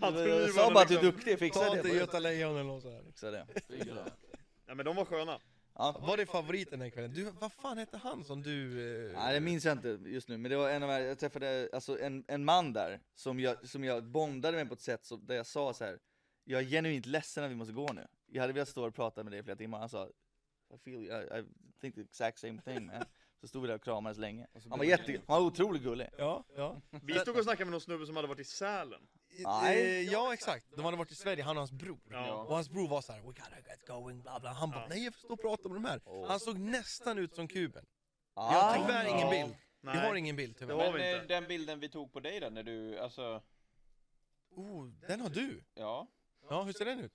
Speaker 2: Han trodde
Speaker 3: Jag
Speaker 2: ju
Speaker 3: sa
Speaker 2: bara
Speaker 3: bara att du är
Speaker 2: liksom-
Speaker 3: duktig, fixa
Speaker 1: Ta
Speaker 3: det!
Speaker 1: inte
Speaker 3: bara.
Speaker 1: Göta Lejon eller något så här.
Speaker 3: Fixa det.
Speaker 2: Nej men de var sköna.
Speaker 3: Ja.
Speaker 1: Var det favoriten den kvällen? Du, vad fan hette han som du... eh,
Speaker 3: Nej det minns jag inte just nu, men det var en av de här, jag träffade alltså en, en man där som jag, som jag bondade med på ett sätt så, där jag sa så här. Jag är genuint ledsen att vi måste gå nu. Jag hade velat stå och prata med dig i flera timmar, han sa I feel you, I, I think the exact same thing man. Så stod vi där och kramades länge. Han var, jätte, han var otroligt gullig.
Speaker 1: Ja, ja.
Speaker 2: Vi stod och snackade med någon snubbe som hade varit i Sälen.
Speaker 3: Nej.
Speaker 1: Eh, Ja, exakt. De hade varit i Sverige, han och hans bror.
Speaker 2: Ja.
Speaker 1: Och hans bror var så här: we gotta get going, bla bla. Han bara,
Speaker 2: Ja.
Speaker 1: nej jag får stå och prata om de här.
Speaker 3: Åh.
Speaker 1: Han såg nästan ut som kuben. Jag
Speaker 3: Ah,
Speaker 1: har tyvärr ingen
Speaker 2: Ja.
Speaker 1: bild. Vi har
Speaker 2: Nej.
Speaker 1: ingen bild tyvärr.
Speaker 2: Det har
Speaker 4: Men
Speaker 2: vi
Speaker 4: eh,
Speaker 2: inte.
Speaker 4: den bilden vi tog på dig då när du, alltså,
Speaker 1: Oh, den har du.
Speaker 4: ja,
Speaker 1: Ja, hur ser den ut?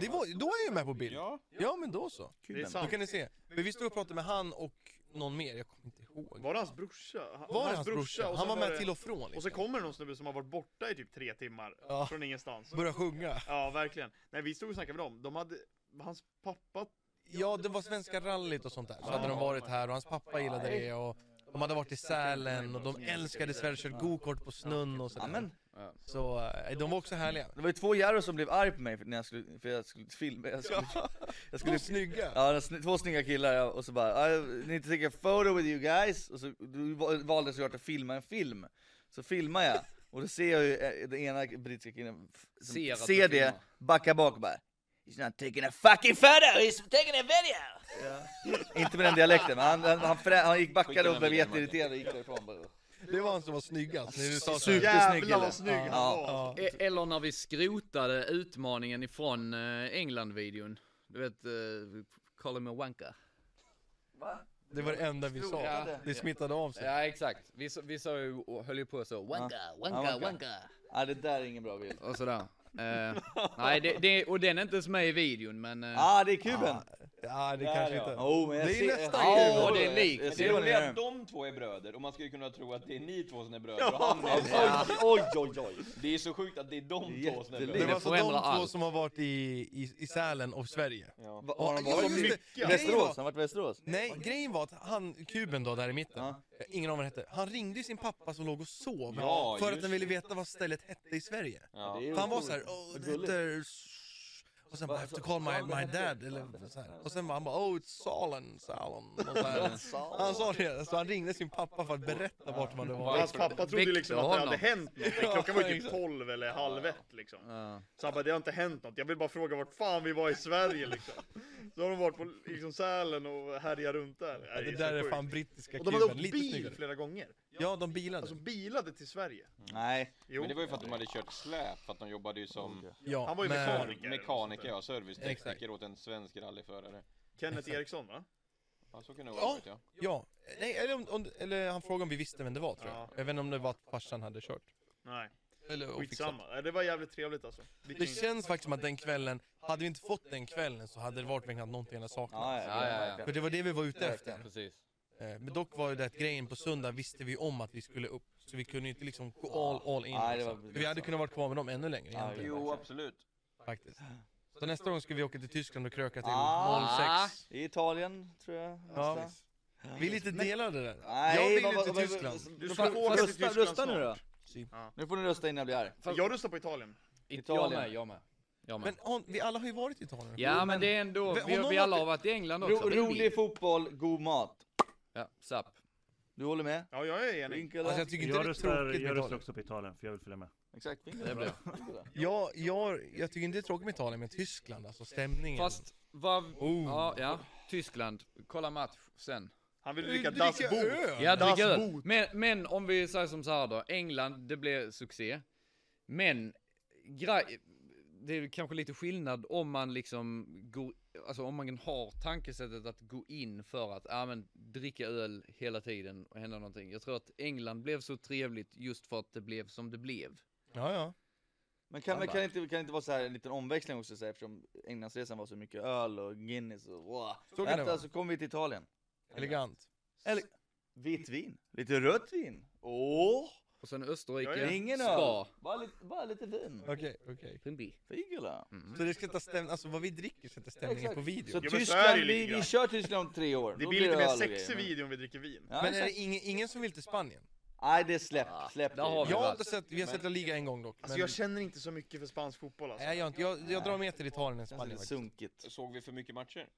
Speaker 1: Det var, då är jag med på bild.
Speaker 4: ja,
Speaker 1: Ja, men då så.
Speaker 2: Det är
Speaker 1: Då
Speaker 2: sant.
Speaker 1: kan ni se. Men vi stod och pratade med han och någon mer, jag kommer inte ihåg.
Speaker 2: Var det hans brorsa? Han-
Speaker 1: Var det hans brorsa?
Speaker 2: och
Speaker 1: Han
Speaker 2: sen
Speaker 1: var med
Speaker 2: det-
Speaker 1: till och från
Speaker 2: Och så
Speaker 1: liksom.
Speaker 2: kommer det någon snubbe som har varit borta i typ tre timmar.
Speaker 1: Ja.
Speaker 2: Från ingenstans.
Speaker 1: Började sjunga.
Speaker 2: Ja, verkligen. Nej, vi stod och snackade med dem. De hade... Hans pappa...
Speaker 1: Ja, det var Svenska rallyt och sånt där. Så hade
Speaker 2: Ja.
Speaker 1: de varit här och hans pappa gillade det och de hade varit i Sälen och de älskade Sverige och körde gokart på snön och sådär.
Speaker 3: amen.
Speaker 1: Så eh, de var också härliga.
Speaker 3: Det var ju två Jarro som blev arg på mig för, när jag skulle, för jag skulle filma, jag skulle, jag
Speaker 1: De
Speaker 3: skulle
Speaker 1: var snygga.
Speaker 3: Ja, det var sny- två snygga killar ja, och så bara "Ah, I need to take a photo with you guys och så du va- valde jag såklart att filma en film Så filmar jag och då ser jag ju eh, den ena brittiska killen f- som
Speaker 5: Ser
Speaker 3: ser,
Speaker 5: att du
Speaker 3: det,
Speaker 5: filmar.
Speaker 3: backar bak och bara He's not taking a fucking photo, he's taking a video! Inte med den dialekten, men han, han, han, frä, han gick
Speaker 4: Skicka
Speaker 3: backade
Speaker 4: den
Speaker 3: och blev
Speaker 4: vidare, Martin.
Speaker 3: jätteriterad och gick därifrån bara.
Speaker 1: Det var han som var snyggast. när du sa så här.
Speaker 3: Supersnygg
Speaker 2: Jävlar
Speaker 3: kille.
Speaker 2: vad snygg han
Speaker 3: Ja.
Speaker 2: var!
Speaker 1: Ja.
Speaker 5: E- Eller när vi skrotade utmaningen ifrån eh, England-videon. Du vet, eh, Call him a wanker.
Speaker 1: Det var det enda vi sa.
Speaker 5: Ja.
Speaker 1: Det smittade av sig.
Speaker 5: Ja, exakt. Vi, sa- vi sa ju, och höll ju på så, wanker, wanker,
Speaker 3: wanker.
Speaker 5: wanker.
Speaker 3: Ja, det där är ingen bra bild.
Speaker 5: Och sådär. Eh, nej, det, det, och den är inte ens med i videon, men... eh,
Speaker 3: Ah, det är kuben!
Speaker 1: Ja, det
Speaker 4: Där,
Speaker 1: kanske
Speaker 4: ja.
Speaker 1: inte...
Speaker 3: Oh, men jag
Speaker 1: Det är
Speaker 3: ser-
Speaker 1: nästan
Speaker 3: Ja,
Speaker 5: kul. det är likt.
Speaker 3: Jag
Speaker 4: Men det
Speaker 3: ser vad ni
Speaker 4: roliga är
Speaker 3: gör.
Speaker 4: att de två är bröder och man skulle kunna tro att det är ni två som är bröder och han är
Speaker 3: Oj, oj, oj!
Speaker 4: Det är så sjukt att det är de
Speaker 3: Det är
Speaker 4: två som är
Speaker 1: Det
Speaker 3: jättelikt.
Speaker 4: bröder.
Speaker 1: var
Speaker 5: Det
Speaker 1: alltså
Speaker 5: förändrar
Speaker 1: de två
Speaker 5: allt.
Speaker 1: som har varit i, i, i Sälen och Sverige.
Speaker 4: Ja.
Speaker 3: Va- Har han
Speaker 1: Ja,
Speaker 3: varit
Speaker 1: just det.
Speaker 3: i
Speaker 2: mycket.
Speaker 3: Västerås? Han har varit i Västerås?
Speaker 1: Nej, grejen var att han, kuben då där i mitten,
Speaker 3: Ja.
Speaker 1: eh, ingen aning vad han hette, han ringde ju sin pappa som låg och sov
Speaker 4: Ja,
Speaker 1: för att
Speaker 4: just
Speaker 1: han ville
Speaker 4: det.
Speaker 1: veta vad stället hette i Sverige.
Speaker 4: Ja.
Speaker 3: Det är
Speaker 1: För han var
Speaker 3: otroligt.
Speaker 1: såhär, oh, det
Speaker 3: gulligt.
Speaker 1: heter... s-" Och sen bara, I have to call my, my dad, eller så här. Och sen bara, han bara, oh it's Salen, Salen. Och så här. Han sa det, så han ringde sin pappa för att berätta vart man hade
Speaker 2: Och
Speaker 1: varit.
Speaker 2: Hans pappa trodde ju liksom att det hade
Speaker 5: Väckte
Speaker 2: hänt något.
Speaker 1: Ja,
Speaker 2: Klockan var ju typ
Speaker 1: exakt.
Speaker 2: 12 eller halv ett liksom.
Speaker 5: ja.
Speaker 2: Så han bara, det har inte hänt något. Jag vill bara fråga vart fan vi var i Sverige liksom. Så har de varit på liksom Sälen och härjat runt där.
Speaker 1: Ja,
Speaker 2: är
Speaker 1: Det
Speaker 2: så
Speaker 1: där är
Speaker 2: sjukt.
Speaker 1: fan brittiska
Speaker 2: Och de hade
Speaker 1: kuben,
Speaker 2: åkt
Speaker 1: lite
Speaker 2: bil
Speaker 1: snyggare.
Speaker 2: flera gånger.
Speaker 1: Ja, de bilade.
Speaker 2: Alltså bilade till Sverige.
Speaker 3: Nej.
Speaker 2: Jo.
Speaker 4: Men det var ju för att de hade kört släp, för att de jobbade ju som
Speaker 1: Ja,
Speaker 2: han var ju
Speaker 1: men-
Speaker 2: mekaniker. Mekaniker.
Speaker 4: mekaniker, ja, servicetekniker
Speaker 1: Exakt.
Speaker 4: åt en svensk rallyförare.
Speaker 2: Kenneth Eriksson va?
Speaker 4: Ja, så kunde det ha varit ja.
Speaker 1: Ja, nej, eller, om, om, eller han frågade om vi visste vem det var tror jag.
Speaker 2: Ja.
Speaker 1: Jag vet inte om det var att farsan hade kört.
Speaker 2: Nej,
Speaker 1: Eller och fixat.
Speaker 2: skitsamma. Nej, Det var jävligt trevligt alltså.
Speaker 1: Det
Speaker 2: Vilken...
Speaker 1: känns faktiskt som att den kvällen, hade vi inte fått den kvällen så hade det varit verkligen att någonting hade saknats.
Speaker 3: Ja, ja,
Speaker 5: Ja, ja, ja.
Speaker 3: verkligen.
Speaker 1: För det var det vi var ute efter.
Speaker 5: Precis.
Speaker 1: Eh, Men dock var ju det att grejen på söndag visste vi om att vi skulle upp. Så vi kunde ju inte liksom gå all, all in.
Speaker 3: Nej, det
Speaker 1: liksom.
Speaker 3: var-
Speaker 1: vi hade kunnat vara kvar med dem ännu längre
Speaker 3: Ja,
Speaker 1: egentligen.
Speaker 4: Jo, absolut.
Speaker 1: Faktiskt. Så nästa gång ska vi åka till Tyskland och kröka till
Speaker 3: Ah.
Speaker 1: 06.
Speaker 3: I Italien, tror jag.
Speaker 1: Ja.
Speaker 3: nästa.
Speaker 1: Vi är lite delade där.
Speaker 3: Nej,
Speaker 1: jag vill
Speaker 3: vad-
Speaker 1: ju till
Speaker 3: vad- vad-
Speaker 1: Tyskland.
Speaker 2: Du
Speaker 3: Fan,
Speaker 2: ska få åka till
Speaker 3: rösta,
Speaker 2: Tyskland
Speaker 3: rösta nu då.
Speaker 2: snart.
Speaker 3: Nu får ni rösta innan jag blir arg.
Speaker 2: Jag röstar på Italien.
Speaker 5: Italien.
Speaker 3: Italien.
Speaker 5: Jag med, jag med. Jag med.
Speaker 1: Men hon, vi alla har ju varit i Italien.
Speaker 5: ja, men det är ändå,
Speaker 1: Har
Speaker 5: vi,
Speaker 1: någon
Speaker 5: vi alla
Speaker 1: varit-
Speaker 5: har varit i England också.
Speaker 3: Ro,
Speaker 5: Det är min.
Speaker 3: rolig fotboll, god mat.
Speaker 5: Ja, sapp.
Speaker 3: Du håller med?
Speaker 2: Ja, jag är enig.
Speaker 3: Vinkel?
Speaker 1: Alltså jag tycker inte
Speaker 6: Jag
Speaker 1: det är
Speaker 6: röstar,
Speaker 1: tråkigt med
Speaker 6: jag röstar
Speaker 1: Italien.
Speaker 6: också på Italien, för jag vill följa med.
Speaker 3: Exakt, vinkel.
Speaker 5: Det
Speaker 3: är
Speaker 5: blir.
Speaker 3: bra. Vinkel är bra.
Speaker 1: Jag, jag, jag tycker inte det är tråkigt med Italien, men Tyskland, alltså stämningen.
Speaker 5: Fast vad...
Speaker 1: Oh.
Speaker 5: Ja, ja. Tyskland. Kolla match sen.
Speaker 2: Han vill
Speaker 1: Vi
Speaker 2: dricka
Speaker 1: dricker
Speaker 2: Das Boot.
Speaker 1: öl.
Speaker 5: Ja, dricka
Speaker 2: Das
Speaker 5: öl. Men, men om vi säger som så här då. England, det blev succé. Men grej, det är kanske lite skillnad om man liksom går, alltså om man har tankesättet att gå in för att, ja men dricka öl hela tiden och hända någonting. Jag tror att England blev så trevligt just för att det blev som det blev.
Speaker 1: Ja, ja.
Speaker 3: Men kan, men kan, det inte, kan det inte vara så här en liten omväxling också så här, eftersom Englandsresan var så mycket öl och Guinness och wow.
Speaker 1: Så kan det
Speaker 3: Vänta
Speaker 1: vara.
Speaker 3: så kommer vi till Italien.
Speaker 1: Elegant.
Speaker 3: Eller, vitt vin, lite rött vin. Åh!
Speaker 5: Och sen Österrike,
Speaker 2: Ja, ja.
Speaker 3: Ingen
Speaker 5: spa,
Speaker 3: öl, bara lite, bara lite vin.
Speaker 1: Okej, okej.
Speaker 5: Pimbi.
Speaker 3: Figula.
Speaker 1: Så det sätter stämningen, alltså vad vi dricker sätter stämningen på
Speaker 3: Så
Speaker 2: men
Speaker 1: video.
Speaker 2: så är det
Speaker 3: Tyskland,
Speaker 2: ju
Speaker 3: vi,
Speaker 2: lite
Speaker 3: vi
Speaker 2: grann.
Speaker 3: kör Tyskland om tre år.
Speaker 2: Det
Speaker 3: Då
Speaker 2: blir lite mer
Speaker 3: öl och
Speaker 2: sex i
Speaker 3: grejer.
Speaker 2: videon om vi dricker vin.
Speaker 3: Ja,
Speaker 1: Men är
Speaker 3: exakt.
Speaker 1: det ingen, ingen som vill till Spanien?
Speaker 3: Nej det är släppt, släppt.
Speaker 5: där har vi
Speaker 1: Jag
Speaker 5: det.
Speaker 1: har inte sett, vi har sett La Liga en gång dock.
Speaker 2: Alltså
Speaker 1: men-
Speaker 2: jag känner inte så mycket för spansk fotboll alltså.
Speaker 1: Nej, jag, har inte, jag, jag drar mer till Italien än
Speaker 3: Känns
Speaker 1: Spanien
Speaker 3: lite
Speaker 1: faktiskt.
Speaker 3: sunkigt.
Speaker 4: Såg vi för mycket matcher?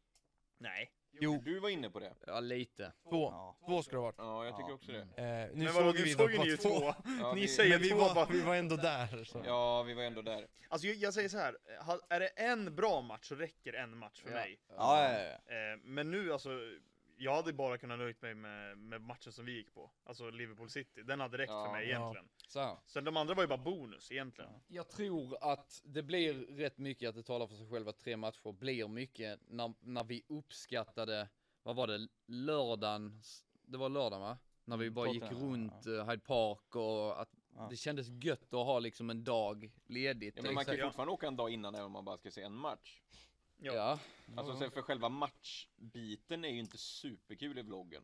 Speaker 2: Nej.
Speaker 1: Jo,
Speaker 4: Du var inne på det.
Speaker 5: Ja lite.
Speaker 1: två.
Speaker 3: Ja.
Speaker 1: Två ska det ha varit.
Speaker 4: Ja, jag tycker
Speaker 3: Ja.
Speaker 4: också det.
Speaker 1: Eh, nu
Speaker 2: Men vadå,
Speaker 1: såg
Speaker 2: nu
Speaker 1: vi
Speaker 2: såg
Speaker 1: dock
Speaker 2: ni ju
Speaker 1: bara två.
Speaker 2: två.
Speaker 4: Ja,
Speaker 2: Ni
Speaker 4: vi,
Speaker 2: säger-
Speaker 1: Men vi
Speaker 2: två
Speaker 1: var,
Speaker 2: bara.
Speaker 1: vi var ändå där. Så.
Speaker 4: Ja, vi var ändå där.
Speaker 2: Alltså jag, jag säger så här. ha- är det en bra match så räcker en match för
Speaker 5: Ja.
Speaker 2: mig.
Speaker 3: Ja, ja, ja, ja.
Speaker 2: Eh, men nu alltså, jag hade bara kunnat nöjt mig med, med matchen som vi gick på. Alltså Liverpool City, den hade räckt
Speaker 4: Ja.
Speaker 2: för mig
Speaker 1: Ja.
Speaker 2: egentligen.
Speaker 5: Så här.
Speaker 2: Sen de andra var ju bara bonus egentligen.
Speaker 5: Jag tror att det blir rätt mycket att det talar för sig själv att tre matcher blir mycket när, när vi uppskattade, vad var det, lördagen, det var lördagen va? När vi bara gick
Speaker 3: Tottenham,
Speaker 5: runt eh, Hyde Park och att
Speaker 3: Mm, Ja.
Speaker 5: det kändes gött att ha liksom en dag ledigt.
Speaker 4: Ja, men man kan ju
Speaker 5: Exakt.
Speaker 4: fortfarande åka en dag innan även om man bara ska se en match.
Speaker 2: ja.
Speaker 5: ja.
Speaker 4: Alltså sen för själva matchbiten är ju inte superkul i vloggen.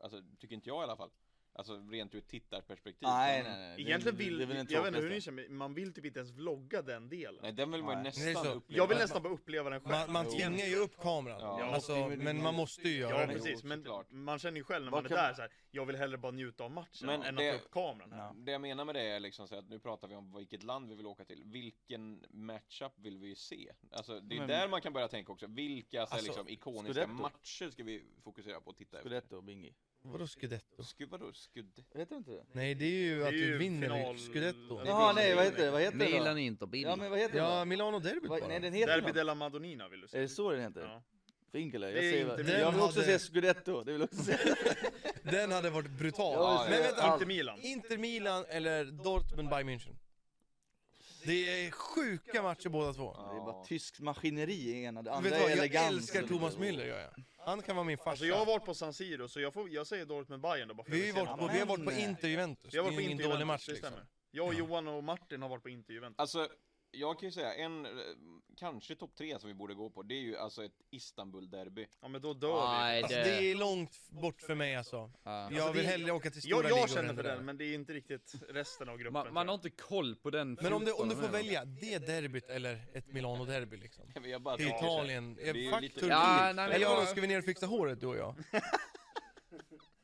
Speaker 4: Alltså, tycker inte jag i alla fall. Alltså rent ur tittarperspektiv. Mm.
Speaker 3: Nej
Speaker 4: Men-
Speaker 3: nej nej.
Speaker 2: Egentligen vill,
Speaker 3: väl den
Speaker 2: jag vet inte hur ni
Speaker 3: tråkigaste.
Speaker 2: känner, men man vill typ inte ens vlogga den delen.
Speaker 4: Nej, den vill man ju
Speaker 3: Nej.
Speaker 1: Det är
Speaker 4: nästan
Speaker 1: så.
Speaker 4: uppleva.
Speaker 2: jag vill nästan bara uppleva den själv.
Speaker 1: Man, man
Speaker 4: Jo.
Speaker 1: tvingar ju upp kameran.
Speaker 4: Ja.
Speaker 1: Alltså, men man måste ju
Speaker 2: Ja,
Speaker 1: göra det.
Speaker 2: precis,
Speaker 4: Jo,
Speaker 2: men
Speaker 4: såklart.
Speaker 2: man känner ju själv när
Speaker 3: Vad
Speaker 2: man är
Speaker 3: kan-
Speaker 2: där så här. jag vill hellre bara njuta av matchen
Speaker 4: Men
Speaker 2: än
Speaker 4: det-
Speaker 2: att ta upp kameran här.
Speaker 3: Ja.
Speaker 4: Det jag menar med det är liksom så att nu pratar vi om vilket land vi vill åka till. Vilken matchup vill vi se? Alltså det är
Speaker 3: Men-
Speaker 4: där man kan börja tänka också. Vilka så här,
Speaker 1: Alltså,
Speaker 4: liksom, ikoniska
Speaker 3: Scudetto.
Speaker 4: matcher ska vi fokusera på och titta efter?
Speaker 3: Scudetto, Bingi.
Speaker 1: Vadå scudetto?
Speaker 4: Scudetto. Vadå scudetto?
Speaker 3: Heter det inte det?
Speaker 1: Nej, det är ju
Speaker 2: Det är
Speaker 1: att du
Speaker 2: ju
Speaker 1: vinner
Speaker 2: final-
Speaker 1: scudetto.
Speaker 2: Ja,
Speaker 3: Jaha nej vad heter det? Vad heter det? då?
Speaker 5: Milan Inter,
Speaker 3: Ja
Speaker 5: Milan.
Speaker 3: men vad heter det?
Speaker 1: Ja,
Speaker 3: då?
Speaker 1: Milano derbyt
Speaker 3: Vad-
Speaker 1: bara.
Speaker 3: Nej den heter
Speaker 2: Derby
Speaker 3: något.
Speaker 2: della Madonnina vill du
Speaker 3: Är
Speaker 2: säga?
Speaker 3: det så den heter?
Speaker 2: Ja.
Speaker 3: För Inkela? Jag
Speaker 2: Det är
Speaker 3: säger
Speaker 2: inte
Speaker 3: vad...
Speaker 1: min-
Speaker 3: Jag vill också
Speaker 1: hade-
Speaker 3: se Scudetto, det vill jag också se.
Speaker 1: Den hade varit brutal.
Speaker 3: Jag
Speaker 4: ja,
Speaker 3: vill
Speaker 1: men
Speaker 3: se
Speaker 1: vänta,
Speaker 3: allt.
Speaker 2: Inte Milan.
Speaker 1: Inter Milan eller Dortmund Bayern München. Det är sjuka matcher båda två.
Speaker 3: Det är bara tysk maskineri i ena, det
Speaker 1: Vet
Speaker 3: andra
Speaker 1: du vad,
Speaker 3: är
Speaker 1: jag
Speaker 3: elegans.
Speaker 1: älskar
Speaker 3: och-
Speaker 1: Thomas Müller gör jag. Han kan vara min farsa.
Speaker 2: Alltså jag har varit på San Siro, så jag, får, jag säger dåligt med Bayern då bara för
Speaker 1: vi, har
Speaker 2: jag
Speaker 1: ju
Speaker 2: vill se den
Speaker 1: varit
Speaker 2: matchen.
Speaker 1: på, vi har varit på
Speaker 3: Men-
Speaker 1: Inter Juventus.
Speaker 2: Jag har varit
Speaker 1: det är
Speaker 2: på
Speaker 1: ju ingen
Speaker 2: Inter
Speaker 1: dålig
Speaker 2: Juventus,
Speaker 1: match
Speaker 2: det
Speaker 1: liksom.
Speaker 2: stämmer. Jag och Johan och Martin har varit på Inter Juventus.
Speaker 4: Alltså, jag kan ju säga en, eh, kanske topp tre som vi borde gå på, det är ju alltså ett Istanbul-derby.
Speaker 2: Ja men då dör vi.
Speaker 5: Nej,
Speaker 1: Alltså
Speaker 5: det-
Speaker 1: det är långt bort för mig alltså.
Speaker 5: Ja.
Speaker 1: Jag vill
Speaker 2: det-
Speaker 1: hellre åka till stora
Speaker 2: Jag, jag
Speaker 1: ligor
Speaker 2: känner
Speaker 1: än
Speaker 2: för
Speaker 1: det där.
Speaker 2: den, men det är inte riktigt resten av gruppen.
Speaker 5: Man, man
Speaker 2: tror
Speaker 5: har
Speaker 2: jag.
Speaker 5: inte koll på den
Speaker 1: Men om du, om du får
Speaker 5: fotbollen, eller?
Speaker 1: välja, det derbyt eller ett Milano-derby liksom?
Speaker 4: Jag bara
Speaker 1: Till
Speaker 4: tänker så här,
Speaker 1: Italien,
Speaker 4: det är ju
Speaker 1: eh, fuck
Speaker 4: lite-
Speaker 1: Turkiet.
Speaker 5: Ja, nej, men
Speaker 1: Eller
Speaker 5: jag-
Speaker 1: vadå, ska vi ner och fixa håret du och jag?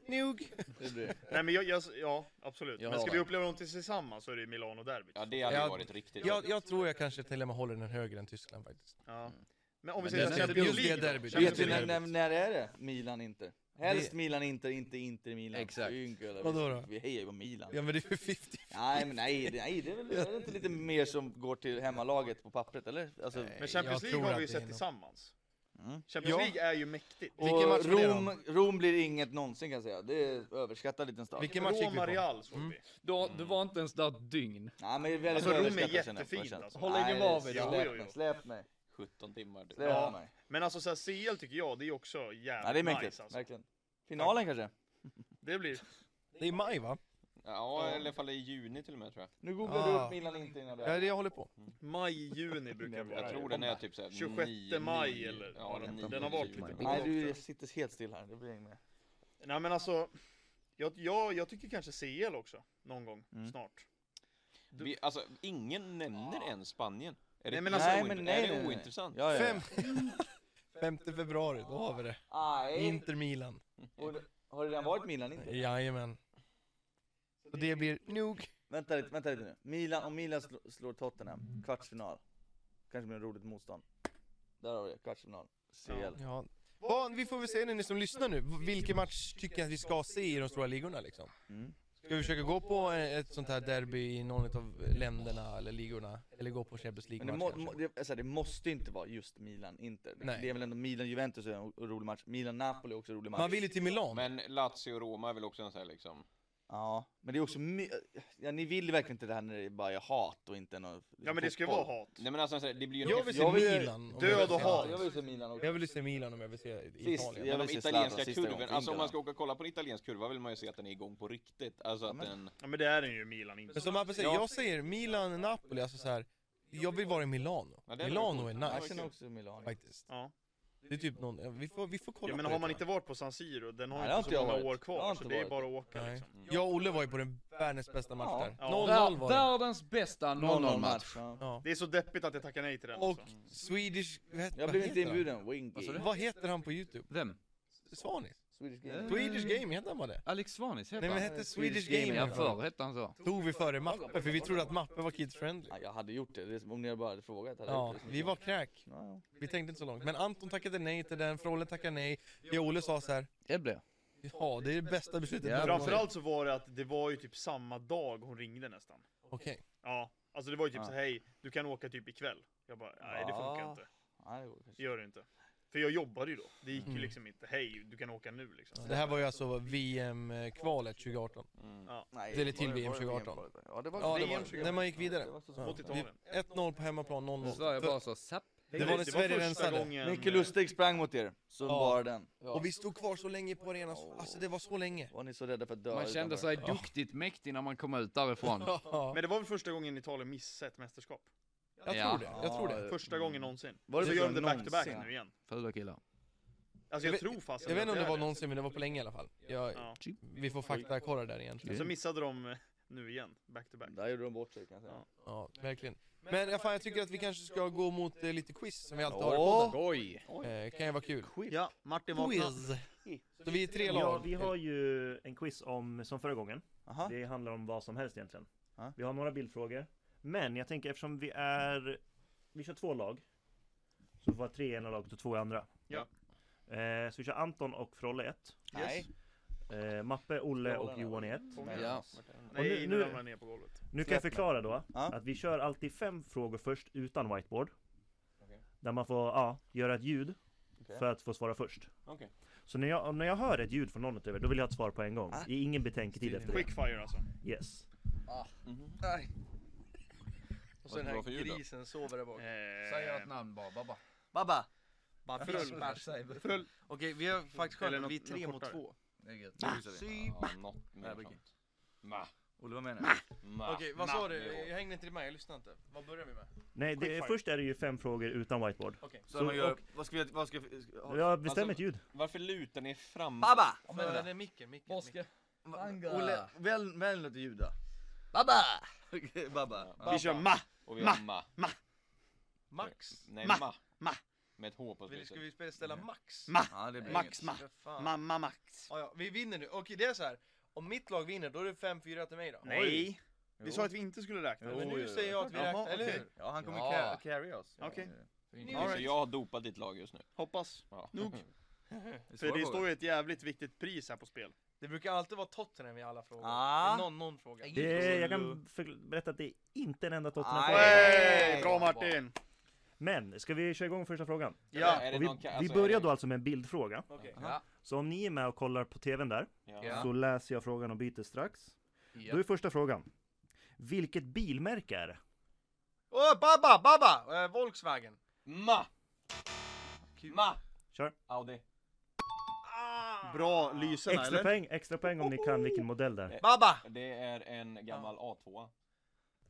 Speaker 1: Nog.
Speaker 3: Det blir-
Speaker 2: Nej men jag, jag, ja absolut.
Speaker 5: Jag
Speaker 2: men ska
Speaker 5: har
Speaker 2: vi
Speaker 5: det.
Speaker 2: uppleva dem tillsammans så är det ju Milano derbyt.
Speaker 4: Ja, det hade ju
Speaker 1: Ja,
Speaker 4: varit riktigt
Speaker 1: Jag, jag tror jag kanske till och med håller den högre än Tyskland faktiskt.
Speaker 2: Ja. Men om vi
Speaker 5: Men
Speaker 2: säger
Speaker 5: den-
Speaker 2: Champions
Speaker 5: just
Speaker 1: det
Speaker 2: League då?
Speaker 1: derbyt.
Speaker 2: Champions
Speaker 3: Vet
Speaker 1: det
Speaker 3: du
Speaker 1: är
Speaker 3: när,
Speaker 1: jävligt.
Speaker 2: League.
Speaker 3: när, när är det? Milan Inter. Helst
Speaker 1: Det-
Speaker 3: Milan Inter, inte Inter Milan.
Speaker 5: Exakt.
Speaker 3: Inkela.
Speaker 1: Vadå då?
Speaker 3: Vi hejar ju på Milan.
Speaker 1: Ja men det är ju 50.
Speaker 3: Nej men nej, det- nej det är väl är det inte lite mer som går till hemmalaget på pappret eller? Alltså,
Speaker 5: Nej.
Speaker 2: Men Champions
Speaker 1: Jag tror
Speaker 2: League har
Speaker 1: att
Speaker 2: vi ju
Speaker 1: det är
Speaker 2: sett
Speaker 1: något.
Speaker 2: tillsammans.
Speaker 3: Mm.
Speaker 2: Champions
Speaker 1: Ja.
Speaker 2: League är ju mäktigt.
Speaker 3: och
Speaker 1: Vilken match var det då?
Speaker 3: Rom, Rom blir inget någonsin kan jag säga. Det är överskattad liten stad.
Speaker 1: Vilken match gick vi
Speaker 2: Roma
Speaker 1: på?
Speaker 2: Real såg vi.
Speaker 5: Då, du var inte ens där ett dygn.
Speaker 3: Nej men det är väldigt
Speaker 2: Alltså, Rom är
Speaker 3: överskattat, känner jag,
Speaker 2: jättefint,
Speaker 3: känner jag.
Speaker 2: alltså.
Speaker 5: Håll ingen
Speaker 3: Nej,
Speaker 5: var vid det.
Speaker 2: Jo,
Speaker 3: Släpp
Speaker 2: jo,
Speaker 3: mig,
Speaker 2: jo.
Speaker 3: släpp mig.
Speaker 4: 17 timmar. du.
Speaker 3: Släpp
Speaker 2: Ja.
Speaker 3: mig.
Speaker 2: Men alltså så här, CL tycker jag, det är också
Speaker 3: Ja, det är
Speaker 2: jävligt
Speaker 3: mäktigt,
Speaker 2: nice alltså.
Speaker 3: verkligen. Finalen kanske?
Speaker 2: Det blir...
Speaker 1: Det är i maj va?
Speaker 4: Ja, eller i alla fall i juni till och med tror jag.
Speaker 3: Nu googlar du
Speaker 1: Ah.
Speaker 3: upp Milan Inter innan det
Speaker 1: Ja
Speaker 3: här.
Speaker 1: det jag håller på.
Speaker 2: Maj, juni brukar det vara.
Speaker 4: Jag tror den är typ såhär
Speaker 2: 26
Speaker 4: nio-
Speaker 2: maj
Speaker 4: nio-
Speaker 2: eller-
Speaker 4: ja, den,
Speaker 2: den
Speaker 4: nio-
Speaker 2: har varit
Speaker 4: tjugo.
Speaker 2: lite-
Speaker 3: Nej du sitter helt still här, det blir inget mer.
Speaker 2: Nej men alltså, jag, jag, jag tycker kanske CL också, någon gång
Speaker 3: Mm.
Speaker 2: snart.
Speaker 4: Vi, alltså, ingen nämner ens Spanien. Är
Speaker 2: Nej,
Speaker 4: det,
Speaker 2: men alltså-
Speaker 4: nej,
Speaker 3: Nej, men nej,
Speaker 4: nej, är
Speaker 3: nej,
Speaker 4: det
Speaker 3: nej.
Speaker 4: ointressant?
Speaker 3: Ja, ja, ja.
Speaker 1: Fem. 5 februari, då har vi det.
Speaker 3: Nej,
Speaker 1: Inter Milan.
Speaker 3: och det- har det redan varit Milan Inter?
Speaker 1: Jajamän. Och det blir nog.
Speaker 3: Vänta lite, vänta lite nu. Milan, om Milan sl- slår Tottenham, kvartsfinal. Kanske blir en roligt motstånd. Där har vi det, kvartsfinal. CL.
Speaker 1: Ja. Vad, vi får väl se när ni som lyssnar nu, v- vilken match tycker ni att vi ska se i de stora ligorna liksom?
Speaker 3: Mm.
Speaker 1: Ska vi försöka gå på eh, ett sånt här derby i någon av länderna eller ligorna? Eller gå på Champions
Speaker 3: Men det, må,
Speaker 1: League-match
Speaker 3: må,
Speaker 1: kanske?
Speaker 3: det, alltså, det måste inte vara just Milan-Inter.
Speaker 1: Nej.
Speaker 3: Det är väl ändå Milan-Juventus är en o- rolig match, Milan-Napoli är också en rolig match.
Speaker 1: Man vill ju till Milan.
Speaker 4: Men Lazio och Roma är väl också en sån här liksom...
Speaker 3: Ja, men det är också my- ja, ni vill verkligen inte det här när det bara är hat och inte någon...
Speaker 2: Ja men det ska ju vara
Speaker 3: fotboll.
Speaker 2: hat.
Speaker 4: Nej men alltså, så här, det blir ju
Speaker 1: Jag vill se
Speaker 3: Jag vill-
Speaker 1: Milan. om
Speaker 2: död
Speaker 1: jag vill
Speaker 2: och
Speaker 1: se-
Speaker 2: hat.
Speaker 3: Ja, jag vill se Milan också.
Speaker 1: Jag vill se Milan om jag vill se
Speaker 3: Sist,
Speaker 1: Italien.
Speaker 3: jag vill
Speaker 4: Men de
Speaker 3: se Zlatan
Speaker 4: italienska
Speaker 3: sista gången
Speaker 4: kurvorna,
Speaker 3: för
Speaker 4: alltså om man ska
Speaker 3: England.
Speaker 4: åka och kolla på en italiensk kurva vill man ju se att den är igång på riktigt. Alltså att
Speaker 3: Men-
Speaker 4: den...
Speaker 2: Ja men det är den ju Milan
Speaker 1: Men
Speaker 2: inte.
Speaker 1: som Abbe säger,
Speaker 4: Ja.
Speaker 1: jag säger Milan, Napoli, alltså så här. Jag vill vara i Milano.
Speaker 4: Ja, det är
Speaker 1: Milano
Speaker 4: väl
Speaker 1: är
Speaker 4: coolt.
Speaker 3: Jag
Speaker 1: nice
Speaker 3: känner också Milan.
Speaker 1: faktiskt.
Speaker 2: Ja.
Speaker 1: Det är typ någon, vi får, vi får kolla
Speaker 2: ja men
Speaker 1: på
Speaker 2: har
Speaker 1: det,
Speaker 2: man
Speaker 1: tror
Speaker 2: inte varit på San Siro, den har
Speaker 3: Nej,
Speaker 2: ju
Speaker 3: det har
Speaker 2: inte
Speaker 3: inte
Speaker 2: så
Speaker 3: jag
Speaker 2: många
Speaker 3: varit.
Speaker 2: år
Speaker 3: Jag har
Speaker 2: kvar så
Speaker 3: inte
Speaker 2: det är bara att
Speaker 3: varit.
Speaker 2: åka
Speaker 1: jag. Nej.
Speaker 2: liksom.
Speaker 1: Jag och Olle var ju på den världens bästa match där. 0-0
Speaker 3: Ja.
Speaker 2: Ja.
Speaker 1: var det.
Speaker 5: Världens bästa
Speaker 3: 0-0
Speaker 5: 0-0-match.
Speaker 3: match. ja.
Speaker 1: Ja.
Speaker 2: Det är så deppigt att jag tackar nej till den
Speaker 1: Och
Speaker 2: alltså.
Speaker 1: Swedish... vad-
Speaker 3: Jag
Speaker 1: vad
Speaker 3: blev inte
Speaker 1: heter han?
Speaker 3: inbjuden. Wingy.
Speaker 5: Vad sa du?
Speaker 1: Vad heter han på Youtube?
Speaker 5: Vem?
Speaker 1: Svanis?
Speaker 3: Swedish
Speaker 5: Eh,
Speaker 3: Game.
Speaker 1: Swedish Game, heter han bara det?
Speaker 5: Alex Svanis
Speaker 1: Nej
Speaker 5: heter
Speaker 1: men
Speaker 5: han.
Speaker 1: hette Swedish
Speaker 3: Swedish
Speaker 1: Game
Speaker 3: Game,
Speaker 1: i
Speaker 5: Ja,
Speaker 1: alla fall.
Speaker 5: förr hette han så.
Speaker 1: Tog vi före Mappe, för vi trodde att Mappe var kids-friendly.
Speaker 3: Ja, jag hade gjort det, det- om ni bara hade frågat. Hade jag
Speaker 1: Ja,
Speaker 3: gjort det.
Speaker 1: vi var kräk.
Speaker 3: Ja, ja.
Speaker 1: Vi tänkte inte så långt. Men Anton tackade nej till den, Frolle tackade nej. Jag och Olle sa så här,
Speaker 5: Det blev.
Speaker 1: ja det är det bästa beslutet
Speaker 5: Ja,
Speaker 1: någonsin."
Speaker 2: Framförallt så var det att det var ju typ samma dag hon ringde nästan.
Speaker 1: Okej.
Speaker 2: Ja, alltså det var ju typ
Speaker 3: Ja.
Speaker 2: så hej, du kan åka typ ikväll. Jag bara, nej det funkar
Speaker 3: Ja.
Speaker 2: inte.
Speaker 3: Nej, det går kanske.
Speaker 2: Det gör det inte. För jag jobbade ju då. Det gick ju
Speaker 1: Mm.
Speaker 2: liksom inte, hej du kan åka nu liksom.
Speaker 1: Det här var ju alltså VM-kvalet 2018.
Speaker 4: Mm.
Speaker 3: Nej,
Speaker 1: Det är till
Speaker 3: var det-
Speaker 1: VM
Speaker 3: var det
Speaker 1: 2018.
Speaker 3: VM -kvalet? Ja, det var
Speaker 1: Ja, det
Speaker 2: VM
Speaker 1: var,
Speaker 2: 2018.
Speaker 1: när man gick vidare.
Speaker 3: Det var så
Speaker 1: Ja.
Speaker 2: Mot
Speaker 3: smått.
Speaker 1: Vi-
Speaker 2: Italien.
Speaker 1: 1-0 på hemmaplan, 0-0.
Speaker 5: Sverige bara sa zapp.
Speaker 1: det var när Sverige rensade.
Speaker 2: gången...
Speaker 3: Micke Lustig sprang mot er, så
Speaker 1: Ja.
Speaker 3: var den.
Speaker 1: Och vi stod kvar så länge på arenan, så- alltså det var så länge.
Speaker 3: Var ni så rädda för att dö
Speaker 5: Man kände sig
Speaker 1: Ja.
Speaker 5: duktigt mäktig när man kom ut därifrån.
Speaker 1: Ja,
Speaker 2: Men det var väl första gången Italien missade ett mästerskap?
Speaker 1: jag tror det, jag tror det.
Speaker 2: Första gången någonsin.
Speaker 3: Var det
Speaker 2: så
Speaker 3: så
Speaker 2: gör de det back to back
Speaker 3: någonsin?
Speaker 2: nu igen.
Speaker 5: Fula killar.
Speaker 2: Alltså
Speaker 1: Jag
Speaker 2: jag,
Speaker 1: vet-
Speaker 2: tror fast
Speaker 1: Jag vet inte om
Speaker 2: att
Speaker 1: det var
Speaker 2: är
Speaker 1: någonsin, men det var på länge i alla fall. Jag,
Speaker 2: Ja.
Speaker 1: vi får faktakorra där egentligen.
Speaker 2: Så missade de eh, nu igen, back to back.
Speaker 3: Där gjorde de bort sig kan jag säga.
Speaker 2: Ja.
Speaker 1: Ja, verkligen. Men ja, fan, jag tycker att vi kanske ska gå mot eh, lite quiz som vi alltid har i podden.
Speaker 3: Åh!
Speaker 5: Skoj!
Speaker 1: Eh, kan ju vara kul.
Speaker 2: Ja, Martin
Speaker 1: Quiz! Så vi är tre lag.
Speaker 6: Ja, vi har ju en quiz om, som förra gången.
Speaker 3: Aha.
Speaker 6: Det handlar om vad som helst egentligen.
Speaker 3: Ja.
Speaker 6: Vi har några bildfrågor. Men jag tänker eftersom vi är, vi kör två lag. Så var tre i ena laget och två i andra.
Speaker 2: Ja.
Speaker 6: Eh, så vi kör Anton och Frolle i ett.
Speaker 3: Nej.
Speaker 6: Eh, Mappe, Olle och Johan i ett.
Speaker 3: Nej.
Speaker 5: Ja.
Speaker 2: Nej,
Speaker 6: Och nu-
Speaker 2: nu,
Speaker 6: nu-
Speaker 2: nu ramlar jag ner på golvet.
Speaker 6: Nu kan jag
Speaker 3: Släpp
Speaker 6: förklara då
Speaker 3: Ja.
Speaker 6: att vi kör alltid fem frågor först utan whiteboard. Där man får ja, göra ett ljud
Speaker 3: Okej.
Speaker 6: för att få svara först.
Speaker 4: Okej.
Speaker 6: Så när jag, när jag hör ett ljud från någon utöver, då vill jag ha ett svar på en gång.
Speaker 3: Ah.
Speaker 6: Det är ingen betänketid efter det.
Speaker 2: Quickfire alltså.
Speaker 6: Yes.
Speaker 3: Nej.
Speaker 4: Och sen här ljud
Speaker 7: sover där bak.
Speaker 5: Säg
Speaker 2: Eh,
Speaker 5: ett namn bara, bara.
Speaker 7: Babba!
Speaker 2: Frull. Frull.
Speaker 7: Okej, vi har faktiskt
Speaker 2: Eller
Speaker 7: skönt att vi är
Speaker 2: något-
Speaker 7: tre
Speaker 2: något
Speaker 7: mot
Speaker 2: kortare.
Speaker 7: två.
Speaker 5: Det är gött.
Speaker 7: Syp!
Speaker 4: Ja, något mer
Speaker 7: okej.
Speaker 4: sånt. Ma,
Speaker 3: Olle, vad menar du?
Speaker 4: ma.
Speaker 1: Okej, vad sa
Speaker 4: ma-
Speaker 1: du?
Speaker 4: jo.
Speaker 1: Jag hängde inte med, jag lyssnade inte. Vad börjar vi med?
Speaker 6: Nej, det,
Speaker 2: Quickfire.
Speaker 6: först är det ju fem frågor utan whiteboard.
Speaker 3: Så man gör, vad ska vi, vad ska vi,
Speaker 6: Jag bestämmer
Speaker 4: Alltså-
Speaker 6: ett ljud.
Speaker 4: Varför lutar ni fram?
Speaker 3: Babba!
Speaker 1: Föra ner micken, micken, micken.
Speaker 3: Olle, väl, väl något ljud då.
Speaker 7: Babba!
Speaker 3: Okej, Babba.
Speaker 4: Ja.
Speaker 2: Vi kör ma!
Speaker 4: Och vi har ma.
Speaker 1: Max.
Speaker 4: Nej,
Speaker 2: Ma.
Speaker 4: ma.
Speaker 2: Ma.
Speaker 4: Med ett H på
Speaker 1: Vill,
Speaker 4: slutet.
Speaker 1: ska vi spela ställa Max?
Speaker 2: Ma!
Speaker 3: Ja, det blir
Speaker 2: Max.
Speaker 3: inget.
Speaker 2: ma.
Speaker 1: För fan.
Speaker 2: Mamma Max.
Speaker 1: Ja, ja, vi vinner nu. Okej, det är så här. Om mitt lag vinner, då är det 5-4 till mig då.
Speaker 2: Nej. Vi
Speaker 3: Jo.
Speaker 2: sa att vi inte skulle räkna.
Speaker 3: Jo,
Speaker 1: Men nu
Speaker 3: jo,
Speaker 1: säger
Speaker 3: jo.
Speaker 1: jag att vi
Speaker 3: Jaha,
Speaker 1: räknar, eller
Speaker 3: okej.
Speaker 1: hur?
Speaker 3: Ja, han kommer
Speaker 5: Ja.
Speaker 3: ca- carry oss. Ja,
Speaker 2: Okej.
Speaker 4: Okej, Så jag har dopat ditt lag just nu.
Speaker 2: Hoppas.
Speaker 4: Ja.
Speaker 2: Nog.
Speaker 3: är svåra
Speaker 2: För det
Speaker 3: frågor.
Speaker 2: står ju ett jävligt viktigt pris här på spel.
Speaker 1: Det brukar alltid vara Tottenham i alla frågor.
Speaker 3: Ah.
Speaker 1: Det är någon, någon fråga.
Speaker 6: Det, jag kan förkl- berätta att det är inte en enda Tottenham-fråga.
Speaker 3: Nej.
Speaker 2: Hey, bra Martin!
Speaker 6: Men, ska vi köra igång första frågan?
Speaker 2: Ja.
Speaker 4: Är det
Speaker 6: Och vi,
Speaker 4: någon ka-
Speaker 6: vi
Speaker 4: alltså, är
Speaker 6: börjar
Speaker 4: det-
Speaker 6: då alltså med en bildfråga.
Speaker 1: Okej.
Speaker 5: Ja.
Speaker 6: Så om ni är med och kollar på TVn där,
Speaker 4: Ja.
Speaker 6: så läser jag frågan och byter strax. Då är första frågan. Vilket bilmärke är det?
Speaker 1: Åh, Babba, Babba! Eh, Volkswagen.
Speaker 4: Ma! Ma!
Speaker 6: Kör.
Speaker 4: Audi.
Speaker 2: Bra lysen
Speaker 6: Extra
Speaker 2: eller?
Speaker 6: poäng, extra poäng om ni kan vilken modell det är.
Speaker 1: Babba!
Speaker 4: Det är en gammal A2.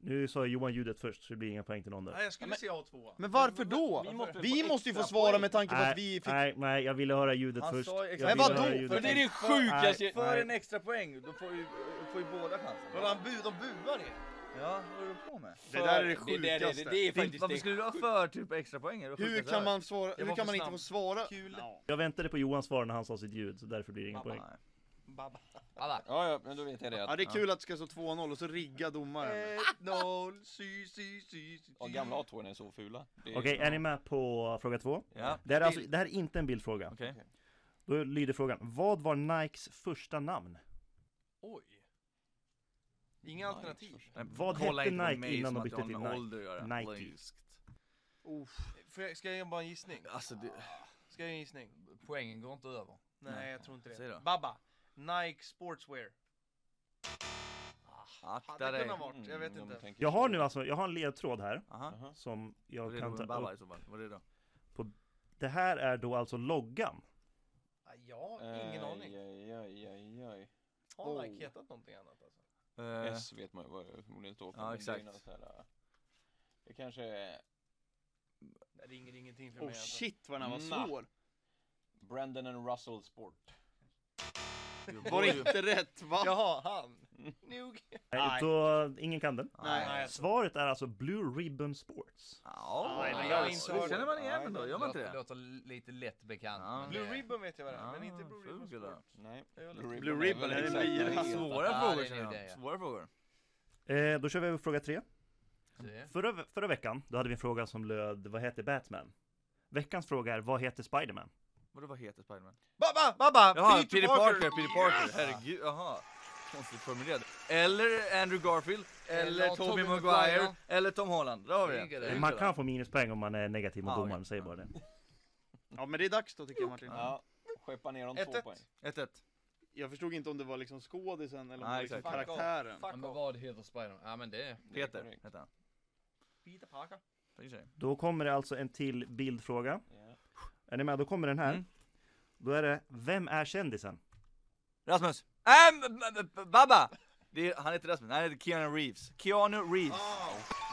Speaker 6: Nu sa Johan ljudet först, så det blir inga poäng till någon där.
Speaker 1: Nej, jag skulle säga A2.
Speaker 2: Men varför då?
Speaker 4: Vi måste väl
Speaker 2: Vi
Speaker 4: få
Speaker 2: måste ju få
Speaker 4: extra
Speaker 2: svara
Speaker 4: poäng.
Speaker 2: med tanke på
Speaker 6: Nej,
Speaker 2: att vi fick...
Speaker 6: nej, nej, jag ville höra ljudet
Speaker 3: Han
Speaker 6: först.
Speaker 3: sa ju
Speaker 6: Jag
Speaker 3: extra-
Speaker 2: Men
Speaker 6: ville
Speaker 2: vadå?
Speaker 6: höra
Speaker 2: För
Speaker 6: ljudet
Speaker 4: För det är det
Speaker 6: först.
Speaker 4: sjukaste...
Speaker 3: För
Speaker 6: Nej.
Speaker 3: en extra poäng, då får ju, får ju båda chansen.
Speaker 1: Kolla, han bu- de buar ner.
Speaker 3: Ja, vad håller du på med?
Speaker 2: Det där är det
Speaker 4: Det, det, det,
Speaker 2: sjukaste.
Speaker 4: det är faktiskt
Speaker 3: Varför
Speaker 4: det
Speaker 3: skulle du ha för typ extra poäng? Det var
Speaker 2: Hur
Speaker 3: sjukaste
Speaker 2: kan
Speaker 3: jag
Speaker 2: man svara...
Speaker 1: var
Speaker 2: Hur
Speaker 1: för
Speaker 2: kan man inte
Speaker 1: snabb.
Speaker 2: få svara?
Speaker 1: Kul.
Speaker 2: Ja.
Speaker 6: Jag väntade på Johans svar när han sa sitt ljud, så därför blir det ingen
Speaker 3: hört.
Speaker 6: poäng.
Speaker 3: Nej.
Speaker 1: Babba.
Speaker 5: Alla.
Speaker 4: Ja, ja, men då vet jag det.
Speaker 2: Ja
Speaker 4: Att,
Speaker 2: det är kul att det ska stå 2-0 och så rigga domaren.
Speaker 1: 1-0, sy, sy, sy, sy.
Speaker 4: ja, gamla A2 är så fula. Det är-
Speaker 6: Okej, är ni med på fråga två?
Speaker 3: Ja.
Speaker 6: Det här är, alltså, det här är inte en bildfråga.
Speaker 3: Okej.
Speaker 6: Då lyder frågan, vad var Nikes första namn?
Speaker 1: Oj. Inga alternativ.
Speaker 6: Vad
Speaker 3: Kolla
Speaker 6: hette
Speaker 3: inte på
Speaker 6: Nike
Speaker 3: mig som
Speaker 6: innan de
Speaker 3: att
Speaker 6: bytte
Speaker 3: jag har
Speaker 6: till
Speaker 3: med
Speaker 6: Nike?
Speaker 3: ålder att göra.
Speaker 6: Nike.
Speaker 3: Kolla engelskt.
Speaker 1: Får jag, ska jag göra bara en gissning?
Speaker 3: Alltså det...
Speaker 1: Ska jag göra en gissning?
Speaker 5: Poängen går inte över.
Speaker 1: Nej,
Speaker 3: Nej.
Speaker 1: jag tror inte
Speaker 3: Säg
Speaker 1: det.
Speaker 3: då.
Speaker 1: Babba. Nike Sportswear.
Speaker 3: Akta
Speaker 7: Hade
Speaker 3: dig.
Speaker 7: kunnat varit, jag vet
Speaker 4: Mm, de
Speaker 7: inte.
Speaker 4: tänker
Speaker 6: Jag har
Speaker 4: så.
Speaker 6: nu alltså, jag har en ledtråd här
Speaker 3: Aha.
Speaker 4: Aha.
Speaker 6: som
Speaker 3: Vad
Speaker 6: jag
Speaker 3: är det
Speaker 6: kan
Speaker 3: då? En
Speaker 6: ta
Speaker 3: balla
Speaker 6: upp.
Speaker 3: i så fall? Vad är det då?
Speaker 6: Det här är då alltså loggan.
Speaker 7: Ja, Ah, Jag har ingen
Speaker 4: Aj,
Speaker 7: aning.
Speaker 4: Aj, aj, aj, aj.
Speaker 7: Har
Speaker 3: Oh.
Speaker 7: Nike hetat någonting annat alltså?
Speaker 3: Eh,
Speaker 4: S vet man ju vad det förmodligen står för.
Speaker 3: Ja,
Speaker 4: men det är ju
Speaker 3: exakt.
Speaker 4: något så här, äh, Det kanske är
Speaker 7: Det ringer ingenting för
Speaker 2: Oh
Speaker 7: mig alltså.
Speaker 2: shit vad den här var
Speaker 4: Nah.
Speaker 2: svår.
Speaker 4: Brandon and Russell Sport.
Speaker 2: Var det
Speaker 3: ju-
Speaker 2: inte rätt va?
Speaker 7: Jaha, han. Nog.
Speaker 6: Nej. Då, ingen kan den.
Speaker 3: Nej.
Speaker 7: Nej.
Speaker 6: Svaret är alltså Blue Ribbon Sports.
Speaker 3: Ja,
Speaker 2: Nej,
Speaker 3: men
Speaker 2: men
Speaker 3: jag
Speaker 2: jag
Speaker 7: inte-
Speaker 3: känner man igen
Speaker 7: Nej,
Speaker 3: den då, gör man inte det?
Speaker 5: låter lite lätt bekant.
Speaker 3: Ja.
Speaker 5: men
Speaker 7: Blue
Speaker 5: det-
Speaker 7: Ribbon vet jag vad det är, men
Speaker 3: Ah,
Speaker 7: inte Blue Ribbon
Speaker 3: fugel då.
Speaker 7: Sport.
Speaker 4: Nej.
Speaker 7: Det är väl-
Speaker 2: Blue Ribbon,
Speaker 4: väl
Speaker 2: är det
Speaker 4: exakt
Speaker 2: en
Speaker 4: det.
Speaker 2: lira?
Speaker 3: Svåra
Speaker 5: Ja, det
Speaker 3: frågor
Speaker 5: är
Speaker 3: känner
Speaker 5: nog det,
Speaker 3: jag.
Speaker 5: ja.
Speaker 3: Svåra frågor.
Speaker 6: Eh, då kör vi över fråga tre.
Speaker 5: Se.
Speaker 6: Förra, förra veckan, då hade vi en fråga som löd Vad heter Batman? Veckans fråga är Vad heter Spiderman?
Speaker 3: Vadå, vad heter Spiderman?
Speaker 7: Babba, babba!
Speaker 3: Jaha, Peter Parker, Peter Parker, herregud, jaha. Konstigt formulerad. Eller Andrew Garfield, eller,
Speaker 5: Eller
Speaker 3: Tobey
Speaker 5: Tobey
Speaker 3: Maguire,
Speaker 5: Maguire.
Speaker 3: eller Tom Holland. Där har vi
Speaker 5: Ligger
Speaker 3: det.
Speaker 5: där.
Speaker 6: Man kan få minuspoäng om man är negativ mot
Speaker 3: Ah,
Speaker 6: domaren,
Speaker 3: okej.
Speaker 6: säger bara det.
Speaker 2: Ja men det är dags då tycker jag Martin.
Speaker 4: Ja, skeppa ner dem
Speaker 7: Ett,
Speaker 4: två
Speaker 7: ett.
Speaker 4: poäng.
Speaker 3: 1-1.
Speaker 2: Jag förstod inte om det var liksom skådisen eller om det
Speaker 3: Nej,
Speaker 2: var liksom
Speaker 3: exakt.
Speaker 7: Fuck off.
Speaker 2: karaktären.
Speaker 5: Ja,
Speaker 7: Fuck
Speaker 5: men
Speaker 7: off.
Speaker 5: vad heter Spiderman? Ja men det...
Speaker 4: Det är
Speaker 3: Peter
Speaker 4: korrekt.
Speaker 3: heter han.
Speaker 7: Peter Parker.
Speaker 3: Tack och tjej.
Speaker 6: Då kommer det alltså en till bildfråga.
Speaker 4: Ja.
Speaker 6: Är ni med? Då kommer den här.
Speaker 3: Mm.
Speaker 6: Då är det Vem är kändisen?
Speaker 3: Rasmus! Ähm, b- b- Babba! Det är, han heter Rasmus, nej han heter Keanu Reeves. Keanu Reeves.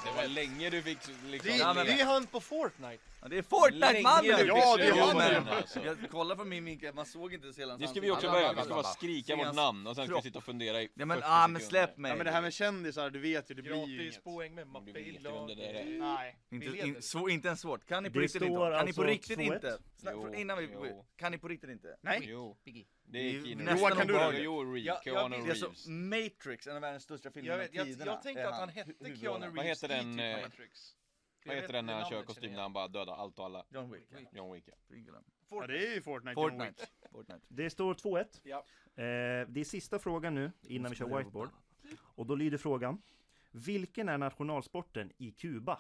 Speaker 4: Det var länge du fick liksom...
Speaker 7: Det,
Speaker 3: Ja,
Speaker 7: är-
Speaker 3: men-
Speaker 7: det är han på Fortnite.
Speaker 3: Ja, det är Fortnite-mannen!
Speaker 4: Länge du
Speaker 2: Ja,
Speaker 4: fick
Speaker 2: det har
Speaker 4: suga
Speaker 2: ni.
Speaker 4: upp den, alltså.
Speaker 3: Jag kollar på min mink, man såg inte så hela hans
Speaker 4: Det ska vi också
Speaker 3: ansikte.
Speaker 4: börja Vi ska bara
Speaker 3: Se
Speaker 4: skrika vårt
Speaker 3: hans
Speaker 4: namn och sen ska vi
Speaker 3: kropp.
Speaker 4: sitta och fundera i
Speaker 3: Ja men,
Speaker 4: 40
Speaker 3: ah, men
Speaker 4: sekunder.
Speaker 3: släpp mig!
Speaker 2: Ja men det här med kändisar, du vet ju, det blir ju
Speaker 7: Gratis
Speaker 2: inget.
Speaker 7: poäng med
Speaker 4: Men Du
Speaker 7: mappe
Speaker 4: vet
Speaker 7: i
Speaker 4: ju vem det där
Speaker 7: laget.
Speaker 4: är.
Speaker 2: Nej.
Speaker 3: Inte,
Speaker 7: Vi leder.
Speaker 1: typ.
Speaker 3: in, svår, inte ens svårt, kan ni på
Speaker 6: Det
Speaker 3: riktigt inte?
Speaker 6: står
Speaker 3: Kan ni på
Speaker 6: alltså
Speaker 3: riktigt
Speaker 6: 2-1.
Speaker 3: inte? Snäpp,
Speaker 4: Jo,
Speaker 3: för- innan vi går
Speaker 4: jo.
Speaker 3: kan ni på riktigt inte?
Speaker 2: Nej.
Speaker 4: Jo, det
Speaker 3: Vi-
Speaker 4: är Keanu
Speaker 3: nästan
Speaker 4: Reeves.
Speaker 2: kan du
Speaker 3: det.
Speaker 4: Jo, Reeves.
Speaker 7: Jag- jag
Speaker 4: Keanu
Speaker 7: visste-
Speaker 3: Det är alltså
Speaker 4: Reeves.
Speaker 3: Matrix, en av världens största filmer
Speaker 7: Jag, vet,
Speaker 3: genom
Speaker 7: jag,
Speaker 3: tiderna.
Speaker 7: jag
Speaker 3: är
Speaker 7: tänkte att han hette
Speaker 3: hu-
Speaker 7: Keanu
Speaker 3: huvudrollen.
Speaker 7: Reeves
Speaker 4: Vad heter
Speaker 7: i
Speaker 4: den,
Speaker 7: typ
Speaker 4: eh,
Speaker 7: Matrix.
Speaker 4: Vad
Speaker 7: Jag
Speaker 4: heter
Speaker 7: vet-
Speaker 4: den när han
Speaker 7: namnet
Speaker 4: kör
Speaker 7: känner
Speaker 4: kostym
Speaker 7: jag.
Speaker 4: när han bara dödar allt och alla?
Speaker 3: John Wick.
Speaker 4: John Wick. ja.
Speaker 3: Finkelman.
Speaker 2: Ja det är ju Fortnite, John Wick.
Speaker 3: Fortnite. Fortnite.
Speaker 6: Det står 2-1.
Speaker 7: Ja.
Speaker 6: Eh, det är sista frågan nu innan vi kör whiteboard. Och då lyder frågan. Vilken är nationalsporten i Kuba?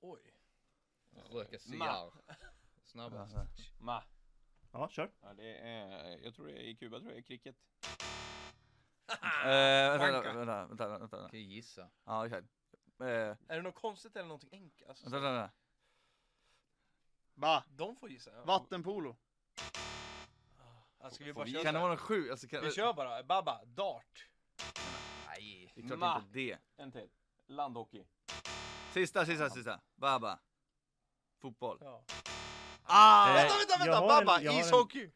Speaker 7: Oj.
Speaker 5: Röka cigarr. Snabbast.
Speaker 4: Ma.
Speaker 6: Ja, kör.
Speaker 4: Ja, det är, jag tror det är i Kuba, tror jag det är cricket.
Speaker 3: Eh, vänta, vänta, vänta, vänta, vänta.
Speaker 5: Kan ju gissa.
Speaker 3: Ja, exakt. Eh, vänta,
Speaker 7: Är det något konstigt eller någonting enkelt? Alltså,
Speaker 3: vänta, vänta.
Speaker 2: Va?
Speaker 7: de får gissa. Ja.
Speaker 2: Vattenpolo.
Speaker 7: Alltså, ska vi bara
Speaker 4: vi
Speaker 7: köra?
Speaker 3: Kan det
Speaker 7: så
Speaker 3: vara
Speaker 7: här?
Speaker 3: något sjukt? Alltså, kan...
Speaker 7: Vi kör bara. Baba, dart.
Speaker 5: Nej.
Speaker 3: Det är klart
Speaker 4: Ma.
Speaker 3: inte det.
Speaker 4: En till. Landhockey.
Speaker 3: Sista, sista, sista. Baba. Fotboll.
Speaker 7: Ja.
Speaker 3: Ah!
Speaker 6: Eh,
Speaker 7: Vänta, vänta,
Speaker 6: jag
Speaker 7: vänta!
Speaker 6: har en-
Speaker 7: Baba,
Speaker 6: jag har en-
Speaker 7: ishockey!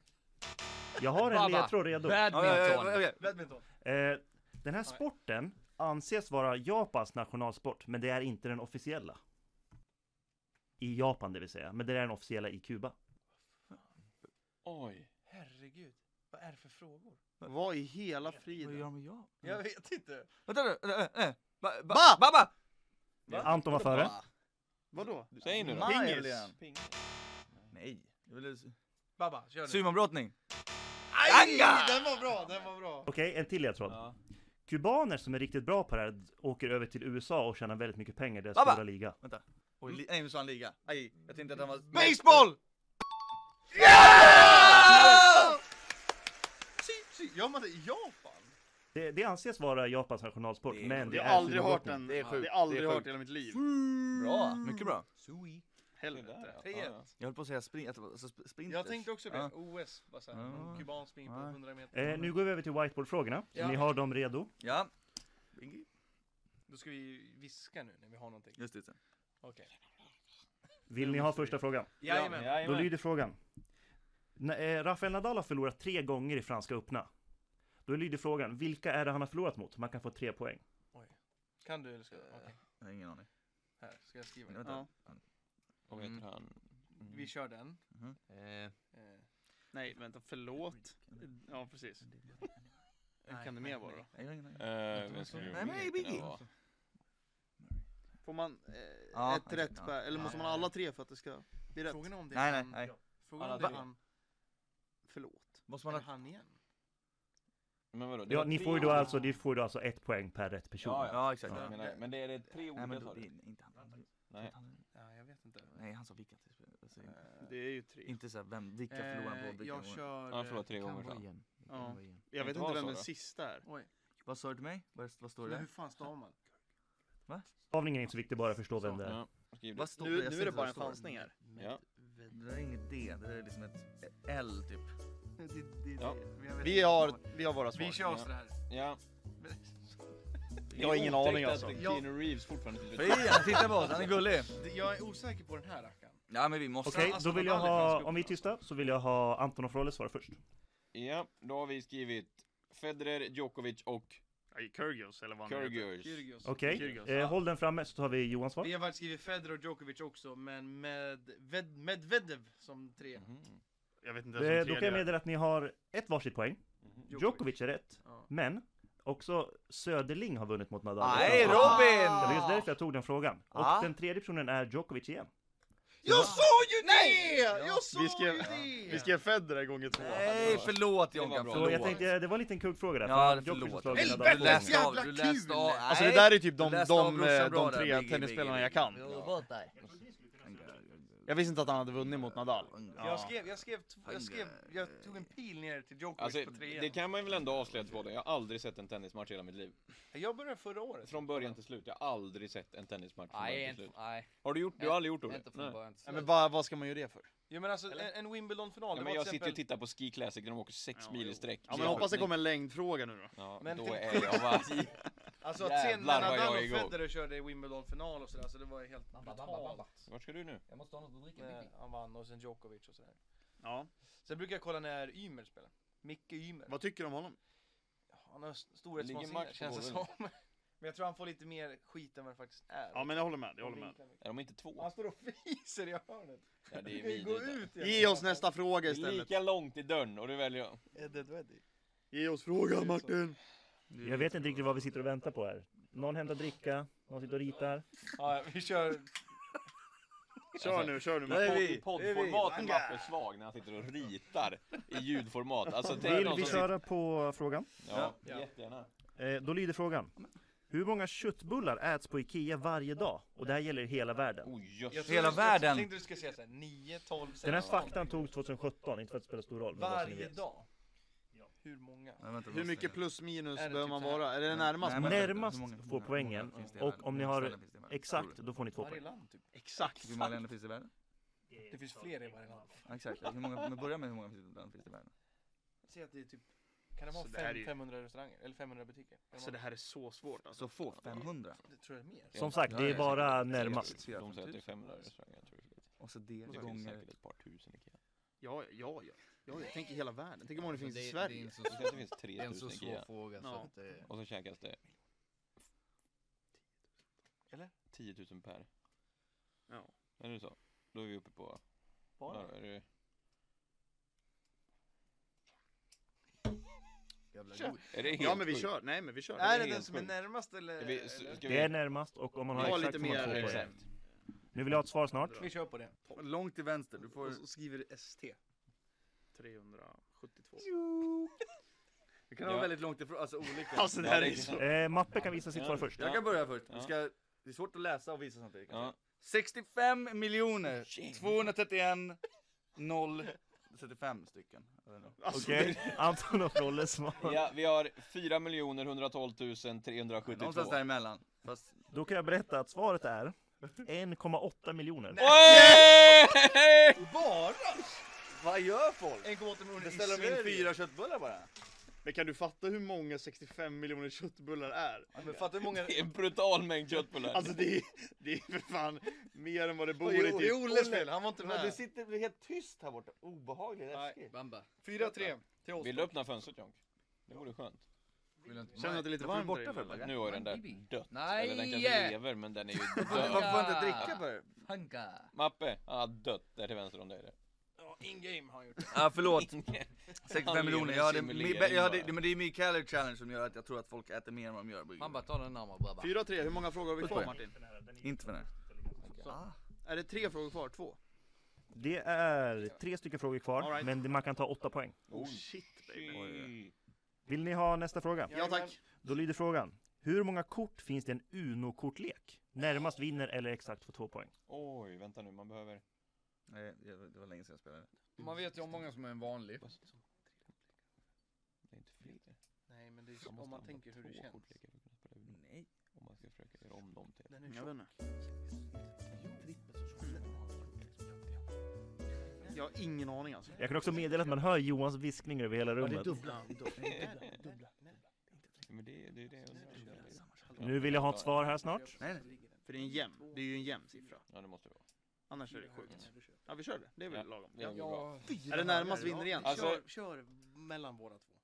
Speaker 6: Jag har en
Speaker 5: Baba.
Speaker 6: ledtråd redo.
Speaker 3: Ja, ja, ja, ja,
Speaker 5: Badminton.
Speaker 3: ja.
Speaker 7: Badminton.
Speaker 6: Eh, den här sporten anses vara Japans nationalsport, men det är inte den officiella. I Japan det vill säga, men det är den officiella i Kuba.
Speaker 4: Oj.
Speaker 7: Herregud. Vad är det för frågor?
Speaker 2: Vad i hela
Speaker 3: Vad gör
Speaker 2: friden?
Speaker 3: de med jag?
Speaker 7: Jag vet inte.
Speaker 3: Vänta nu, vänta, vänta, vänta. Ba, ba, Baba!
Speaker 6: Eh, Anton var före.
Speaker 2: Vadå?
Speaker 4: Säg nu då.
Speaker 3: Ma
Speaker 2: Pingis.
Speaker 3: är väl igen.
Speaker 4: Ping.
Speaker 3: Nej. det är väl-
Speaker 7: Baba, kör nu.
Speaker 3: Sumobrottning.
Speaker 7: Aj!
Speaker 3: Anga!
Speaker 7: Den var bra, den var bra.
Speaker 6: Okej, en till ledtråd.
Speaker 4: Ja.
Speaker 6: Kubaner som är riktigt bra på det här åker över till USA och tjänar väldigt mycket pengar, i deras
Speaker 3: Baba!
Speaker 6: stora liga.
Speaker 3: Oj, li- nej nu sa han liga. Aj, jag tänkte att han var...
Speaker 7: Baseball!
Speaker 3: Ah!
Speaker 7: Gör man det i Japan?
Speaker 6: Det, det anses vara Japans nationalsport,
Speaker 3: Det är-
Speaker 6: men det
Speaker 2: Jag
Speaker 6: är
Speaker 2: har aldrig hört
Speaker 6: sumobrottning.
Speaker 2: den.
Speaker 3: Det är sjukt,
Speaker 2: Jag har aldrig
Speaker 3: det är
Speaker 2: hört
Speaker 3: sjukt.
Speaker 2: i hela mitt liv.
Speaker 3: Bra, mycket bra.
Speaker 7: Sui.
Speaker 4: Det
Speaker 2: Helvete.
Speaker 4: där, ja. Ja,
Speaker 7: 3-1.
Speaker 4: ja.
Speaker 3: Jag höll på att säga sprint, att det var- alltså sp- sprinters.
Speaker 7: Jag tänkte också på
Speaker 3: Ja.
Speaker 7: det. OS, bara såhär,
Speaker 3: Ja.
Speaker 7: någon kuban springer på
Speaker 3: Ja.
Speaker 7: 100 meter.
Speaker 6: Eh, nu går vi över till whiteboardfrågorna.
Speaker 7: Ja.
Speaker 6: Ni har dem redo.
Speaker 3: Ja,
Speaker 7: Då ska vi viska nu när vi har någonting.
Speaker 3: just det.
Speaker 7: Okej.
Speaker 6: Vill ni ha första frågan?
Speaker 7: Jajamän.
Speaker 6: Då
Speaker 4: Jajamän.
Speaker 6: lyder frågan. När, eh, Rafael Nadal har förlorat tre gånger i Franska öppna. Då lyder frågan, vilka är det han har förlorat mot? Man kan få tre poäng.
Speaker 7: Kan du eller ska jag? Okej.
Speaker 3: Jag har ingen aning.
Speaker 7: Här, ska jag skriva det?
Speaker 3: Vänta.
Speaker 2: Ja.
Speaker 4: Vad heter han?
Speaker 7: Vi kör den.
Speaker 5: Eh,
Speaker 7: Eh,
Speaker 2: Nej, vänta, förlåt. Ja, precis. Hur kan det mer vara då?
Speaker 3: Nej, jag har ingen aning.
Speaker 4: Eh, vem skulle
Speaker 3: Nej, men
Speaker 4: det
Speaker 3: Biggie.
Speaker 4: kunna vara?
Speaker 2: Får man eh,
Speaker 3: Ja,
Speaker 2: ett rätt
Speaker 3: ja.
Speaker 2: per, eller måste man alla tre för att det ska bli rätt?
Speaker 7: Frågan är om det
Speaker 3: Nej,
Speaker 7: är
Speaker 3: nej,
Speaker 7: han.
Speaker 3: nej.
Speaker 7: Frågan är om det
Speaker 4: Alla
Speaker 7: är
Speaker 4: tre.
Speaker 7: han.
Speaker 2: Förlåt.
Speaker 3: Måste man
Speaker 7: Eller
Speaker 3: ha...
Speaker 7: han igen.
Speaker 4: Men vadå? det
Speaker 6: Ja,
Speaker 4: var
Speaker 6: ni
Speaker 4: tre
Speaker 6: får ju då
Speaker 4: ord.
Speaker 6: alltså, ni får ju då alltså ett poäng per rätt person.
Speaker 4: Ja,
Speaker 3: Ja, exakt.
Speaker 4: Jag menar, men det är det tre ord
Speaker 3: Nej, men
Speaker 4: jag
Speaker 3: då,
Speaker 4: sa
Speaker 3: det
Speaker 4: det.
Speaker 3: är inte han.
Speaker 4: Nej.
Speaker 7: Ja, jag vet inte.
Speaker 3: Nej, han sa vilka. Alltså,
Speaker 7: Eh,
Speaker 2: Det är ju tre.
Speaker 3: Inte såhär, vem, vilka förlorar på
Speaker 7: eh,
Speaker 3: vilka
Speaker 7: Jag
Speaker 3: gånger.
Speaker 7: kör...
Speaker 4: Ja, förlåt, tre
Speaker 7: eh,
Speaker 4: gånger
Speaker 7: Cambodja.
Speaker 4: fram.
Speaker 2: Ja.
Speaker 3: igen.
Speaker 2: Jag vet
Speaker 4: Inte
Speaker 2: inte
Speaker 4: vara
Speaker 2: vem
Speaker 4: så,
Speaker 2: den
Speaker 4: då?
Speaker 2: sista är.
Speaker 1: Oj,
Speaker 3: Vad sa du till mig? Vad, vad står det
Speaker 1: men hur
Speaker 3: där?
Speaker 1: fan stavar man?
Speaker 6: Stavningen är inte så viktig, bara förstå vem det är.
Speaker 4: Ja, skriv det.
Speaker 3: Vad står
Speaker 2: Nu,
Speaker 3: Jag
Speaker 2: nu
Speaker 3: ser
Speaker 2: är det
Speaker 3: inte vad
Speaker 2: bara en
Speaker 3: står.
Speaker 2: chansning här.
Speaker 4: Ja.
Speaker 3: Det där är inget D, det där är liksom ett ett L typ.
Speaker 1: Det, det,
Speaker 4: Ja.
Speaker 1: det, men jag vet
Speaker 2: Vi
Speaker 1: inte.
Speaker 2: har, vi har våra
Speaker 1: Vi
Speaker 2: svar.
Speaker 1: kör oss det här.
Speaker 4: Ja.
Speaker 3: Jag har ingen aning, alltså.
Speaker 4: Det är otäckt att Keanu Reeves fortfarande inte
Speaker 3: Fri han, titta på oss, han är gullig!
Speaker 1: Det- Jag är osäker på den här rackaren.
Speaker 3: Ja men vi måste...
Speaker 6: Okej,
Speaker 1: alltså,
Speaker 6: då vill
Speaker 1: de
Speaker 6: jag
Speaker 1: andra kan
Speaker 6: ha,
Speaker 1: skugga.
Speaker 6: om vi är tysta, så vill jag ha Anton och Rolle svara först.
Speaker 4: Ja, då har vi skrivit Federer, Djokovic och
Speaker 2: Nej, Kyrgios eller vad han heter.
Speaker 4: Kyrgios.
Speaker 1: Kyrgios.
Speaker 6: Okej,
Speaker 2: Kyrgios,
Speaker 6: eh, håll den framme så tar vi Johans svar.
Speaker 1: Vi har faktiskt skrivit Federer och Djokovic också, men med Ved- Medvedev som tre.
Speaker 4: Mhm.
Speaker 2: Jag vet inte ens
Speaker 6: Eh,
Speaker 2: vem
Speaker 6: då kan jag
Speaker 2: tredje är.
Speaker 6: meddela att ni har ett varsitt poäng. Djokovic är rätt,
Speaker 1: Ja.
Speaker 6: men också Söderling har vunnit mot Nadal.
Speaker 3: Nej
Speaker 6: Det var
Speaker 5: Ah.
Speaker 3: Robin!
Speaker 6: just därför jag tog den frågan. Och
Speaker 3: Ah.
Speaker 6: den tredje personen är Djokovic igen.
Speaker 1: Jag såg ju det! Jag såg
Speaker 2: Vi skrev-
Speaker 1: ju det!
Speaker 2: Vi skrev Federer gånger två.
Speaker 3: Nej förlåt Jonkan,
Speaker 4: bra.
Speaker 6: Så
Speaker 3: förlåt!
Speaker 6: jag tänkte, eh, det var en liten kuggfråga där.
Speaker 3: Ja,
Speaker 6: för Djokovic har
Speaker 3: förlåt.
Speaker 6: slagit Nadal
Speaker 1: Helvete,
Speaker 6: två gånger.
Speaker 1: jävla
Speaker 3: du läste
Speaker 1: kul!
Speaker 3: av,
Speaker 2: Alltså det
Speaker 3: nej.
Speaker 2: där är typ
Speaker 3: Du
Speaker 2: de, de,
Speaker 3: läste av
Speaker 2: de,
Speaker 3: brorsan
Speaker 2: eh,
Speaker 3: bra
Speaker 2: de
Speaker 3: där,
Speaker 2: tre
Speaker 3: Biggie,
Speaker 2: tennisspelarna
Speaker 3: Biggie.
Speaker 2: jag kan.
Speaker 3: Robotar.
Speaker 2: Jag visste inte att han hade vunnit mot Nadal.
Speaker 1: Jag skrev, jag skrev, tv- jag skrev, jag tog en pil ner till Djokovic
Speaker 4: Alltså,
Speaker 1: på
Speaker 4: det
Speaker 1: trean.
Speaker 4: kan man väl ändå avslöja till båda. Jag har aldrig sett en tennismatch i hela mitt liv.
Speaker 1: Jag började förra året.
Speaker 4: Från början till slut. Jag har aldrig sett en tennismatch från
Speaker 8: Nej,
Speaker 4: början till
Speaker 8: inte,
Speaker 4: slut.
Speaker 8: nej,
Speaker 4: Har du gjort Du har aldrig gjort det?
Speaker 8: inte från
Speaker 4: Nej.
Speaker 8: början till
Speaker 2: Nej, men
Speaker 8: slut.
Speaker 2: vad, vad ska man göra det för?
Speaker 1: Ja men alltså en,
Speaker 4: Eller?
Speaker 1: en Wimbledon-final,
Speaker 4: Ja,
Speaker 1: det
Speaker 4: men
Speaker 1: var
Speaker 4: jag
Speaker 1: till
Speaker 4: sitter och
Speaker 1: exempel...
Speaker 4: tittar på Ski Classic när de åker sex
Speaker 2: Ja,
Speaker 4: mil
Speaker 2: jo.
Speaker 4: i sträck.
Speaker 2: Ja men hoppas det kommer en längdfråga nu då.
Speaker 4: Ja,
Speaker 1: Men
Speaker 4: då
Speaker 1: till-
Speaker 4: är jag bara...
Speaker 1: Alltså att sen när
Speaker 4: Jävlar vad jag
Speaker 1: Nadal och
Speaker 4: är igång.
Speaker 1: Federer körde Wimbledon-final och sådär, så det var ju helt
Speaker 8: Bamba, bamba, bamba.
Speaker 1: brutalt.
Speaker 4: Vart ska du nu?
Speaker 8: Jag måste ha något att dricka.
Speaker 1: När
Speaker 8: Bibi.
Speaker 1: han vann och sen Djokovic och sådär.
Speaker 2: Ja.
Speaker 1: Sen brukar jag kolla när Ymer spelar. Micke Ymer.
Speaker 2: Vad tycker du om honom?
Speaker 1: Han har s-
Speaker 4: Ligger Max
Speaker 1: storhetsvansinne
Speaker 4: på
Speaker 1: känns det som. Men jag tror han får lite mer skit än vad det faktiskt är.
Speaker 2: Ja men jag håller med, jag
Speaker 1: Han
Speaker 2: håller med.
Speaker 1: vinkar mycket.
Speaker 4: Är de inte två?
Speaker 1: Han står och fiser i hörnet.
Speaker 4: Ja, det är
Speaker 1: Vi går
Speaker 4: vidrigt.
Speaker 1: ut igen.
Speaker 2: Ge oss nästa fråga
Speaker 4: Det är
Speaker 2: istället.
Speaker 4: lika långt i dörren och du väljer...
Speaker 1: Edded Weddy.
Speaker 2: Ge oss frågan Martin!
Speaker 6: Jag vet inte riktigt vad vi sitter och väntar på här. Någon hämtar dricka, någon sitter och ritar.
Speaker 1: Ja, vi kör.
Speaker 2: Kör nu, kör nu
Speaker 4: Podd-
Speaker 2: Martin.
Speaker 4: I poddformat är Mappe svag när han sitter och ritar i ljudformat. Alltså, tänk
Speaker 6: Vill
Speaker 4: någon
Speaker 6: vi
Speaker 4: som sitter-
Speaker 6: köra på frågan?
Speaker 4: Ja, jättegärna.
Speaker 6: Eh, då lyder frågan. Hur många köttbullar äts på Ikea varje dag? Och det här gäller hela världen.
Speaker 4: Oj, Oh, jösses.
Speaker 1: Jag tror
Speaker 3: Hela
Speaker 1: du ska-
Speaker 3: världen.
Speaker 1: Jag tänkte du ska säga såhär 9, 12, 16.
Speaker 6: Den här faktan togs 2017, inte för att det spelar stor roll. men bara så ni
Speaker 1: Varje
Speaker 6: vet.
Speaker 1: dag. Hur många?
Speaker 2: Hur mycket plus minus
Speaker 1: Är det
Speaker 2: behöver
Speaker 1: typ
Speaker 2: man
Speaker 1: så här?
Speaker 2: vara? Är det närmast?
Speaker 6: men- Närmast får poängen, och om ni har Exakt, då får ni två
Speaker 1: Varje
Speaker 6: poäng.
Speaker 1: land typ.
Speaker 2: Exakt!
Speaker 3: Hur många länder finns det i världen?
Speaker 1: Det finns fler i varje land.
Speaker 3: Ja, Exakt, hur många, men börja med hur många länder finns det i världen?
Speaker 1: Säg att det är typ, kan det vara
Speaker 2: Så det här är
Speaker 1: fem,
Speaker 2: ju-
Speaker 1: 500 restauranger? Eller 500 butiker? Kan
Speaker 2: Alltså det
Speaker 1: vara-
Speaker 2: här är så svårt alltså.
Speaker 3: Så få, 500?
Speaker 1: det tror jag är mer.
Speaker 6: Som sagt, det är bara närmast.
Speaker 4: De säger att det är 500 restauranger, jag tror det.
Speaker 3: Och så det
Speaker 4: Det finns
Speaker 3: gånger...
Speaker 4: säkert ett par tusen Ikea.
Speaker 2: Ja, ja, ja. ja jag tänker hela världen. Tänk hur många det finns
Speaker 5: det,
Speaker 2: i
Speaker 5: det är
Speaker 2: Sverige.
Speaker 5: en så,
Speaker 4: Det känns att det finns
Speaker 5: det är en så
Speaker 4: 3000
Speaker 5: svår
Speaker 4: Ikea.
Speaker 5: fråga så
Speaker 2: Ja.
Speaker 5: att eh, det...
Speaker 4: Och så käkas det...
Speaker 1: Eller?
Speaker 4: 10 000 per.
Speaker 2: Ja.
Speaker 4: Är det så? Då är vi uppe på...
Speaker 1: Bara.
Speaker 4: Är det...
Speaker 5: Jävla
Speaker 1: Tja.
Speaker 5: god.
Speaker 4: Är det helt
Speaker 2: Ja men vi
Speaker 4: sjukt?
Speaker 2: kör, nej men vi kör.
Speaker 4: Nej,
Speaker 1: Är
Speaker 4: det
Speaker 1: det
Speaker 4: är
Speaker 1: den
Speaker 4: helt
Speaker 1: som är
Speaker 4: sjukt.
Speaker 1: närmast eller?
Speaker 4: Är vi- s-
Speaker 1: eller?
Speaker 4: ska
Speaker 6: Det är
Speaker 4: vi...
Speaker 6: närmast och om man
Speaker 2: Vi
Speaker 6: har
Speaker 2: har
Speaker 6: exakt
Speaker 2: lite
Speaker 6: får man
Speaker 2: mer, eh,
Speaker 6: två poäng.
Speaker 4: Exakt.
Speaker 6: Nu vill jag ha ett svar snart.
Speaker 1: Vi kör på det.
Speaker 3: Långt till vänster, du får...
Speaker 1: Och så skriver du ST.
Speaker 2: 372.
Speaker 3: Du kan ha
Speaker 4: Ja.
Speaker 3: väldigt långt ifrån, alltså olika.
Speaker 2: Alltså det här är så...
Speaker 6: Eh, Mappe kan visa sitt svar först.
Speaker 3: Jag kan börja först, vi
Speaker 4: Ja.
Speaker 3: ska... Det är svårt att läsa och visa samtidigt kanske.
Speaker 4: Ja.
Speaker 3: 65 miljoner 231 0 35 stycken. Jag vet inte.
Speaker 6: Okej, Anton och Rolle svar.
Speaker 4: Ja, vi har 4 miljoner 112 372.
Speaker 3: Någonstans däremellan. Fast
Speaker 6: Då kan jag berätta att svaret är 1,8 miljoner.
Speaker 4: Oj!
Speaker 1: Bara?
Speaker 3: vad gör folk?
Speaker 1: 1,8 miljoner i
Speaker 3: Beställer de in
Speaker 1: Sverige.
Speaker 3: fyra köttbullar bara?
Speaker 2: Men kan du fatta hur många 65 miljoner köttbullar är?
Speaker 1: Ja, Men fattar hur många...
Speaker 4: Det är en brutal mängd köttbullar.
Speaker 2: Alltså det är, det är för fan mer än vad det bor
Speaker 3: Oj,
Speaker 2: i
Speaker 3: oj,
Speaker 1: Det
Speaker 2: typ.
Speaker 1: är Olles fel, han var inte
Speaker 3: Men du
Speaker 1: med.
Speaker 3: sitter du är helt tyst här borta, obehagligt
Speaker 1: Nej.
Speaker 3: läskigt.
Speaker 5: Bamba.
Speaker 1: 4-3 till oss.
Speaker 4: Vill du öppna fönstret Jonk? Det vore skönt.
Speaker 5: Vill du inte
Speaker 2: Känner att det är lite
Speaker 3: Varför är du
Speaker 2: varmt där
Speaker 3: borta för
Speaker 2: inne.
Speaker 3: Bagge?
Speaker 4: Nu har den där
Speaker 5: Bibi.
Speaker 4: dött.
Speaker 5: Nej!
Speaker 4: Eller den kanske lever men den är ju
Speaker 3: Man
Speaker 4: död.
Speaker 3: får inte dricka på det.
Speaker 5: Panka.
Speaker 4: Mappe, han har dött där till vänster om dig. där.
Speaker 1: Ja, in-game har han gjort.
Speaker 3: Ja förlåt,
Speaker 4: Han lever
Speaker 3: 65
Speaker 4: i
Speaker 3: miljoner. Jag hade,
Speaker 4: simulering
Speaker 3: mi- jag hade,
Speaker 4: bara.
Speaker 3: men det är min calorie challenge som gör att jag tror att folk äter mer än vad de gör.
Speaker 5: Bamba, ta den närmare grabbar.
Speaker 2: 4-3, hur många frågor har vi
Speaker 3: Puss
Speaker 2: kvar
Speaker 3: på er.
Speaker 2: Martin?
Speaker 3: Inte för den här.
Speaker 2: Är det tre frågor kvar? Två?
Speaker 6: Det är tre stycken frågor kvar,
Speaker 2: All right.
Speaker 6: men man kan ta åtta poäng.
Speaker 2: Oh shit baby.
Speaker 4: Oj.
Speaker 6: Vill ni ha nästa fråga?
Speaker 2: Ja tack.
Speaker 6: Då lyder frågan. Hur många kort finns det i en Uno-kortlek? Närmast vinner eller exakt får två poäng.
Speaker 4: Oj, vänta nu, man behöver...
Speaker 3: Nej, jag- det var länge sedan jag spelade.
Speaker 8: Man vet ju hur många som är en vanlig.
Speaker 1: Men det är, om man tänker hur det känns.
Speaker 3: Nej.
Speaker 4: Om man ska försöka göra om dem till
Speaker 1: Den är
Speaker 2: Jag
Speaker 1: tjock.
Speaker 2: vet inte. Jag har ingen aning alltså.
Speaker 6: Jag kan också meddela att man hör Johans viskningar över hela rummet.
Speaker 4: Men det, det är det jag undrar.
Speaker 6: Nu vill jag ha ett svar här snart.
Speaker 2: Nej, nej. För det är en jämn. Det är ju en jämn siffra.
Speaker 4: Ja det måste det vara.
Speaker 2: Annars är det sjukt. Ja, vi kör det. Det är väl lagom.
Speaker 4: Det är
Speaker 2: Ja.
Speaker 4: bra.
Speaker 2: Är det närmast vinner igen?
Speaker 4: Alltså-
Speaker 1: Kör, kör mellan våra två.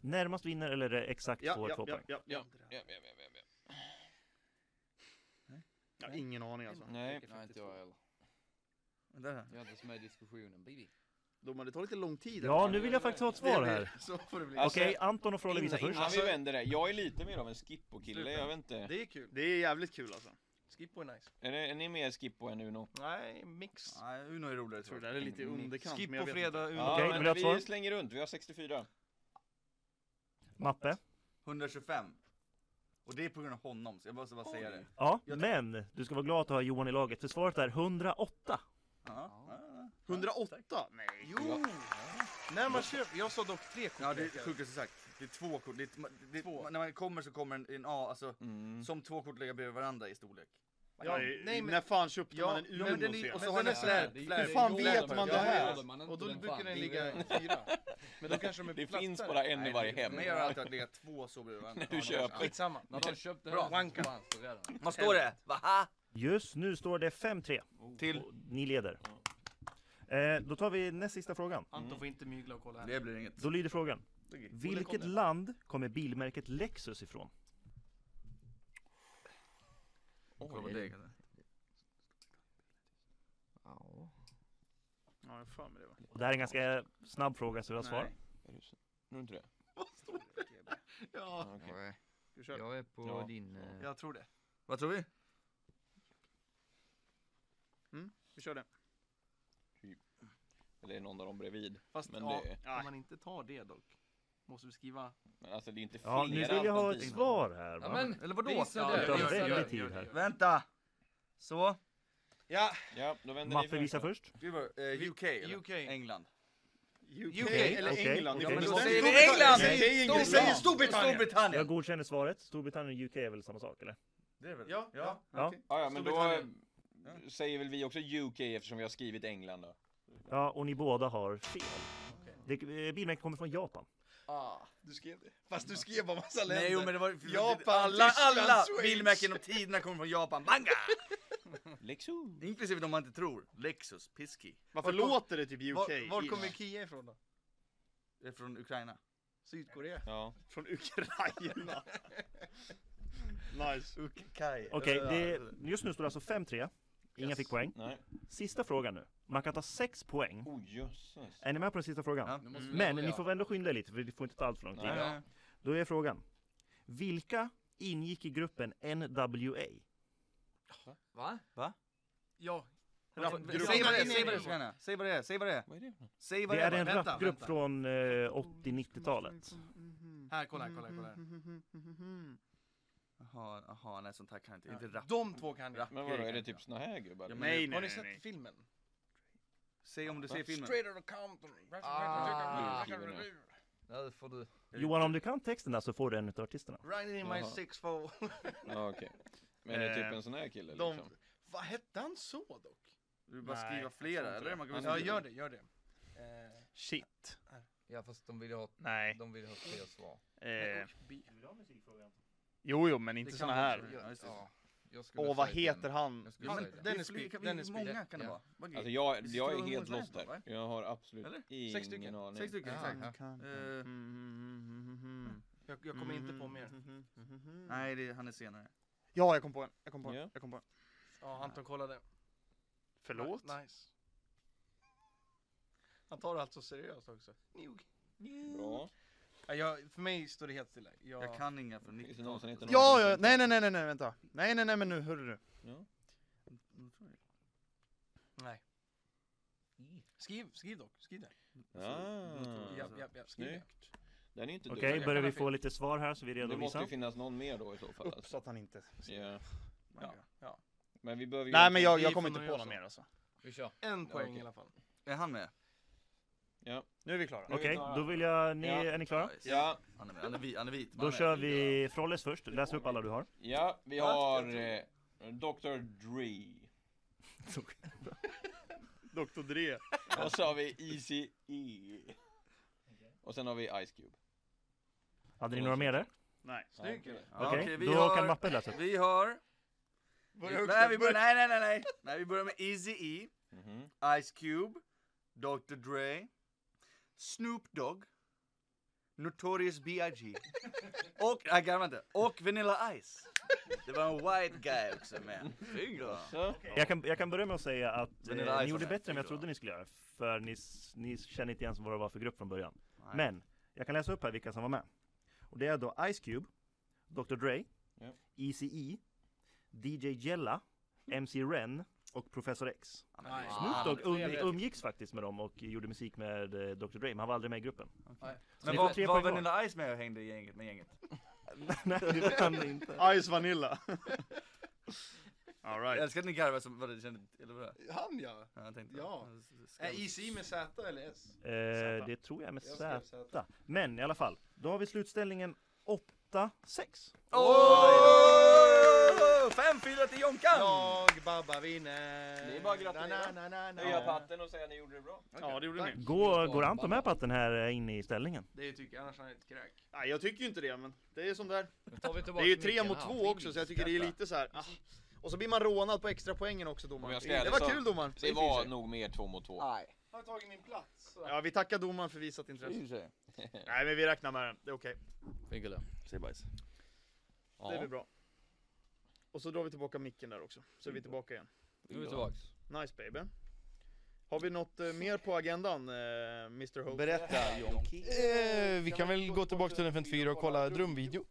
Speaker 6: Närmast vinner eller är det exakt
Speaker 2: Ja,
Speaker 6: får
Speaker 2: ja,
Speaker 6: två
Speaker 2: ja,
Speaker 6: poäng.
Speaker 2: ja, ja.
Speaker 4: Ja, ja, ja, ja, ja, ja.
Speaker 2: Jag har ingen aning alltså.
Speaker 4: Nej,
Speaker 9: Nej, inte jag heller.
Speaker 3: Vänta här.
Speaker 9: Jag är inte ens med i diskussionen, baby.
Speaker 2: Domaren, det tar lite lång tid.
Speaker 6: Ja, nu vill jag faktiskt ha ett svar här.
Speaker 2: Så får det bli.
Speaker 4: Alltså,
Speaker 6: Okej, Anton och Frolle
Speaker 4: innan,
Speaker 6: visar
Speaker 4: innan
Speaker 6: först.
Speaker 4: vi vänder det. Jag är lite mer av en skippo-kille, jag vet inte.
Speaker 1: Det är kul.
Speaker 2: Det är jävligt kul alltså.
Speaker 1: Skippo är nice.
Speaker 4: Är, det, är ni mer skippo än Uno?
Speaker 1: Nej, mix.
Speaker 3: Nej, Uno är roligare
Speaker 2: Jag tror det där är lite i underkant. men
Speaker 1: Skippo
Speaker 2: jag vet inte.
Speaker 1: fredag, Uno.
Speaker 4: Ja,
Speaker 6: Okej, vill du
Speaker 4: men
Speaker 6: ha ett svar?
Speaker 4: vi slänger runt, vi har 64.
Speaker 6: Mappe.
Speaker 3: 125. Och det är på grund av honom, så jag måste bara säga det.
Speaker 6: Ja,
Speaker 3: Jag-
Speaker 6: men du ska vara glad att ha Johan i laget. För svaret är 108.
Speaker 3: Ja. ja.
Speaker 2: 108? Nej.
Speaker 1: Jo! När man köper, jag sa dock tre kort.
Speaker 3: Ja, det är
Speaker 1: lekar.
Speaker 3: sjukaste sagt. Det är två kort. Det är, t- ma- det,
Speaker 1: Två.
Speaker 3: man- När man kommer så kommer en, en A, alltså
Speaker 4: Mm.
Speaker 3: som två kort ligger bredvid varandra i storlek.
Speaker 2: Ja, nej, men... När fan köpte man en Uno?
Speaker 3: ja, men den är-
Speaker 2: senast?
Speaker 3: och så
Speaker 1: Men
Speaker 3: har
Speaker 1: den
Speaker 3: den
Speaker 1: är
Speaker 3: flärp.
Speaker 1: så här,
Speaker 3: flärp.
Speaker 2: Hur fan
Speaker 9: Jo,
Speaker 2: vet man
Speaker 9: ja,
Speaker 2: det
Speaker 9: det
Speaker 2: här?
Speaker 9: gjorde man inte,
Speaker 1: Och då
Speaker 9: den
Speaker 1: brukar
Speaker 9: fan.
Speaker 1: den ligga i fyra. Men då kanske de är
Speaker 4: Det
Speaker 1: plattare.
Speaker 4: finns bara en i varje hem.
Speaker 3: Men jag har alltid att ligga två så bredvid varandra.
Speaker 4: När du köper.
Speaker 1: Skitsamma.
Speaker 5: När de köpte
Speaker 1: Bra.
Speaker 5: hans så var han så redan.
Speaker 3: Vad står det? Vaha?
Speaker 6: Just nu står det 5-3.
Speaker 3: Till?
Speaker 6: Och Ni leder. Eh, då tar vi näst sista frågan.
Speaker 1: Anton får inte mygla och kolla här.
Speaker 3: Det blir inget.
Speaker 6: Då lyder frågan.
Speaker 3: Okej.
Speaker 6: Vilket land kommer bilmärket Lexus ifrån?
Speaker 3: Kolla på dig kanske.
Speaker 2: Ja, jag har för mig det va.
Speaker 6: Och det här är en ganska snabb fråga så vi har svar.
Speaker 2: Nej.
Speaker 4: Är du så- Tror du inte det?
Speaker 2: Ja,
Speaker 4: Ja, okej.
Speaker 5: Nej,
Speaker 2: vi kör.
Speaker 5: Jag är på
Speaker 4: Ja.
Speaker 5: din... eh,
Speaker 1: Jag tror det.
Speaker 3: Vad tror vi?
Speaker 2: Mm, Vi kör det.
Speaker 4: Eller är någon av dem bredvid?
Speaker 1: Fast
Speaker 4: Men
Speaker 1: ja,
Speaker 4: det-
Speaker 2: Nej.
Speaker 1: om man inte tar det dock. Måste vi skriva?
Speaker 4: Men alltså det är inte
Speaker 6: Ja, nu
Speaker 4: flera
Speaker 6: vill jag ha ett
Speaker 4: alternativ.
Speaker 6: svar här
Speaker 5: Ja,
Speaker 6: va?
Speaker 5: men,
Speaker 3: Eller vadå?
Speaker 5: Visa det.
Speaker 6: Det tar
Speaker 5: Visa det.
Speaker 6: väldigt tid här.
Speaker 3: Vänta! Så.
Speaker 1: Ja!
Speaker 4: Ja, då vänder
Speaker 6: Mappe
Speaker 4: ni
Speaker 6: visar först.
Speaker 3: Ska vi börja? Eh, UK eller?
Speaker 1: UK.
Speaker 3: England.
Speaker 2: UK,
Speaker 6: Okej,
Speaker 2: eller
Speaker 6: okej,
Speaker 2: England.
Speaker 6: okej.
Speaker 2: Ni
Speaker 6: Men
Speaker 2: får
Speaker 6: då
Speaker 2: bestämma.
Speaker 3: säger vi England!
Speaker 2: Nej, säg England!
Speaker 3: Storbritannien.
Speaker 2: Säg Storbritannien!
Speaker 3: Storbritannien!
Speaker 6: Jag godkänner svaret. Storbritannien och UK är väl samma sak eller?
Speaker 3: Det är väl?
Speaker 1: Ja.
Speaker 3: ja.
Speaker 6: Ja.
Speaker 3: okej.
Speaker 4: Ja, ja, men då eh,
Speaker 2: Storbritannien.
Speaker 4: säger väl vi också UK eftersom vi har skrivit England då.
Speaker 6: Ja, och ni båda har fel. Det, eh, bilmärket kommer från Japan.
Speaker 2: Du skrev det. Fast du skrev bara massa länder.
Speaker 3: Nej, jo, men det var...
Speaker 2: Japan,
Speaker 3: alla,
Speaker 2: Tyskland,
Speaker 3: alla
Speaker 2: Schweiz.
Speaker 3: bilmärken genom tiderna kommer från Japan. Banga!
Speaker 4: Lexus.
Speaker 3: Inklusive de man inte tror. Lexus, Piski.
Speaker 2: Varför låter det typ UK?
Speaker 1: Var, var kommer Kia ifrån då?
Speaker 3: Det är från Ukraina.
Speaker 1: Sydkorea?
Speaker 4: Ja.
Speaker 2: Från Ukraina. nice.
Speaker 3: Ukkai.
Speaker 6: Okej, det, just nu står det alltså 5-3. Inga fick poäng.
Speaker 4: Nej.
Speaker 6: Sista frågan nu. Man kan ta 6 poäng.
Speaker 4: Oh jösses.
Speaker 6: Är ni med på den sista frågan?
Speaker 3: Ja.
Speaker 5: nu måste vi
Speaker 6: Men
Speaker 5: leverera.
Speaker 6: ni får väl ändå skynda er lite, för det får inte ta allt för lång tid.
Speaker 4: Nej.
Speaker 6: Då är frågan. Vilka ingick i gruppen NWA?
Speaker 5: Va?
Speaker 1: Ja.
Speaker 3: Säg vad det är, säg vad det är, Ukraina. Säg vad det är, säg vad det är.
Speaker 4: Vad är det för något?
Speaker 3: Säg vad
Speaker 6: Det
Speaker 3: det är.
Speaker 6: är en
Speaker 1: Vänta,
Speaker 6: rapgrupp
Speaker 1: vänta.
Speaker 6: från eh, 80-90-talet.
Speaker 1: Här, kolla här, kolla här, kolla här.
Speaker 3: Jaha, jaha, nej sånt här kan jag inte. Inte rap.
Speaker 1: De två kan jag.
Speaker 4: Men vadå, är det typ såna här gubbar?
Speaker 3: Ja, men-
Speaker 2: Nej,
Speaker 1: Har
Speaker 2: nej,
Speaker 1: ni
Speaker 2: nej. nej.
Speaker 1: sett filmen?
Speaker 3: Säg om du ser filmen.
Speaker 1: Straight outta Compton.
Speaker 5: Ah. Det får du.
Speaker 6: Johan, om du kan texten där så får du en utav artisterna.
Speaker 1: Riding in my
Speaker 4: Jaha.
Speaker 1: six four.
Speaker 4: Ja, okej. Men är det typ
Speaker 2: Eh,
Speaker 4: en sån här kille
Speaker 1: De,
Speaker 4: liksom?
Speaker 1: vad hette han så dock?
Speaker 3: Du vill bara
Speaker 2: Nej,
Speaker 3: skriva
Speaker 2: jag
Speaker 3: flera
Speaker 2: tror inte
Speaker 3: eller?
Speaker 2: det.
Speaker 3: Man kan väl
Speaker 1: Ja,
Speaker 3: skriva-
Speaker 1: gör det, gör det. Eh,
Speaker 2: Shit.
Speaker 5: Ja fast de vill ju ha,
Speaker 2: Nej.
Speaker 5: de vill ha fler svar.
Speaker 2: Eh,
Speaker 1: och bi-
Speaker 2: jo, jo, men inte
Speaker 1: kan
Speaker 2: såna
Speaker 1: man
Speaker 2: här.
Speaker 1: också göra.
Speaker 3: Ja, just det.
Speaker 5: Ja, jag skulle
Speaker 2: Åh, vad
Speaker 5: säga den.
Speaker 2: heter han?
Speaker 5: Jag skulle
Speaker 3: Ja, men
Speaker 5: säga den.
Speaker 3: det är
Speaker 1: Dennis
Speaker 3: fler-
Speaker 1: Beat,
Speaker 3: kan- hur
Speaker 1: Dennis Beat.
Speaker 3: många kan det
Speaker 5: Ja.
Speaker 3: vara? Vad
Speaker 4: Alltså
Speaker 3: grej?
Speaker 4: jag,
Speaker 3: Visst
Speaker 4: jag
Speaker 3: var
Speaker 4: är
Speaker 3: det
Speaker 4: helt
Speaker 3: Ungdomsligan,
Speaker 4: lost där.
Speaker 3: va?
Speaker 4: Jag har absolut
Speaker 3: Eller?
Speaker 4: ingen
Speaker 1: Sex stycken.
Speaker 4: aning.
Speaker 3: Sex stycken,
Speaker 5: Ja,
Speaker 3: exakt.
Speaker 5: ja.
Speaker 3: Eh,
Speaker 1: Jag, jag kommer inte på mer.
Speaker 3: Nej, det är, han är senare.
Speaker 2: Ja, jag kom på en. Jag kom på en.
Speaker 4: Ja.
Speaker 2: Jag kom på en.
Speaker 1: Ja, Anton kollade.
Speaker 2: Förlåt?
Speaker 1: Ni- Nice. Han tar det alltså seriöst också. Nog.
Speaker 4: Bra.
Speaker 1: Ja, jag, för mig står det helt stilla. Jag,
Speaker 3: Jag kan inga från
Speaker 4: Finns det någon som heter
Speaker 3: 90-talet.
Speaker 4: någon?
Speaker 2: Ja, ja, nej, nej, nej, nej, nej, vänta. Nej, nej, nej, men nu, hörru du.
Speaker 1: Nej. Skriv, skriv dock. Skriv det.
Speaker 4: Ah,
Speaker 1: Ja, ja, ja, skriv det.
Speaker 4: snyggt. Den är inte
Speaker 6: Okej,
Speaker 4: dum.
Speaker 6: börjar vi
Speaker 1: Jag kan ha
Speaker 6: få lite svar här så vi är redo
Speaker 4: Det
Speaker 6: att
Speaker 4: måste ju
Speaker 6: visa.
Speaker 4: finnas någon mer då i så fall. Alltså.
Speaker 2: Uppsatt han inte.
Speaker 4: Ja.
Speaker 1: Ja, ja.
Speaker 4: Men vi behöver ju...
Speaker 2: Nej, men jag,
Speaker 1: vi
Speaker 2: jag
Speaker 1: får
Speaker 2: kommer
Speaker 1: nog
Speaker 2: inte
Speaker 1: göra
Speaker 2: på någon
Speaker 1: så.
Speaker 2: mer alltså.
Speaker 5: Vi kör.
Speaker 1: En poäng
Speaker 4: okej.
Speaker 1: i alla fall.
Speaker 3: Är han med?
Speaker 4: Ja.
Speaker 2: Nu är vi klara.
Speaker 4: Nu är vi
Speaker 6: Okej,
Speaker 4: klara.
Speaker 6: då vill jag... Ni,
Speaker 4: Ja.
Speaker 6: Är ni klara?
Speaker 4: Ja,
Speaker 10: Han är, han är, vi- han är vit.
Speaker 6: Då
Speaker 10: man är-
Speaker 6: kör vi Frolles först. Läs upp alla du har.
Speaker 4: ja, vi har eh, Dr. Dre.
Speaker 2: Dr. Dre.
Speaker 4: Och så har vi Easy E. Och sen har vi Ice Cube.
Speaker 6: Hade ni några mer där?
Speaker 2: Nej.
Speaker 4: Snygg kille.
Speaker 10: Ja,
Speaker 6: Okej,
Speaker 10: okej, vi
Speaker 6: då
Speaker 10: har-
Speaker 6: kan Mappe läsa upp.
Speaker 10: Vi har...
Speaker 2: Börja högst
Speaker 10: Nej,
Speaker 2: upp.
Speaker 10: vi börjar, nej, nej, nej, nej. nej, vi börjar med Eazy-E,
Speaker 4: Mhm.
Speaker 10: Ice Cube, Dr Dre, Snoop Dogg, Notorious B.I.G. och, nej, garva inte, och Vanilla Ice. Det var en white guy också med. Snygg då.
Speaker 4: Så.
Speaker 6: Jag kan, jag kan börja med att säga att
Speaker 10: Men är
Speaker 6: eh,
Speaker 10: det
Speaker 6: ni
Speaker 10: iPhone
Speaker 6: gjorde
Speaker 10: här?
Speaker 6: bättre än vad jag
Speaker 10: Tycker
Speaker 6: trodde
Speaker 10: du?
Speaker 6: ni skulle göra. För ni, s- ni känner inte ens vad det var för grupp från början. Men jag kan läsa upp här vilka som var med. Och det är då Ice Cube, Dr Dre,
Speaker 4: Ja.
Speaker 6: ECE, DJ Jella, MC Ren och Professor X.
Speaker 7: Nej.
Speaker 6: Snoop Dogg
Speaker 7: vad
Speaker 6: um,
Speaker 7: trevligt.
Speaker 6: umgicks faktiskt med dem och gjorde musik med eh, Dr Dre, men han var aldrig med i gruppen.
Speaker 10: Men
Speaker 6: ni får tre
Speaker 10: var, var
Speaker 6: poäng var.
Speaker 10: Vanilla Ice med och hängde i gänget, med gänget?
Speaker 6: Nej, det var han inte.
Speaker 2: Ice Vanilla. All
Speaker 10: Jag
Speaker 2: right.
Speaker 10: älskar att ni garvar som, vadå, kände, eller vadå?
Speaker 7: Han ja.
Speaker 10: Ja, jag tänkte.
Speaker 7: Ja.
Speaker 10: Ska-
Speaker 7: Är IC med Z eller S?
Speaker 6: Eh, det tror jag är med
Speaker 7: Jag skrev
Speaker 6: Z.
Speaker 7: Z.
Speaker 6: Men i alla fall, då har vi slutställningen 8-6.
Speaker 10: Åh! 5-4 till Jonkan!
Speaker 7: Jag, Babba, vinner!
Speaker 4: Det är bara att gratulera.
Speaker 7: Na, na, na, na.
Speaker 4: Höja hatten och säga att ni gjorde det bra.
Speaker 2: Ja, det gjorde ni.
Speaker 6: Går, går Anton med på att den här är inne i ställningen?
Speaker 7: Det tycker jag, annars är han ett kräk.
Speaker 2: Nej, jag tycker ju inte det, men det är som där.
Speaker 5: Tar vi
Speaker 2: Det
Speaker 5: tillbaka
Speaker 2: är ju tre
Speaker 5: micken
Speaker 2: mot
Speaker 5: här?
Speaker 2: två också, så jag tycker det är lite så här. Ah. Och så blir man rånad på extra poängen också
Speaker 4: Om
Speaker 2: domaren.
Speaker 4: jag ska
Speaker 2: Det
Speaker 4: ärligt
Speaker 2: var
Speaker 4: så-
Speaker 2: kul domaren.
Speaker 4: Det var nog mer två mot två.
Speaker 7: Har tagit min plats. så.
Speaker 2: Ja, vi tackar domaren för visat intresse.
Speaker 10: sig.
Speaker 2: Nej, men vi räknar med den. Det är okej.
Speaker 5: Finkele.
Speaker 10: Säg bajs.
Speaker 2: Det blir
Speaker 4: Ja.
Speaker 2: bra. Och så drar vi tillbaka micken där också, så är vi tillbaka igen.
Speaker 5: Nu är vi tillbaks.
Speaker 2: Nice baby. Har vi något eh, mer på agendan, eh, Mr Hope?
Speaker 3: Berätta Jonki.
Speaker 1: Eh, vi kan väl gå tillbaka till den 54 och kolla drumvideo.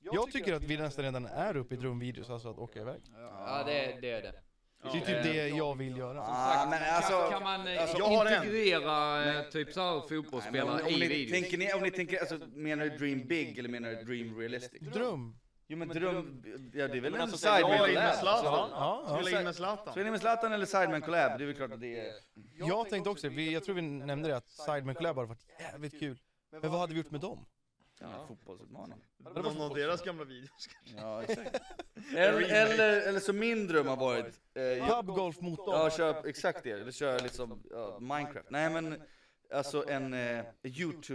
Speaker 1: Jag tycker att vi nästan redan är uppe i drumvideos, alltså att åka iväg.
Speaker 5: Ja, det, det är det.
Speaker 1: Det är typ det jag vill göra.
Speaker 3: Ah, men alltså,
Speaker 5: kan man eh,
Speaker 2: jag har en.
Speaker 5: integrera eh, typ såhär fotbollsspelare
Speaker 3: om, om,
Speaker 5: i
Speaker 3: ni,
Speaker 5: videon?
Speaker 3: tänker ni, om ni tänker, alltså, menar du dream big eller menar du dream realistic?
Speaker 1: Dröm.
Speaker 3: Jo men dröm, ja det är väl en
Speaker 4: alltså,
Speaker 3: side
Speaker 4: jag
Speaker 3: med
Speaker 2: Spela in med
Speaker 3: collab?
Speaker 2: Zlatan.
Speaker 1: Ja, ja.
Speaker 2: Spela in med Zlatan.
Speaker 3: Så är ni med Zlatan eller Sideman collab? Det är väl klart att det är...
Speaker 1: Jag tänkte också, vi, jag tror vi nämnde det, att Sideman Collab hade varit jävligt kul. Men vad hade vi gjort med dem?
Speaker 3: Ja, en fotbollsutmaning.
Speaker 2: Någon av deras gamla videos.
Speaker 3: Ja, exakt. Eller, eller, eller så min dröm har varit... Eh, jag,
Speaker 1: Pubgolf mot dem.
Speaker 3: ja, kör exakt det. Eller kör liksom ja, Minecraft. Nej men, alltså en eh,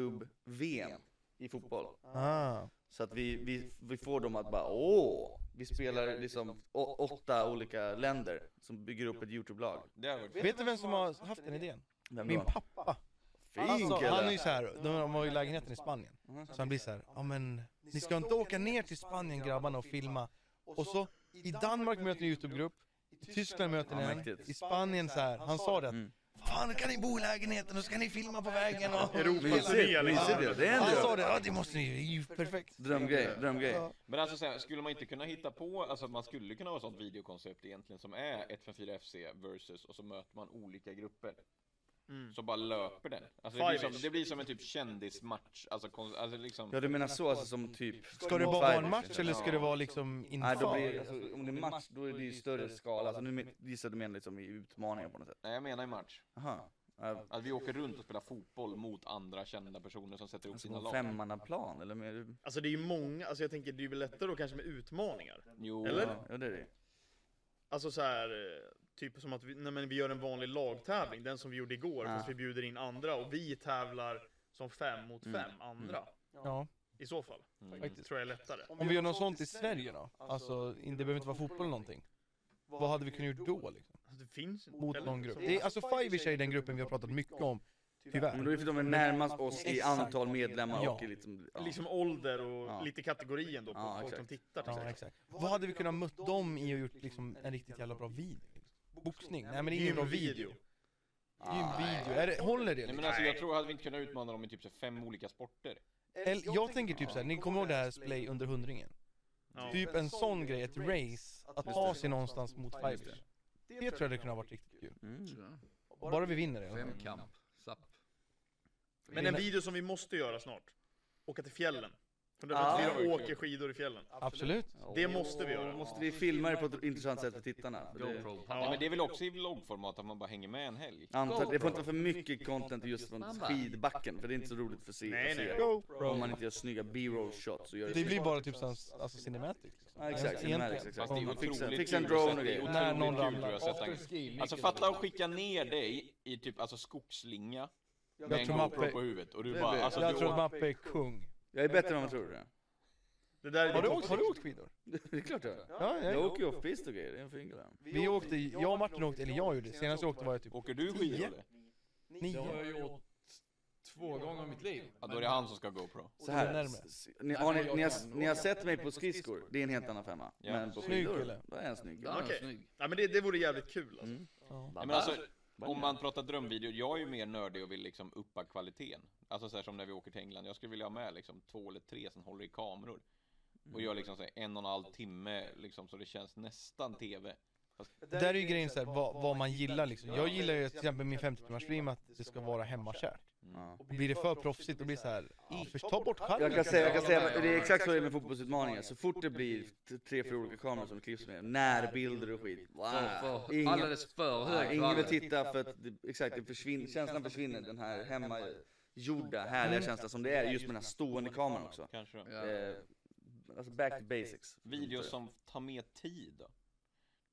Speaker 3: YouTube-VM i fotboll.
Speaker 1: Ah.
Speaker 3: Så att vi, vi, vi får dem att bara åh, vi spelar liksom å, åtta olika länder som bygger upp ett YouTube-lag.
Speaker 4: Det har varit
Speaker 1: Vet du vem som har haft den idén?
Speaker 3: Vem
Speaker 1: Min
Speaker 3: då?
Speaker 1: pappa.
Speaker 3: Fin
Speaker 1: Alltså, han är ju
Speaker 3: kille!
Speaker 1: så här, de, de har ju lägenheten i Spanien. Så han blir så här, ja men ni ska inte åka ner till Spanien grabbarna och filma. Och så i Danmark möter ni en Youtube-grupp, i Tyskland möter ni
Speaker 3: Ja,
Speaker 1: en,
Speaker 3: mäktigt.
Speaker 1: i Spanien så här. Han sa det att,
Speaker 3: Mm.
Speaker 1: fan kan ni bo i lägenheten och så kan ni filma på vägen och...
Speaker 2: Europas
Speaker 3: Mysigt,
Speaker 2: nya
Speaker 3: mysigt ju.
Speaker 2: liksom.
Speaker 3: Det är
Speaker 1: Han
Speaker 3: en
Speaker 1: sa
Speaker 3: dröm.
Speaker 1: det, ja det måste ni, det är ju perfekt.
Speaker 3: Drömgrej, drömgrej.
Speaker 4: Men alltså så här, skulle man inte kunna hitta på, alltså att man skulle kunna ha ett sånt videokoncept egentligen som är 154 FC versus och så möter man olika grupper.
Speaker 2: Mm.
Speaker 4: Så bara löper den. Alltså det blir som,
Speaker 2: Five-ish.
Speaker 4: det blir som en typ kändismatch, alltså, kon- alltså liksom.
Speaker 3: Ja du menar så, alltså som typ...
Speaker 1: Ska det bara vara en match eller ska det vara liksom
Speaker 3: Nej, då
Speaker 1: inför?
Speaker 3: blir, alltså, om det är match då är det ju större skala, alltså, nu men- gissar du menar liksom i utmaningar på något sätt?
Speaker 4: Nej jag menar i match.
Speaker 3: Aha. Ja,
Speaker 4: Att vi åker runt och spelar fotboll mot andra kända personer som sätter ihop
Speaker 3: Alltså
Speaker 4: sina
Speaker 3: på
Speaker 4: lag.
Speaker 3: femmannaplan eller mer?
Speaker 2: Alltså det är ju många, alltså jag tänker det är ju lättare då kanske med utmaningar.
Speaker 4: Jo.
Speaker 2: Eller?
Speaker 3: Ja, ja, det är det.
Speaker 2: Alltså så här, eh, typ som att vi, nej, men vi gör en vanlig lagtävling, den som vi gjorde igår,
Speaker 3: Ja.
Speaker 2: fast vi bjuder in andra och vi tävlar som fem mot fem
Speaker 3: Mm.
Speaker 2: andra.
Speaker 1: Ja,
Speaker 2: I så fall,
Speaker 4: Mm.
Speaker 1: faktiskt.
Speaker 2: tror jag är lättare. Alltså,
Speaker 1: Om vi gör något sånt i Sverige då? Alltså, det behöver inte vara fotboll eller någonting. Vad hade vi kunnat gjort då liksom?
Speaker 2: Alltså, det finns inte.
Speaker 1: mot
Speaker 2: eller? liksom-
Speaker 1: någon grupp.
Speaker 2: Som-
Speaker 1: Det är, alltså Fivish är den gruppen vi har pratat mycket om,
Speaker 3: Men då är
Speaker 1: tyvärr.
Speaker 3: det för att de är närmast oss i antal medlemmar och
Speaker 1: Ja.
Speaker 3: i liksom... Ja.
Speaker 2: Liksom ålder och
Speaker 3: Ja.
Speaker 2: lite kategorien då på
Speaker 3: Ja,
Speaker 2: folk
Speaker 3: exakt.
Speaker 2: som tittar. typ. till
Speaker 1: Ja,
Speaker 2: exempel.
Speaker 1: exakt. Vad hade vi kunnat mött dem i och gjort liksom en riktigt jävla bra video? Boxning? Nej men det är ingen bra video. Gymvideo, är det, håller det?
Speaker 4: Nej
Speaker 1: Liksom?
Speaker 4: men alltså jag tror, hade vi inte kunnat utmana dem i typ så här fem olika sporter?
Speaker 1: Eller, jag tänker typ såhär, ni kommer ihåg det här Splay under hundringen?
Speaker 2: Ja.
Speaker 1: Typ en sån grej, ett race, att ta sig någonstans mot Fivish. Det tror jag hade kunnat varit riktigt kul.
Speaker 3: Mm.
Speaker 1: Bara vi vinner det. alltså.
Speaker 5: Femkamp. Zapp.
Speaker 2: Men en video som vi måste göra snart. Åka till fjällen. 154
Speaker 3: Ja.
Speaker 2: åker skidor i fjällen.
Speaker 1: Absolut.
Speaker 2: Det måste vi göra.
Speaker 3: Måste vi filma det på ett intressant sätt för tittarna? För det,
Speaker 5: GoPro.
Speaker 4: Nej, men det är väl också i vloggformat att man bara hänger med en helg?
Speaker 3: antar, det får inte vara för mycket content just från
Speaker 5: Mamma.
Speaker 3: skidbacken, för det är inte så roligt för se.
Speaker 2: Nej,
Speaker 3: att se.
Speaker 2: nej.
Speaker 3: Om man inte gör snygga b-roll shots och gör
Speaker 1: Det blir bara typ såns, alltså cinematic.
Speaker 3: Ja, exakt,
Speaker 1: Egentligen.
Speaker 3: cinematic, exakt.
Speaker 4: Fast det är
Speaker 1: Om-
Speaker 4: otroligt
Speaker 3: Fixa-
Speaker 4: kul
Speaker 3: fixa en
Speaker 4: att
Speaker 3: drone
Speaker 4: se-
Speaker 3: och
Speaker 4: det är
Speaker 3: grejer.
Speaker 1: När någon
Speaker 4: otroligt kul
Speaker 1: ramlar.
Speaker 4: tror jag, att sätta en- Alltså fatta att skicka ner dig i typ, alltså skogslinga med en
Speaker 1: tror
Speaker 4: GoPro
Speaker 1: mappe-
Speaker 4: på huvudet och
Speaker 3: Det
Speaker 4: du
Speaker 3: är
Speaker 4: bara,
Speaker 3: det.
Speaker 4: alltså
Speaker 1: Jag
Speaker 4: du
Speaker 1: tror att Mappe är kung.
Speaker 3: Jag är bättre än vad man tror. ja.
Speaker 2: Det där är
Speaker 1: Har du
Speaker 2: det
Speaker 1: åkt, har du åkt skidor?
Speaker 3: Det är klart jag är.
Speaker 1: Ja,
Speaker 3: Jag
Speaker 1: jag,
Speaker 3: åker ju off-piste och grejer, det är en fin grej.
Speaker 1: vi åkte, jag och Martin åkte, eller jag gjorde det. Senast jag åkte var jag typ
Speaker 4: Åker du skidor
Speaker 1: Tio.
Speaker 4: eller?
Speaker 5: Det har
Speaker 1: nio.
Speaker 5: jag gjort två gånger i mitt liv.
Speaker 4: Ja, då är det han som ska ha GoPro.
Speaker 1: Alltså,
Speaker 3: Så här,
Speaker 1: närmare.
Speaker 3: s- s- ni, har ni, ni, har, ni har sett mig på skridskor, det är en helt annan femma.
Speaker 4: Ja.
Speaker 3: Men på
Speaker 1: Snygg
Speaker 3: skidor,
Speaker 1: kille.
Speaker 3: då är jag en snygg
Speaker 5: Den
Speaker 3: kille.
Speaker 5: är
Speaker 2: Okej.
Speaker 5: snygg.
Speaker 2: Ja, men det, det vore jävligt kul alltså.
Speaker 3: Mm.
Speaker 1: Ja.
Speaker 4: Nej, men alltså, om man pratar drömvideo, jag är ju mer nördig och vill liksom uppa kvaliteten. Alltså så här som när vi åker till England, jag skulle vilja ha med liksom två eller tre som håller i kameror. Och gör liksom så här en och en halv timme liksom så det känns nästan TV.
Speaker 1: Där är ju grejen såhär, vad, vad man gillar liksom. Jag gillar ju till exempel min 50 timmars stream att det ska vara hemmakärt.
Speaker 3: Ja.
Speaker 1: Och Blir det för proffsigt, då blir det såhär, ta bort skärmen.
Speaker 3: Jag kan säga, jag kan säga, det är exakt så det är med fotbollsutmaningar. Så fort det blir t- tre, fyra olika kameror som klipps med, närbilder och skit. Wow.
Speaker 5: För,
Speaker 3: Ingen,
Speaker 5: alldeles för hög
Speaker 3: nej, ingen vill
Speaker 5: kvalitet.
Speaker 3: titta för att, det, exakt, det försvinner, känslan försvinner. Den här hemmagjorda, härliga känslan som det är just med den här stående kameran också.
Speaker 4: Kanske.
Speaker 5: Ja.
Speaker 3: Eh, alltså back to basics.
Speaker 4: Videos som tar med tid då?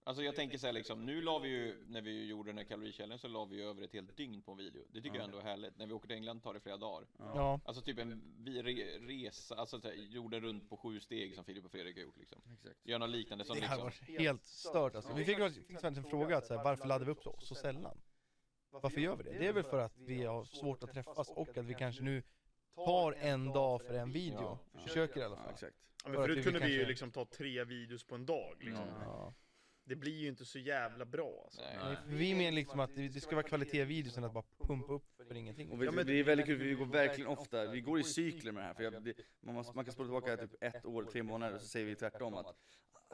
Speaker 4: Alltså jag tänker så här liksom, nu la vi ju, när vi gjorde den här kalorikällan så la vi ju över ett helt dygn på en video. Det tycker jag ändå är härligt. När vi åker till England tar det flera dagar.
Speaker 1: Ja,
Speaker 4: Alltså typ en vi- re, resa, alltså så här, jorden runt på sju steg som Filip och Fredrik har gjort liksom.
Speaker 5: Exakt.
Speaker 4: Gör något liknande som
Speaker 1: det här
Speaker 4: liksom,
Speaker 1: var helt stört alltså. Vi fick faktiskt fick faktiskt en fråga, att så här, varför laddar vi upp så, så sällan? Varför gör vi det? Det är väl för att vi har svårt att träffas och att vi kanske nu tar en dag för en video.
Speaker 3: Ja.
Speaker 1: Försöker i alla
Speaker 3: Ja,
Speaker 1: fall.
Speaker 3: exakt.
Speaker 2: Ja, men
Speaker 1: För att vi
Speaker 2: förut kunde vi ju
Speaker 1: kanske-
Speaker 2: liksom ta tre videos på en dag. Liksom.
Speaker 1: Ja.
Speaker 2: Det blir ju inte så jävla bra alltså.
Speaker 4: nej.
Speaker 1: Nej, för vi menar liksom att det det ska vara kvalitet i videon, sen att bara pumpa upp för ingenting.
Speaker 3: Och vi,
Speaker 2: Ja, men-
Speaker 3: det är väldigt kul, för vi går verkligen ofta, vi går i cykler med det här. För jag, det, man, måste, man kan spola tillbaka typ ett år, tre månader, och så säger vi tvärtom att "Ah,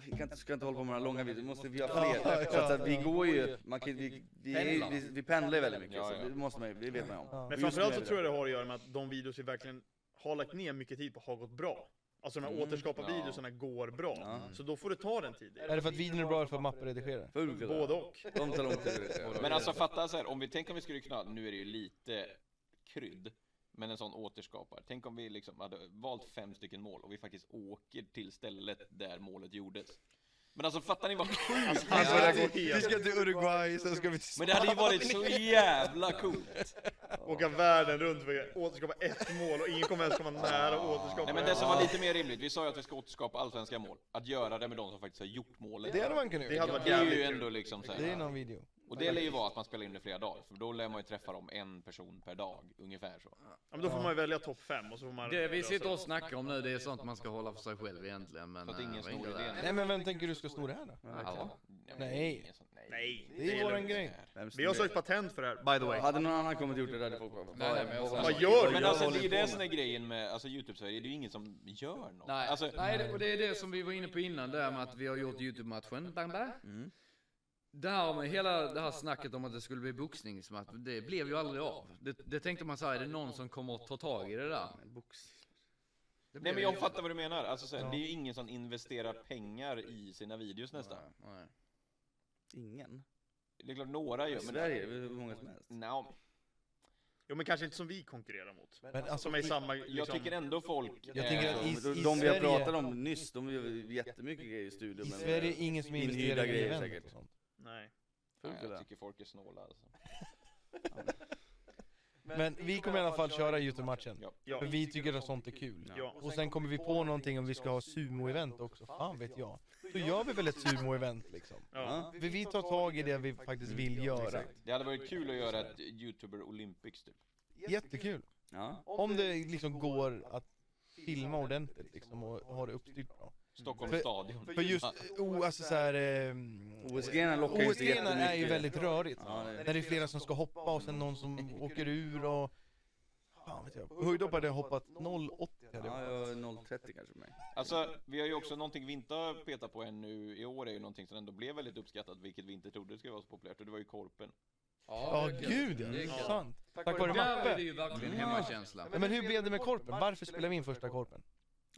Speaker 3: vi kan inte, ska inte hålla på med några långa videor, vi måste vi göra fler. Så att, att vi går ju, man kan, vi, vi, är ju- vi, vi pendlar ju väldigt mycket,
Speaker 4: Ja,
Speaker 3: så
Speaker 4: ja.
Speaker 3: det, måste man, ju- det vet man ju om.
Speaker 1: Ja.
Speaker 2: Men framförallt så tror jag det har att göra med att de videos vi verkligen har lagt ner mycket tid på har gått bra. Alltså de här
Speaker 3: Mm.
Speaker 2: återskapa
Speaker 4: Ja.
Speaker 2: videorna går bra.
Speaker 3: Ja.
Speaker 2: Så då får du ta den tiden.
Speaker 1: Är det för att videon är bra eller för att mappen redigerar?
Speaker 3: Ful kille.
Speaker 2: Både och.
Speaker 3: De tar lång tid.
Speaker 4: Men alltså fatta så här, om vi tänker om vi skulle kunna, nu är det ju lite krydd, men en sån återskapar. Tänk om vi liksom hade valt fem stycken mål och vi faktiskt åker till stället där målet gjordes. Men alltså fattar ni vad sjukt? det
Speaker 2: Alltså,
Speaker 4: hade
Speaker 2: det
Speaker 4: varit?
Speaker 2: går helt-
Speaker 1: till Uruguay, sen ska vi till
Speaker 4: Men det hade ju varit så
Speaker 1: alltså,
Speaker 4: jävla coolt!
Speaker 2: Åka världen runt för att återskapa ett mål och ingen kommer ens komma nära att återskapa
Speaker 4: Nej men det som var lite mer rimligt, vi sa ju att vi ska återskapa allsvenska mål. Att göra det med de som faktiskt har gjort målet.
Speaker 1: Det hade man kunnat
Speaker 2: Det
Speaker 1: göra.
Speaker 2: hade varit
Speaker 4: Det är ju
Speaker 2: jävligt
Speaker 4: ändå
Speaker 2: kul.
Speaker 4: liksom så här,
Speaker 1: Det är någon video.
Speaker 4: Och det lär ju vara att man spelar in det flera dagar, för då lär man ju träffa dem en person per dag, ungefär så.
Speaker 2: Ja, men då får man ju välja topp fem och så får man...
Speaker 5: Det vi sitter och snackar om nu, det är sånt man ska hålla för sig själv egentligen. Men
Speaker 4: Så att ingen
Speaker 5: eh,
Speaker 4: snor
Speaker 5: inte
Speaker 4: idén.
Speaker 5: där.
Speaker 1: Nej men vem tänker du ska sno det här då?
Speaker 5: Ja.
Speaker 1: Nej.
Speaker 4: men det är ingen sån- Nej.
Speaker 2: Nej,
Speaker 1: Det är
Speaker 2: lugnt.
Speaker 1: våran grej.
Speaker 2: Vi har sökt patent för det här, by the way.
Speaker 3: Hade någon annan kommit och gjort det där hade folk bara,
Speaker 5: Nej, nej, men jag sa-
Speaker 2: Vad gör du?
Speaker 4: Men alltså
Speaker 3: håller
Speaker 4: det är ju
Speaker 3: på
Speaker 4: det
Speaker 3: med-
Speaker 4: som är grejen med alltså, Youtube-Sverige, det är ju ingen som gör något.
Speaker 5: Nej,
Speaker 4: Alltså,
Speaker 5: nej det, och det är det som vi var inne på innan, det här med att vi har gjort Youtube-matchen. Bang, bang.
Speaker 3: Mm.
Speaker 5: Det här med hela det här snacket om att det skulle bli boxningsmatch, det blev ju aldrig av. Det, det tänkte man såhär, är det någon som kommer att ta tag i det där? Det
Speaker 4: Nej
Speaker 5: blev
Speaker 4: men
Speaker 5: ju
Speaker 4: jag
Speaker 5: aldrig
Speaker 4: fattar vad du menar, alltså, så här, det är ju ingen som investerar pengar i sina videos nästan.
Speaker 5: av. Nej.
Speaker 3: Ingen?
Speaker 4: Det är klart några
Speaker 3: I
Speaker 4: gör men...
Speaker 3: Sverige, hur många som helst.
Speaker 4: Nja,
Speaker 2: Jo men kanske inte som vi konkurrerar mot.
Speaker 1: Men alltså,
Speaker 2: Som är i samma...
Speaker 4: jag
Speaker 2: Liksom,
Speaker 4: tycker ändå folk...
Speaker 1: Jag tänker att
Speaker 4: eh,
Speaker 1: i,
Speaker 3: De,
Speaker 1: i
Speaker 3: de vi har
Speaker 1: Sverige,
Speaker 3: pratat om nyss, de gör jättemycket grejer i studion.
Speaker 1: i
Speaker 3: men-
Speaker 1: Sverige är ingen som
Speaker 3: Inhyrda
Speaker 1: investerar i
Speaker 3: grejer
Speaker 1: event
Speaker 3: säkert.
Speaker 1: och sånt.
Speaker 2: nej.
Speaker 4: nej,
Speaker 3: Ful
Speaker 4: jag
Speaker 3: kille.
Speaker 4: tycker folk är snåla alltså.
Speaker 1: Men vi kommer i alla fall köra Youtube-matchen.
Speaker 2: Ja.
Speaker 1: För vi tycker att sånt är kul.
Speaker 2: Ja.
Speaker 1: Och sen kommer vi på någonting om vi ska ha sumo-event också, fan vet jag. Då gör vi väl ett sumo-event liksom.
Speaker 2: Ja.
Speaker 3: Ja.
Speaker 1: Vi, vi tar tag i det vi faktiskt vill göra.
Speaker 4: Det hade varit kul att göra ett Youtuber Olympics typ.
Speaker 1: Jättekul.
Speaker 3: Ja.
Speaker 1: Om det liksom går att filma ordentligt liksom och ha det uppstyrt bra.
Speaker 4: Stockholms
Speaker 1: För-
Speaker 4: stadion.
Speaker 1: För just, oh, alltså såhär... Eh,
Speaker 3: OS-grenar lockar ju inte
Speaker 1: OS-grenar är ju
Speaker 3: jättemycket.
Speaker 1: väldigt rörigt.
Speaker 3: Ja, det-
Speaker 1: När det är flera som ska hoppa och sen någon som åker ur och... Fan vet jag. På höjdhopp hade jag hoppat 0,80 hade jag
Speaker 3: Ja,
Speaker 1: hoppat.
Speaker 3: jag är 0,30 kanske för mig.
Speaker 4: Alltså, vi har ju också någonting vi inte har petat på ännu i år är ju någonting som ändå blev väldigt uppskattat, vilket vi inte trodde skulle vara så populärt, och det var ju korpen.
Speaker 1: Ja,
Speaker 5: det är kul.
Speaker 1: gud
Speaker 5: Det är
Speaker 1: ja.
Speaker 5: kul.
Speaker 1: Sant. Tack vare
Speaker 5: Där är det
Speaker 1: mappe.
Speaker 5: ju verkligen
Speaker 3: Ja.
Speaker 5: hemmakänsla.
Speaker 1: Ja, Men hur blev det med korpen? Varför spelade vi in första korpen?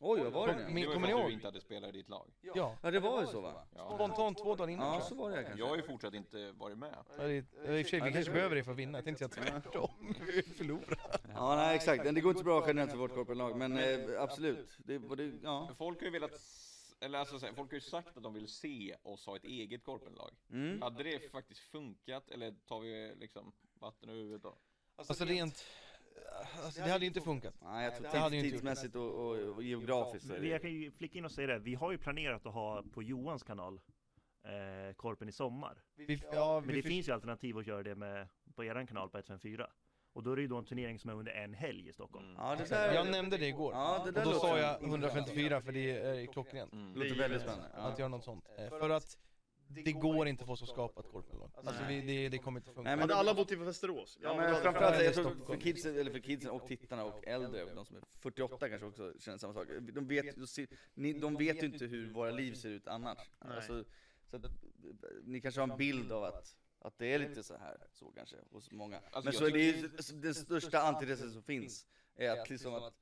Speaker 3: Oj, vad var det nu?
Speaker 1: Min-
Speaker 4: Det var
Speaker 1: kommer
Speaker 4: ju för
Speaker 1: ni
Speaker 4: att
Speaker 1: ihåg?
Speaker 4: du inte hade spelat i ditt lag.
Speaker 1: Ja.
Speaker 3: Ja, det var ju så va? Mm.
Speaker 4: Ja.
Speaker 1: Spontant två dagar innan.
Speaker 3: Ja,
Speaker 1: tror
Speaker 3: så var det
Speaker 4: Jag har
Speaker 3: kanske.
Speaker 4: ju fortsatt inte varit med.
Speaker 1: jag. Ja, det, ja, I och för sig, vi kanske behöver det för att vinna. Jag tänkte säga tvärtom. Vi förlorar.
Speaker 3: Ja, nej exakt. Det går inte bra generellt för vårt korpenlag, men eh, absolut. Det var det, ja.
Speaker 4: Folk har ju velat, s- eller alltså, så här, folk har ju sagt att de vill se oss ha ett eget korpenlag.
Speaker 3: Mm.
Speaker 4: Hade det faktiskt funkat eller tar vi liksom vatten över huvudet då?
Speaker 1: Alltså rent... Alltså, det hade ju inte funkat.
Speaker 3: Nej, jag tror
Speaker 1: Det hade ju
Speaker 3: tids,
Speaker 1: inte
Speaker 3: tidsmässigt och, och, och geografiskt så är
Speaker 6: Men Jag
Speaker 3: det
Speaker 6: kan ju flicka in och säga det, vi har ju planerat att ha på Johans kanal eh, Korpen i sommar.
Speaker 1: Vi, ja,
Speaker 6: Men det
Speaker 1: vi,
Speaker 6: finns ju alternativ att göra det med, på eran kanal på 154. Och då är det ju då en turnering som är under en helg i Stockholm.
Speaker 3: Ja, det där,
Speaker 1: jag nämnde det igår.
Speaker 3: ja, det
Speaker 1: Och
Speaker 3: där
Speaker 1: då
Speaker 3: låter,
Speaker 1: sa jag 154 för det är eh, klockrent.
Speaker 4: Mm.
Speaker 3: låter väldigt spännande. Ja.
Speaker 1: Att göra något sånt. Eh, För att det går inte för oss att skapa ett korpenlag. Alltså vi, det, det kommer inte
Speaker 3: Nej,
Speaker 1: funka.
Speaker 3: men-
Speaker 2: Hade alla bott i Västerås?
Speaker 3: Ja,
Speaker 2: då
Speaker 3: men
Speaker 2: hade
Speaker 3: framförallt, jag
Speaker 1: framförallt
Speaker 3: tror för
Speaker 1: Stockholm.
Speaker 3: kidsen, eller för kidsen och tittarna och äldre, de som är 48 kanske också känner samma sak. De vet, de ser- ni- de vet ju inte hur våra liv ser ut annars.
Speaker 2: Nej.
Speaker 3: Alltså, så att, eh, ni kanske har en bild av att, att det är lite så här, så kanske, hos många.
Speaker 4: Alltså,
Speaker 3: Men
Speaker 4: jag
Speaker 3: så är det ju så- den största antitesen som finns, är att liksom att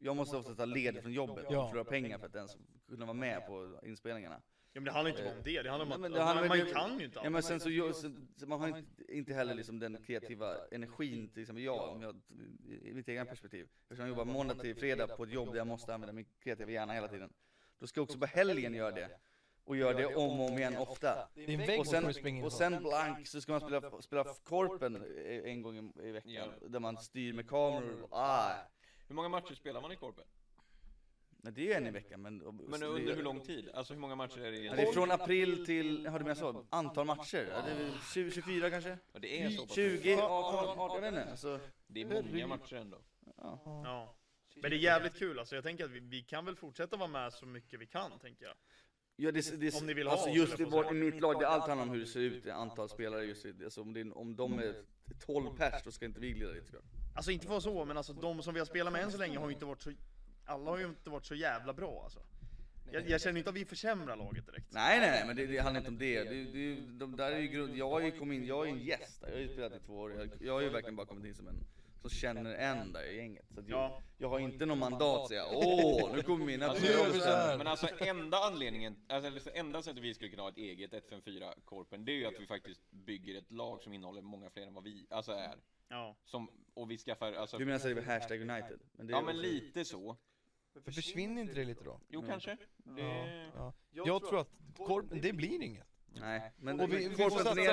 Speaker 3: jag måste ofta ta ledigt från jobbet
Speaker 1: Ja.
Speaker 3: och förlora pengar för att ens kunna vara med på inspelningarna.
Speaker 2: Ja men det handlar inte bara om det, det handlar om
Speaker 3: Nej,
Speaker 2: att
Speaker 3: men
Speaker 2: man,
Speaker 3: det handlar
Speaker 2: man
Speaker 3: väl-
Speaker 2: kan ju inte
Speaker 3: Ja,
Speaker 2: allt.
Speaker 3: men sen så, gör- så, så man har inte, inte heller liksom den kreativa energin, till exempel jag, om jag i mitt egna perspektiv. Eftersom jag jobbar måndag till fredag på ett jobb där jag måste använda min kreativa hjärna hela tiden. Då ska jag också på helgen göra det. Och göra det om och om igen ofta.
Speaker 1: Det är en vägg
Speaker 3: Och
Speaker 1: mot som
Speaker 3: sen,
Speaker 1: du springer in
Speaker 3: och
Speaker 1: på.
Speaker 3: sen blank så ska man spela, spela korpen i- en gång i- i veckan.
Speaker 4: Ja.
Speaker 3: Där man styr med kameror. Ah,
Speaker 4: Hur många matcher spelar man i korpen?
Speaker 3: nej, det är en i veckan men...
Speaker 4: Men under hur lång tid? Alltså hur många matcher är det? i
Speaker 3: Ja,
Speaker 4: en
Speaker 3: Det är
Speaker 4: säsong?
Speaker 3: från april till, hörde du jag sa? Antal matcher? Ja, det är väl 20, 24 kanske?
Speaker 4: Ja, det är så pass.
Speaker 3: 20, 18, 18, jag vet inte. Alltså, Så,
Speaker 4: Det är många matcher ändå.
Speaker 2: Ja. Men det är jävligt kul alltså, jag tänker att vi, vi kan väl fortsätta vara med så mycket vi kan, tänker jag.
Speaker 3: ja, det, det,
Speaker 2: Om ni vill ha
Speaker 3: alltså
Speaker 2: oss,
Speaker 3: just
Speaker 2: eller
Speaker 3: i
Speaker 2: på så
Speaker 3: vårt, i mitt lag, det allt handlar om hur det ser ut, det är antal spelare just i, alltså om, det, är- om de är 12 pers, då ska inte vi glida dit tror jag.
Speaker 2: Alltså inte för att så, men alltså de som vi har spelat med än så länge har ju inte varit så, alla har ju inte varit så jävla bra alltså. Jag, jag känner inte att vi försämrar laget direkt.
Speaker 3: Nej, nej, nej, men det, det handlar inte om det. det, det, är ju- de där är ju grund, jag har ju kommit in, jag är ju en gäst där, jag har ju spelat i två år, jag, jag har ju verkligen bara kommit in som en som känner en där i gänget. Så att jag,
Speaker 2: Ja,
Speaker 3: jag har inte någon mandat att säga åh, nu kommer mina
Speaker 4: Alltså,
Speaker 1: gör vi
Speaker 4: jag-
Speaker 1: så här.
Speaker 4: Men alltså enda anledningen, alltså eller så enda sättet vi skulle kunna ha ett eget 154 Korpen, det är ju att vi faktiskt bygger ett lag som innehåller många fler än vad vi, alltså är.
Speaker 2: ja.
Speaker 4: Som, och vi skaffar, alltså,
Speaker 3: Du menar så är det hashtag United? Men det är
Speaker 4: ja
Speaker 3: ju
Speaker 4: men
Speaker 3: också-
Speaker 4: lite så.
Speaker 1: För försvinner inte det lite då?
Speaker 4: Jo
Speaker 3: Mm.
Speaker 4: kanske. Det...
Speaker 1: Ja. Jag tror att korpen, det blir inget.
Speaker 3: Nej, men
Speaker 1: Och vi- vi får satsa på- ja,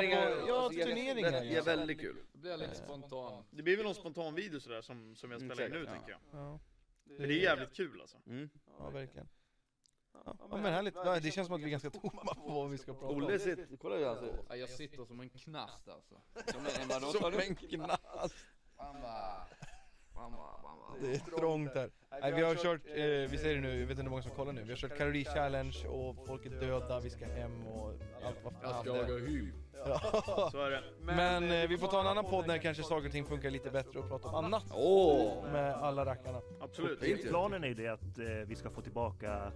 Speaker 1: turneringar,
Speaker 3: Det är
Speaker 1: ja.
Speaker 3: väldigt kul.
Speaker 5: Det blir lite spontant.
Speaker 2: Det blir väl någon spontan video sådär som, som jag
Speaker 3: Mm,
Speaker 2: spelar in nu,
Speaker 3: säkert, ja.
Speaker 2: tänker jag.
Speaker 1: Ja,
Speaker 2: Men det är jävligt kul alltså.
Speaker 3: Mm.
Speaker 1: ja verkligen. Ja, men härligt. Ja, Det känns som att vi är ganska tomma på vad vi ska prata om.
Speaker 3: Olle sitter, kolla hur han ser ut.
Speaker 5: Ja, jag sitter som en knast alltså.
Speaker 4: Men då tar
Speaker 1: Som
Speaker 4: du...
Speaker 1: en knas.
Speaker 5: Han bara... Han bara... Han bara...
Speaker 1: Det är trångt här. Nej, vi har kört, eh, vi säger det nu, jag vet inte hur många som kollar nu. Vi har kört kalori challenge och folk är döda, vi ska hem och allt vad fan det är.
Speaker 5: hy.
Speaker 1: Ja.
Speaker 2: Så är det.
Speaker 1: Men eh, vi får ta en annan podd när kanske saker och ting funkar lite bättre och prata om annat
Speaker 3: Åh!
Speaker 1: med alla rackarna.
Speaker 2: Absolut.
Speaker 3: Det är inte-
Speaker 6: Planen är ju det att eh, vi ska få tillbaka,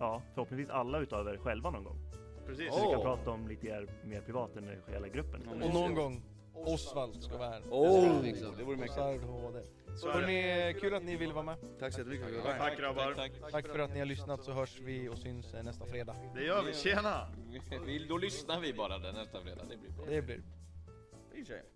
Speaker 6: ja, förhoppningsvis alla utav er själva någon gång.
Speaker 2: Precis.
Speaker 6: Så vi kan
Speaker 3: Åh.
Speaker 6: prata om lite er, mer privat än hela gruppen.
Speaker 3: Ja,
Speaker 1: Och någon gång Osvald ska vara här.
Speaker 3: Åh! Det vore mäktigt.
Speaker 1: Osvald HD.
Speaker 2: Så är det.
Speaker 1: Hörni, kul att ni ville vara med.
Speaker 3: Tack så jättemycket för att du var
Speaker 2: Tack
Speaker 3: här.
Speaker 2: grabbar.
Speaker 4: Tack,
Speaker 1: Tack för att ni har lyssnat så hörs vi och syns eh, nästa fredag.
Speaker 2: Det gör vi. Tjena!
Speaker 4: tack. Vi, då lyssnar vi bara den nästa fredag, det blir bra.
Speaker 1: Det blir
Speaker 3: Det är ju tjejer.